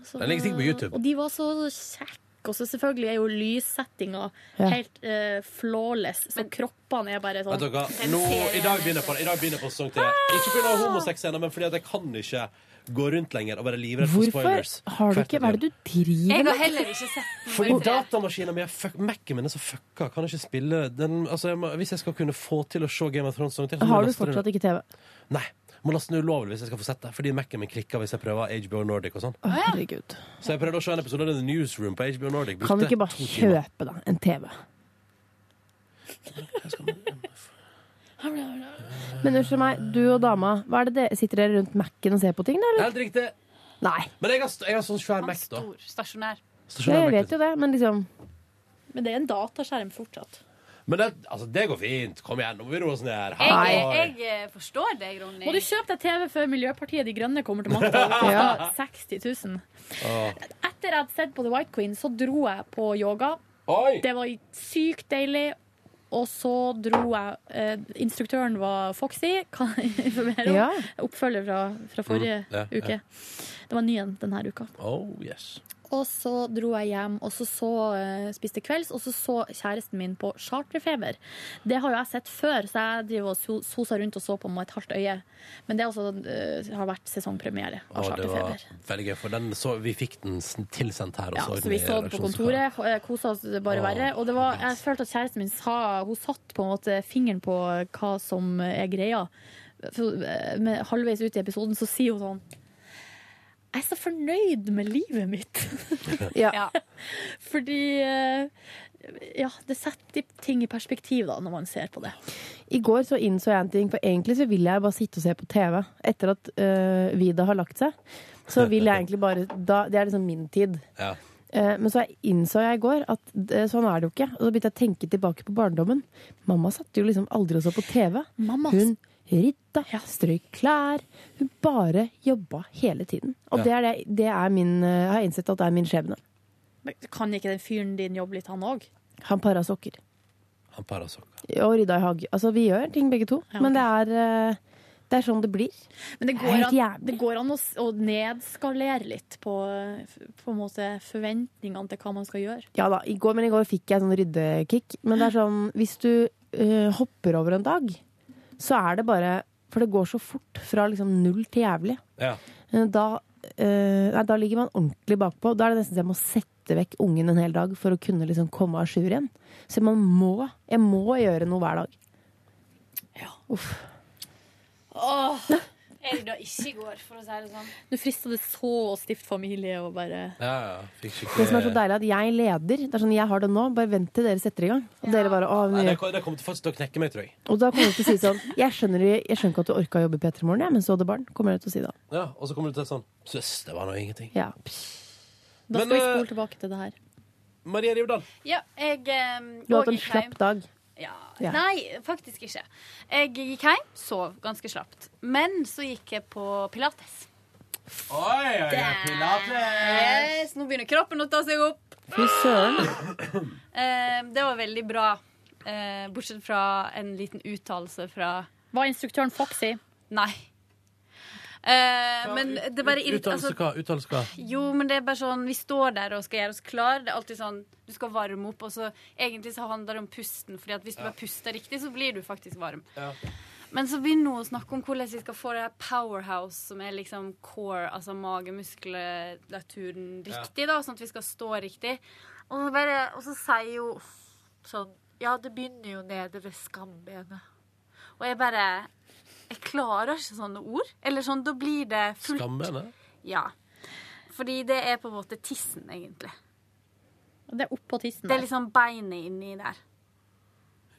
Så- Den ligger sikkert på YouTube. Og de var så kjekke. Og så selvfølgelig er jo lyssettinga Ja. helt eh, flawless, så kroppene er bare sånn Vet dere, hva? nå, I dag begynner jeg på, i dag begynner jeg på sesong tre. Ikke pga. homosexscener, men fordi at jeg kan ikke gå rundt lenger og være livredd for Hvorfor spoilers. har du ikke Hva er det du driver Jeg med? har heller ikke sett den. Fordi datamaskinen min, fuck, Mac-en min er så fucka. Kan jeg ikke spille den altså, jeg må, Hvis jeg skal kunne få til å se Game of Thrones sesong til, så må jeg Har du laste den- fortsatt ikke TV? Nei. Må laste den ulovlig hvis jeg skal få sett det. Fordi Mac-en min klikker hvis jeg prøver HBO Nordic og sånn. Å, herregud. Så jeg prøvde å se en episode av The Newsroom på HBO Nordic. Kan du Brukte ikke to bare timer. kjøpe deg en TV? Men unnskyld meg, du og dama, hva er det dere- sitter dere rundt Mac-en og ser på ting, da? Det er Eller? Helt riktig. Nei. Men jeg har, st- jeg har sånn svær Mac, da. Stor, stasjonær. Stasjonær Ja, jeg Mac, vet jo det, men liksom Men det er en dataskjerm fortsatt. Men det, altså, det går fint. Kom igjen, nå må vi roe oss ned. Jeg, Hei. jeg eh, forstår deg, Ronny. Må du kjøpe deg TV før Miljøpartiet De Grønne kommer til makta? Det Ja. koster 60 000. Etter jeg hadde sett på The White Queen, så dro jeg på yoga. Oi! Det var sykt deilig. Og så dro jeg eh, Instruktøren var Foxy, kan jeg informere om. Ja. Oppfølger fra, fra forrige Mm, ja, ja. uke. Det var ny en denne uka. Oh, yes. Og så dro jeg hjem, og så, så eh, spiste kvelds, og så så kjæresten min på Charterfeber. Det har jo jeg sett før, så jeg driver og so- sosa rundt og så på med et halvt øye. Men det er altså, eh, har vært sesongpremiere Å, det var av Charterfeber. veldig gøy, for den så, vi fikk den s- tilsendt her. og Ja, så så vi den i så det på kontoret, eh, kosa oss altså bare Å, verre. Og det var, jeg følte at kjæresten min sa Hun satt på en måte fingeren på hva som eh, er greia. For, eh, med, halvveis ut i episoden så sier hun sånn Jeg er så fornøyd med livet mitt. Ja. Fordi eh, Ja, det setter ting i perspektiv da, når man ser på det. I går så innså jeg en ting, for egentlig så vil jeg bare sitte og se på TV etter at øh, Vida har lagt seg. Så vil jeg egentlig bare da, Det er liksom min tid. Ja. Eh, Men så jeg innså jeg i går at eh, sånn er det jo ikke. Og så begynte jeg å tenke tilbake på barndommen. Mamma satt jo liksom aldri og så på TV. Mamma. Hun rydda, strøyk klær. Hun bare jobba hele tiden. Og Ja. det er det, det er min, eh, jeg har innsett at det er min skjebne. Men Kan ikke den fyren din jobbe litt, han òg? Han para sokker. Han parasokker. Og rydda i hage. Altså, vi gjør ting begge to. Men det er, eh, det er sånn det blir. Men det Det er går, helt an, det går an å, s- å nedskalere litt på, på en måte forventningene til hva man skal gjøre. Ja da, i går, men i går fikk jeg sånn ryddekick. Men det er sånn, hvis du eh, hopper over en dag, så er det bare For det går så fort fra liksom null til jævlig. Ja. Eh, Da, eh, nei, da ligger man ordentlig bakpå. Da er det nesten så jeg må sette vekk ungen en hel dag for å kunne liksom komme à jour igjen. Så man må, jeg må gjøre noe hver dag. Uff. Åh, Jeg da ikke i går, for å si det sånn. Nå frister det så å stifte familie og bare Ja, ja. Fikk skikkelig Det som er så deilig, er at jeg leder. Det er sånn, Jeg har det nå, bare vent til dere setter i gang. Og dere bare, å, Nei, men- det, kom- det kommer til faktisk til å knekke meg, tror jeg. Og da kommer du til å si sånn Jeg skjønner, jeg skjønner ikke at du orka å jobbe i P3 Morgen, jeg, men så hadde barn. Kommer jeg til å si da. Ja, og så kommer du til sånn Søs, det var nå ingenting. Ja. Da skal Men, vi eh, spole tilbake til det her. Maria Rivdal. Ja, jeg eh, Du har og hatt en gikk hjem. slapp dag. Ja. Ja. Nei, faktisk ikke. Jeg gikk hjem, sov ganske slapt. Men så gikk jeg på pilates. Oi, oi, oi, pilates! Yes, nå begynner kroppen å ta seg opp. Fy søren. Eh, det var veldig bra. Eh, bortsett fra en liten uttalelse fra Var instruktøren foxy? Nei. Eh, men det bare irrit- Uttalelse altså- hva? Uttalelse hva? Jo, men det er bare sånn Vi står der og skal gjøre oss klar. Det er alltid sånn Du skal varme opp, og så egentlig så handler det om pusten. Fordi at hvis du Ja. bare puster riktig, så blir du faktisk varm. Men så begynner hun å snakke om hvordan vi skal få det her powerhouse, som er liksom core, altså magemuskulaturen, riktig, da, sånn at vi skal stå riktig. Og så, bare, og så sier jo sånn Ja, det begynner jo nede ved skambenet. Og jeg bare Jeg klarer ikke sånne ord. Eller sånn, da blir det fullt Skambenet? Ja. Fordi det er på en måte tissen, egentlig. Det er oppå tissen. Det er liksom beinet inni der.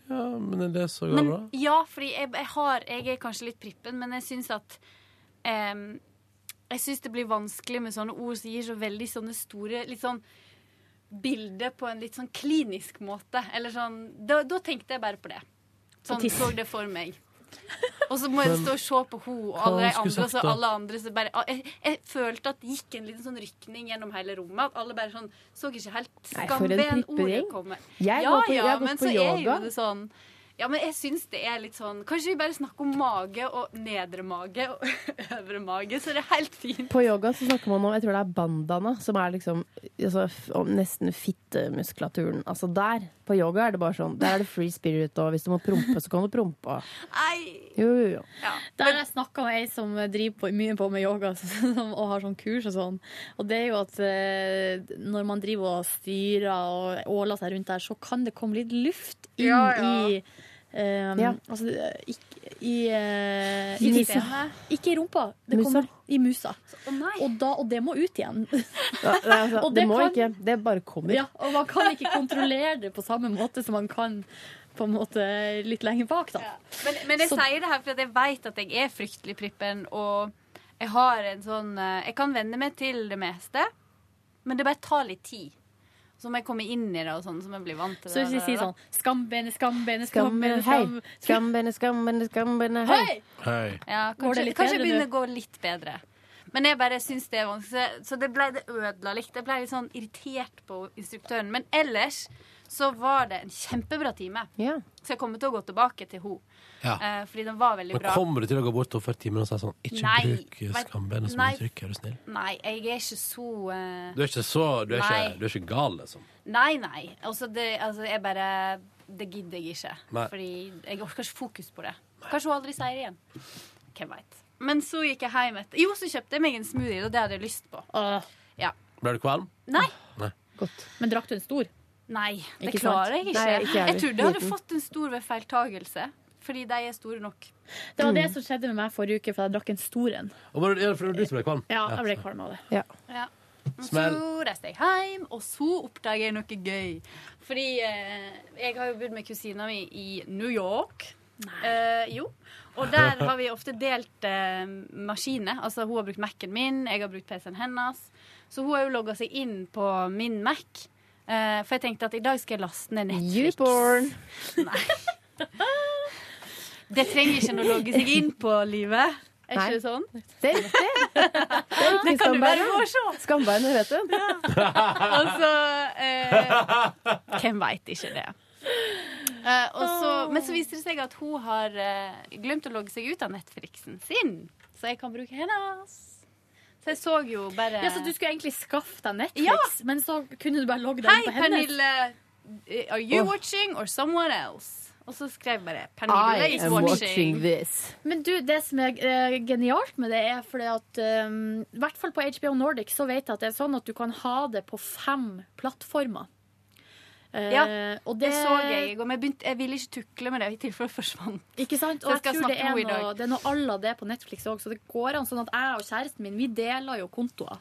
Ja, men er det så Men bra? ja, fordi jeg, jeg har Jeg er kanskje litt prippen, men jeg syns at em, Jeg syns det blir vanskelig med sånne ord som gir så veldig sånne store Litt sånn bilde på en litt sånn klinisk måte. Eller sånn Da, da tenkte jeg bare på det. På Sånn tiss. så det for meg. Og så må jeg Men stå og se på henne og hva alle skulle de andre. Og så sagt da? alle andre så bare, ah, jeg, jeg følte at det gikk en liten sånn rykning gjennom hele rommet. At alle bare sånn så ikke helt Nei, for en skambenordet prippegjeng. komme. Jeg ja, går på- jeg ja, har gått men på så er jo yoga. det sånn ja, men jeg syns det er litt sånn Kanskje vi bare snakker om mage og nedre mage og øvre mage, så det er helt fint. På yoga så snakker man om jeg tror det er bandana, som er liksom altså, f- om nesten fittemuskulaturen. Altså der, på yoga er det bare sånn. Der er det free spirit, og hvis du må prompe, så kan du prompe. Jo, jo, jo. Der har jeg snakka med ei som driver på, mye på med yoga som, og har sånn kurs og sånn. Og det er jo at eh, når man driver og styrer og åler seg rundt der, så kan det komme litt luft inn Ja, ja. i eh, Ja. Altså ikke i, eh, I i musa. tissen. Ikke i rumpa. Det kommer i musa. og, da, og det må ut igjen. Ja, nei, altså, Og det, det må kan- ikke. Det bare kommer. ja, og man kan ikke kontrollere det på samme måte som man kan på en måte litt lenger bak, da. Men, men jeg Så- sier det her fordi at jeg vet at jeg er fryktelig prippen, og jeg har en sånn eh, Jeg kan venne meg til det meste, men det bare tar litt tid. Så må jeg komme inn i det, og sånn, så må jeg bli vant til Så det. hvis vi det, sier det. sånn Skambenet, skambenet, Skambenet, skambenet, hei. skam... Skambenet, skambenet, skambenet, hei. Ja, Går det kanskje, litt kanskje bedre, du? begynner å gå litt bedre. Men jeg bare syns det er vanskelig. Så det ble det ødela litt. Jeg ble litt sånn irritert på instruktøren. Men ellers så var det en kjempebra time. Så jeg kommer til å gå tilbake til henne. Ja. Eh, fordi den var veldig Men bra. kommer du til å gå bort til henne før timen og si sånn Ikke Nei, bruk vet- skambenet som nei. uttrykk, er du snill. Nei, jeg er ikke så eh, Du er ikke så Du er Nei. ikke, du er ikke gal, liksom. Nei, nei. Altså, det, altså, jeg bare Det gidder jeg ikke. Nei. Fordi jeg orker ikke fokus på det. Kanskje hun aldri sier det igjen. Hvem veit. Men så gikk jeg hjem etter Jo, så kjøpte jeg meg en smoothie, og det hadde jeg lyst på. Ja. Ble du kvalm? Nei. Nei. Men drakk du en stor? Nei, det Ikke sant? klarer jeg ikke. Nei, ikke jeg jeg heller. trodde jeg hadde Liten. fått en stor ved feiltagelse. Fordi de er store nok. Det var det som skjedde med meg forrige uke, for jeg drakk en stor en. Og var det, ja, for det var du som ble kvalm? Ja, jeg ble kvalm av det. Ja. Men Smell. Så reiste jeg hjem, og så oppdaget jeg noe gøy. Fordi eh, jeg har jo bodd med kusina mi i New York. Eh, jo. Og der har vi ofte delt eh, maskiner. Altså, hun har brukt Mac-en min, jeg har brukt PC-en hennes. Så hun har jo logga seg inn på min Mac. Eh, for jeg tenkte at i dag skal jeg laste ned Netflix. Nei. Det trenger ikke en å logge seg inn på livet. Er Nei. ikke det sånn? Det er riktig. Det, er riktig Det kan du bare skambeinet. gå og se. Skambeinet, vet du. altså eh, Hvem veit ikke det? Eh, og så, men så viser det seg at hun har eh, glemt å logge seg ut av Netflixen sin, så jeg kan bruke hennes. Så jeg så jo bare Ja, Så du skulle egentlig skaffe deg Netflix, Eh. Ja. men så kunne du bare logge deg Hei, inn på hennes? Pernille. Eh, Are you Åh. watching or someone else? Og så skrev jeg bare Pernille is watching. this. Men du, det som er eh, genialt med det, er fordi at um, I hvert fall på HBO Nordic så vet jeg at det er sånn at du kan ha det på fem plattformer. Eh, Ja, og det så jeg i går, men jeg, begynte, jeg ville ikke tukle med det i tilfelle det forsvant. Ikke sant? Så Og jeg jeg tror skal det snakke med er, henne i noe, dag. det er noe alla det på Netflix òg, så det går an. Sånn at jeg og kjæresten min, vi deler jo kontoer.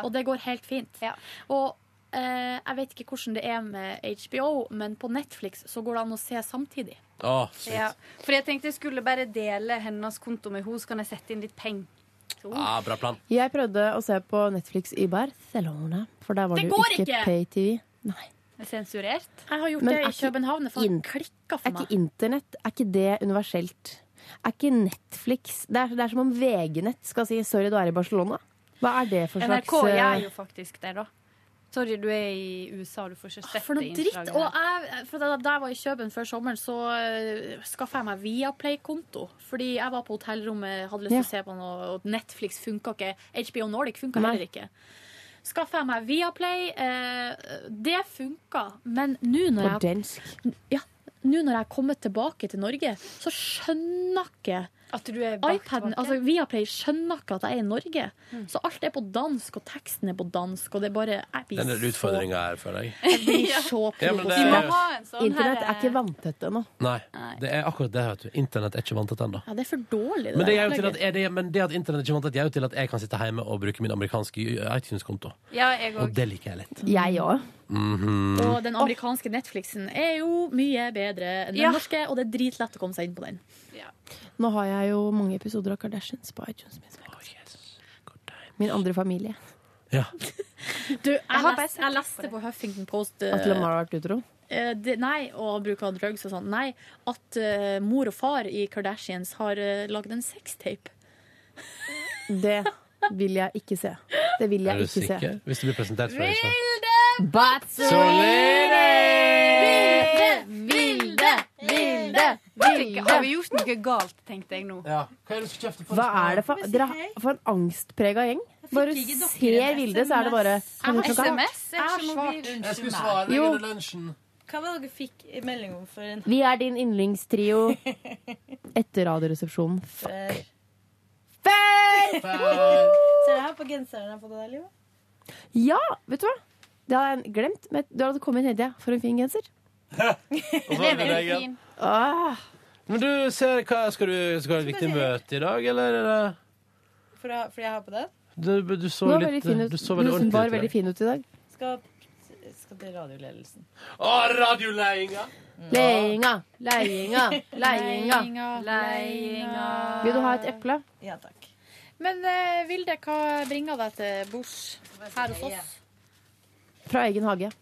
Og det går helt fint. Og eh, jeg vet ikke hvordan det er med HBO, men på Netflix så går det an å se samtidig. Å, shit. Ja, for jeg tenkte jeg skulle bare dele hennes konto med henne, så kan jeg sette inn litt penger. til henne. Ah, bra plan. Jeg prøvde å se på Netflix i Barcelona, for der var Det det, går jo ikke ikke! pay-TV. Nei. sensurert? Jeg har gjort Men det er i ikke København. Det faen inn- klikka Er for ikke meg. internett er ikke det universelt? Er ikke Netflix Det er, det er som om VG-nett skal si 'sorry, du er i Barcelona'. Hva er det for slags NRK gjør eh, jo faktisk det, da. Sorry, du er i USA, du får ikke sett For noe det dritt. innslaget Og der. jeg, for da, da jeg var i Køben før sommeren, så uh, skaffa jeg meg Viaplay-konto. Fordi jeg var på hotellrommet, hadde lyst til Ja. å se på noe, og Netflix funka ikke. HBO Nordic funka Nei. heller ikke. Skaffa jeg meg Viaplay. eh, det funka. Men nå når på jeg dansk? ja, nå når jeg kommer tilbake til Norge, så skjønner ikke at du er iPaden, altså Viaplay skjønner ikke at jeg er i Norge. Mm. Så alt er på dansk, og teksten er på dansk, og det er bare jeg blir Den er utfordringa her, føler jeg. Jeg blir så Ja, men det- provosert. Vi må ha Internett Sånn er ikke vanntett ennå. Nei, det er akkurat det. vet du Internett er ikke vanntett ennå. Ja, det er for dårlig, det Men det, der er jo til at, opplegget. er det, men det at internett ikke vant at jeg er jo til at jeg kan sitte hjemme og bruke min amerikanske eh, iTunes-konto. Ja, jeg Og det liker jeg litt. Jeg òg. Mhm. Og den amerikanske Netflixen er jo mye bedre enn den Ja. norske, og det er dritlett å komme seg inn på den. Nå har jeg jo mange episoder av Kardashians på iTunes. Min, min andre familie. Du, jeg, leste, jeg leste på Huffington Post eh, At Lamar har vært utro. Eh, det, nei, og bruk av drugs og sånn. Nei, at eh, mor og far i Kardashians har uh, lagd en sextape. Det vil jeg ikke se. Det vil Er jeg du ikke se. sikker? Hvis du blir presentert for det, så. Solere! Vilde! Vilde! Vilde! Har vi gjort noe galt, tenkte jeg nå. Hva er det du skal kjefte Hva er det for, dere har- for en angstprega gjeng? Bare ikke dere ser en Vilde, så er det bare Jeg har Kan du klokka? SMS. Jeg har ikke mobil. Jeg skulle svare Jo. under lunsjen. Hva var det dere fikk i melding om for en Vi er din yndlingstrio etter Radioresepsjonen. Før. Før! Ser du her på genseren jeg har fått av deg, Liv? Ja, vet du hva? Det hadde jeg glemt. Men du hadde kommet hele tida. For en fin genser. Det er veldig fin. Ah. Åh. Men du, ser, hva, skal du skal du ha et viktig møte i dag, eller? er det- For å ha- Fordi jeg har på den. Du, du så Du var litt veldig fin ut. Du så veldig ordentlig var ut i dag. veldig fin ut i dag. Skal, skal til radioledelsen. Å, radioleiinga! Leiinga, leiinga, leiinga. Leiinga. Vil du ha et eple? Ja takk. Men eh, Vilde, hva bringer deg til bords her hos oss? Fra egen hage.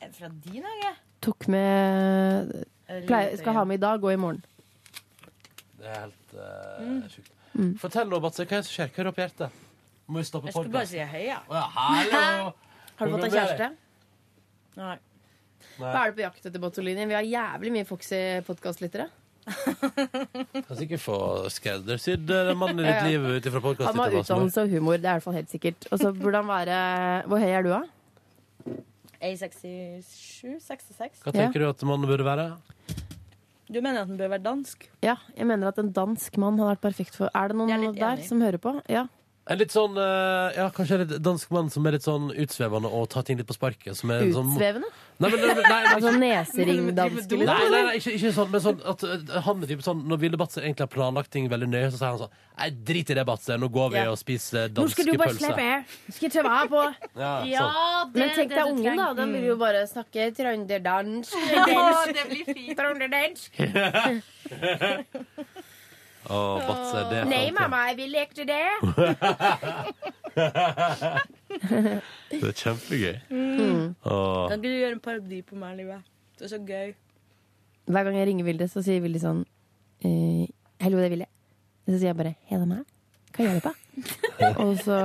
En fra din hage? Tok med pleier, Skal ha med i dag og i morgen. Det er helt eh, Mm. sjukt. Mm. Fortell nå, Batse, hva er det som skjer? Hva er det på hjertet? Må vi stoppe Jeg skulle bare podkasten? si hei, ja. Å ja, hallo! Har Hvor du fått går deg det? kjæreste? Nei. Hva er du på jakt etter, Bottolini? Vi har jævlig mye Foxy-podkastlyttere. Kan sikkert få skreddersydd eh, mannen i Ja, ditt ja. liv ut ifra Han må ha podkast. utdannelse og humor, det er i hvert fall helt sikkert. Og så burde han være Hvor høy er du, da? A67? 66? Hva tenker du at mannen burde være? Du mener at den bør være dansk? Ja, jeg mener at en dansk mann hadde vært perfekt for Er det noen der enig. som hører på? Ja. En litt sånn, eh, ja, Kanskje en litt dansk mann som er litt sånn utsvevende og tar ting litt på sparket. Som er sånn- Utsvevende? Nei, men, nei, nei, Altså neseringdansk, Nei, liksom? nei, nei ikke, ikke sånn, men sånn at eh, han er typ sånn Når Vilde Batzer egentlig har planlagt ting veldig nøye, så sier han sånn Nei, drit i det, Batzer. Nå går vi Ja. og spiser danske pølser. Nå skal du bare slippe her. Nå Skal jeg ta vare på Ja, sånn. det, Men tenk deg ungen, da. Den vil jo bare snakke trønderdansk. Ja, det blir fint. Trønderdansk. sånn. Å, Batzer, det er Nei, framtiden. mamma, jeg vil ikke det. Det er kjempegøy. Mm. Åh. Kan ikke du gjøre en parodi på meg, livet? Det er så gøy. Hver gang jeg ringer Vilde, så sier Vilde sånn eh, Hallo, det er Vilde. Så sier jeg bare Hei, det er meg. Hva gjør du på? Og så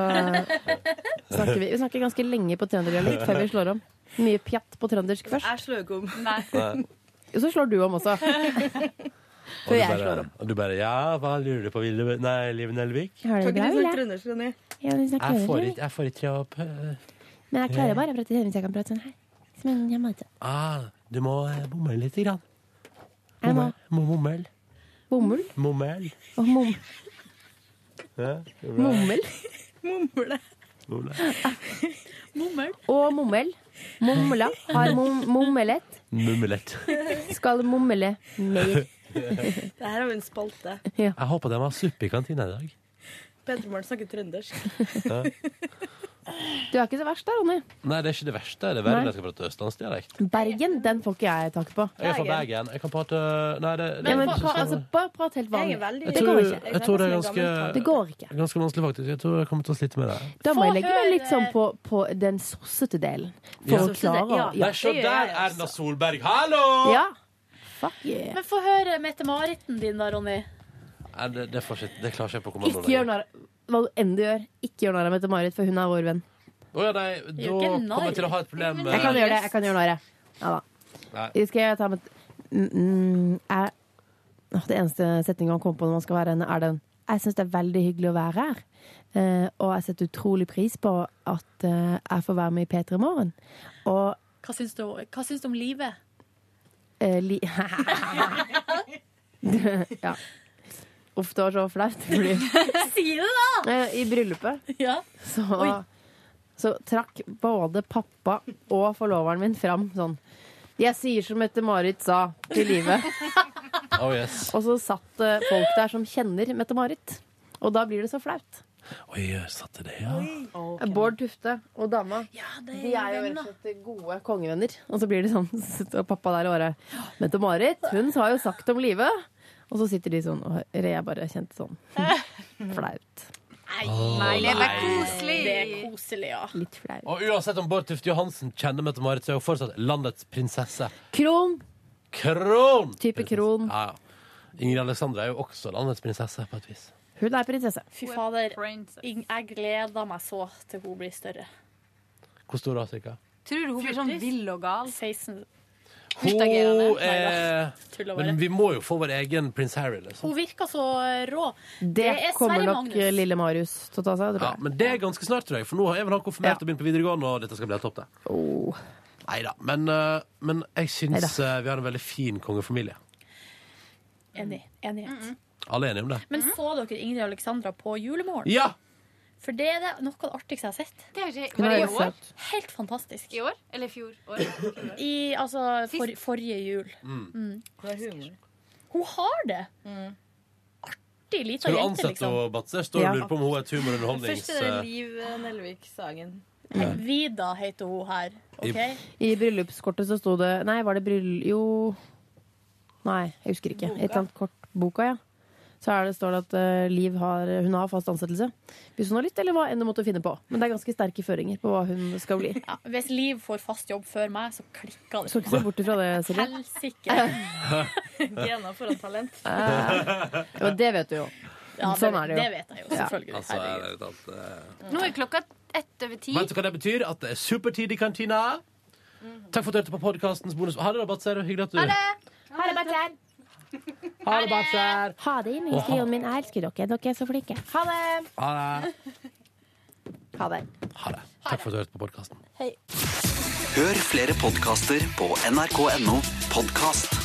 snakker vi, vi snakker ganske lenge på trønderdialekt før vi slår om. Mye pjatt på trøndersk først. Jeg slår ikke om. Nei. Og så slår du om også. Og Før du jeg slår bare, om. og du bare Ja, hva lurer du på, Vilde? Nei, Liv Nelvik? Har du det bra, Vilde? trøndersk, Ronny? Ja, du snakker Jeg får trøndersk. ikke, jeg får ikke jobb. Men jeg klarer bare å prate trøndersk. Jeg kan prate sånn her. Som en jamaite. Ah, du må eh, bomme litt. Grann. Jeg må Må bommel. bomull Bommel. og mom Ja, det er bra. mommel. Mumle. Bommel. Og mommel. Momla. Har mom mommelet. Mummelett. Skal mommele mer. Det her er jo en spalte. Jeg håper de har suppe i kantina i dag. Petter Morn snakker trøndersk. Ja. Du er ikke så verst da, Ronny. Nei, det er ikke det verste. Det er verre Nei. når jeg skal prate østlandsdialekt. Bergen, den får ikke jeg tak på. Jeg er fra Bergen. Jeg kan prate Nei, det, det Ja, men jeg pra, synes- altså, bare prat helt vanlig. Jeg er veldig- jeg det tror, går jeg, ikke. tror det er ganske, Det går ikke. ganske vanskelig, faktisk. Jeg tror jeg kommer til å slite med det. Da må Få jeg legge meg litt høre- sånn på, på den sossete delen. For Ja. å klare å- Nei, se der, Erna Solberg! Hallo! altså. Ja. Fuck yeah. Men få høre Mette-Maritten din da, Ronny. Nei, det, det, får ikke, det klarer ikke jeg på kommando. Ikke gjør narr Hva du enn du gjør, ikke gjør narr av Mette-Marit, for hun er vår venn. Å ja, nei, da Gjør ikke narr. kommer jeg til å ha et problem med Jeg kan gjøre det. Jeg kan gjøre narr, jeg. Ja da. Nei. Skal jeg ta med mm, mm, jeg, Åh, Det eneste setninga han kom på når man skal være den, er den Jeg syns det er veldig hyggelig å være her. Eh, og jeg setter utrolig pris på at eh, jeg får være med i P3 Morgen. Og Hva syns du, hva syns du om livet? eh, li Ja. Uff, det var så flaut. Fordi si det, da! Eh, I bryllupet så, Oi. så trakk både pappa og forloveren min fram sånn Jeg sier som Mette-Marit sa til livet. Oh, yes. Og så satt eh, folk der som kjenner Mette-Marit. Og da blir det så flaut. Oi, jeg satte det, ja. Bård Tufte og dama De er jo rett og slett gode kongevenner. Og så blir det sånn sitter pappa der og bare Mette-Marit, hun har jo sagt om Live. Og så sitter de sånn og hører. Jeg bare kjente sånn flaut. Nei, det var nei. koselig. Det er koselig, ja. Litt flaut. Og uansett om Bård Tufte Johansen kjenner Mette-Marit, så er hun fortsatt landets prinsesse. Kron. Kron! Type kron. Ja, ja. Ingrid Alexandra er jo også landets prinsesse, på et vis. Hun er prinsesse. Fy fader. Ing- Jeg gleder meg så til hun blir større. Hvor stor er hun cirka? Tror du hun blir sånn vill og gal? 16. Hun Utagerende. er Tull å være. Men vi må jo få vår egen prins Harry, liksom. Hun virker så rå. Det, er kommer Sverre nok eh, Magnus. lille Marius til å ta seg Ja, av, tror jeg. men det er ganske snart, tror jeg, for nå har jeg vel han konfirmert og begynt på videregående, og dette skal bli helt topp, det. Neida, men, øh, men jeg syns Neida. øh, vi har en veldig fin kongefamilie. Enig. Enighet. Alle er enige om det? Men så dere Ingrid Alexandra på julemorgen? Ja! For det er det noe av det artigste jeg har sett. Det har ikke- Hun var det er i jo år? søt. Helt fantastisk. I år? Eller i fjor? År? I, altså, for, forrige jul. Mm. Mm. Hun har humor. Hun har det! Artig lita Skal du jente, ansette liksom. henne, Batse? Står og Ja. lurer på om hun er et humorunderholdnings... Første Liv Nelvik-sagen. Ja. Vida heter hun her. OK? I bryllupskortet så sto det Nei, var det bryllup... Jo Nei, jeg husker ikke. Et eller annet kort boka, ja. Så er det, står det at eh, Liv har, hun har fast ansettelse. Hvis hun har lyst, eller hva enn hun måtte finne på. Men det er ganske sterke føringer på hva hun skal bli. Ja, hvis Liv får fast jobb før meg, så klikker det. Så ikke se bort ifra det, Silje. Helsike. Gener foran talent. Eh, Jo, det vet du jo. Ja, det- sånn er det jo. det vet jeg jo, selvfølgelig. Altså, er det alt, øh, Nå er klokka ett over ti. Vet du hva det betyr? At det er supertid i kantina. Mhm. Takk for at du hørte på podkastens bonus. Ha det, da, Batser. Hyggelig at du Ha det! Ha det, Batser. Ha det, Batser. Ha det, industrien min. Jeg elsker dere. Dere er så flinke. Ha det! Ha det. Ha det. Takk for at du hørte på podkasten. Hør flere podkaster på nrk.no podkast.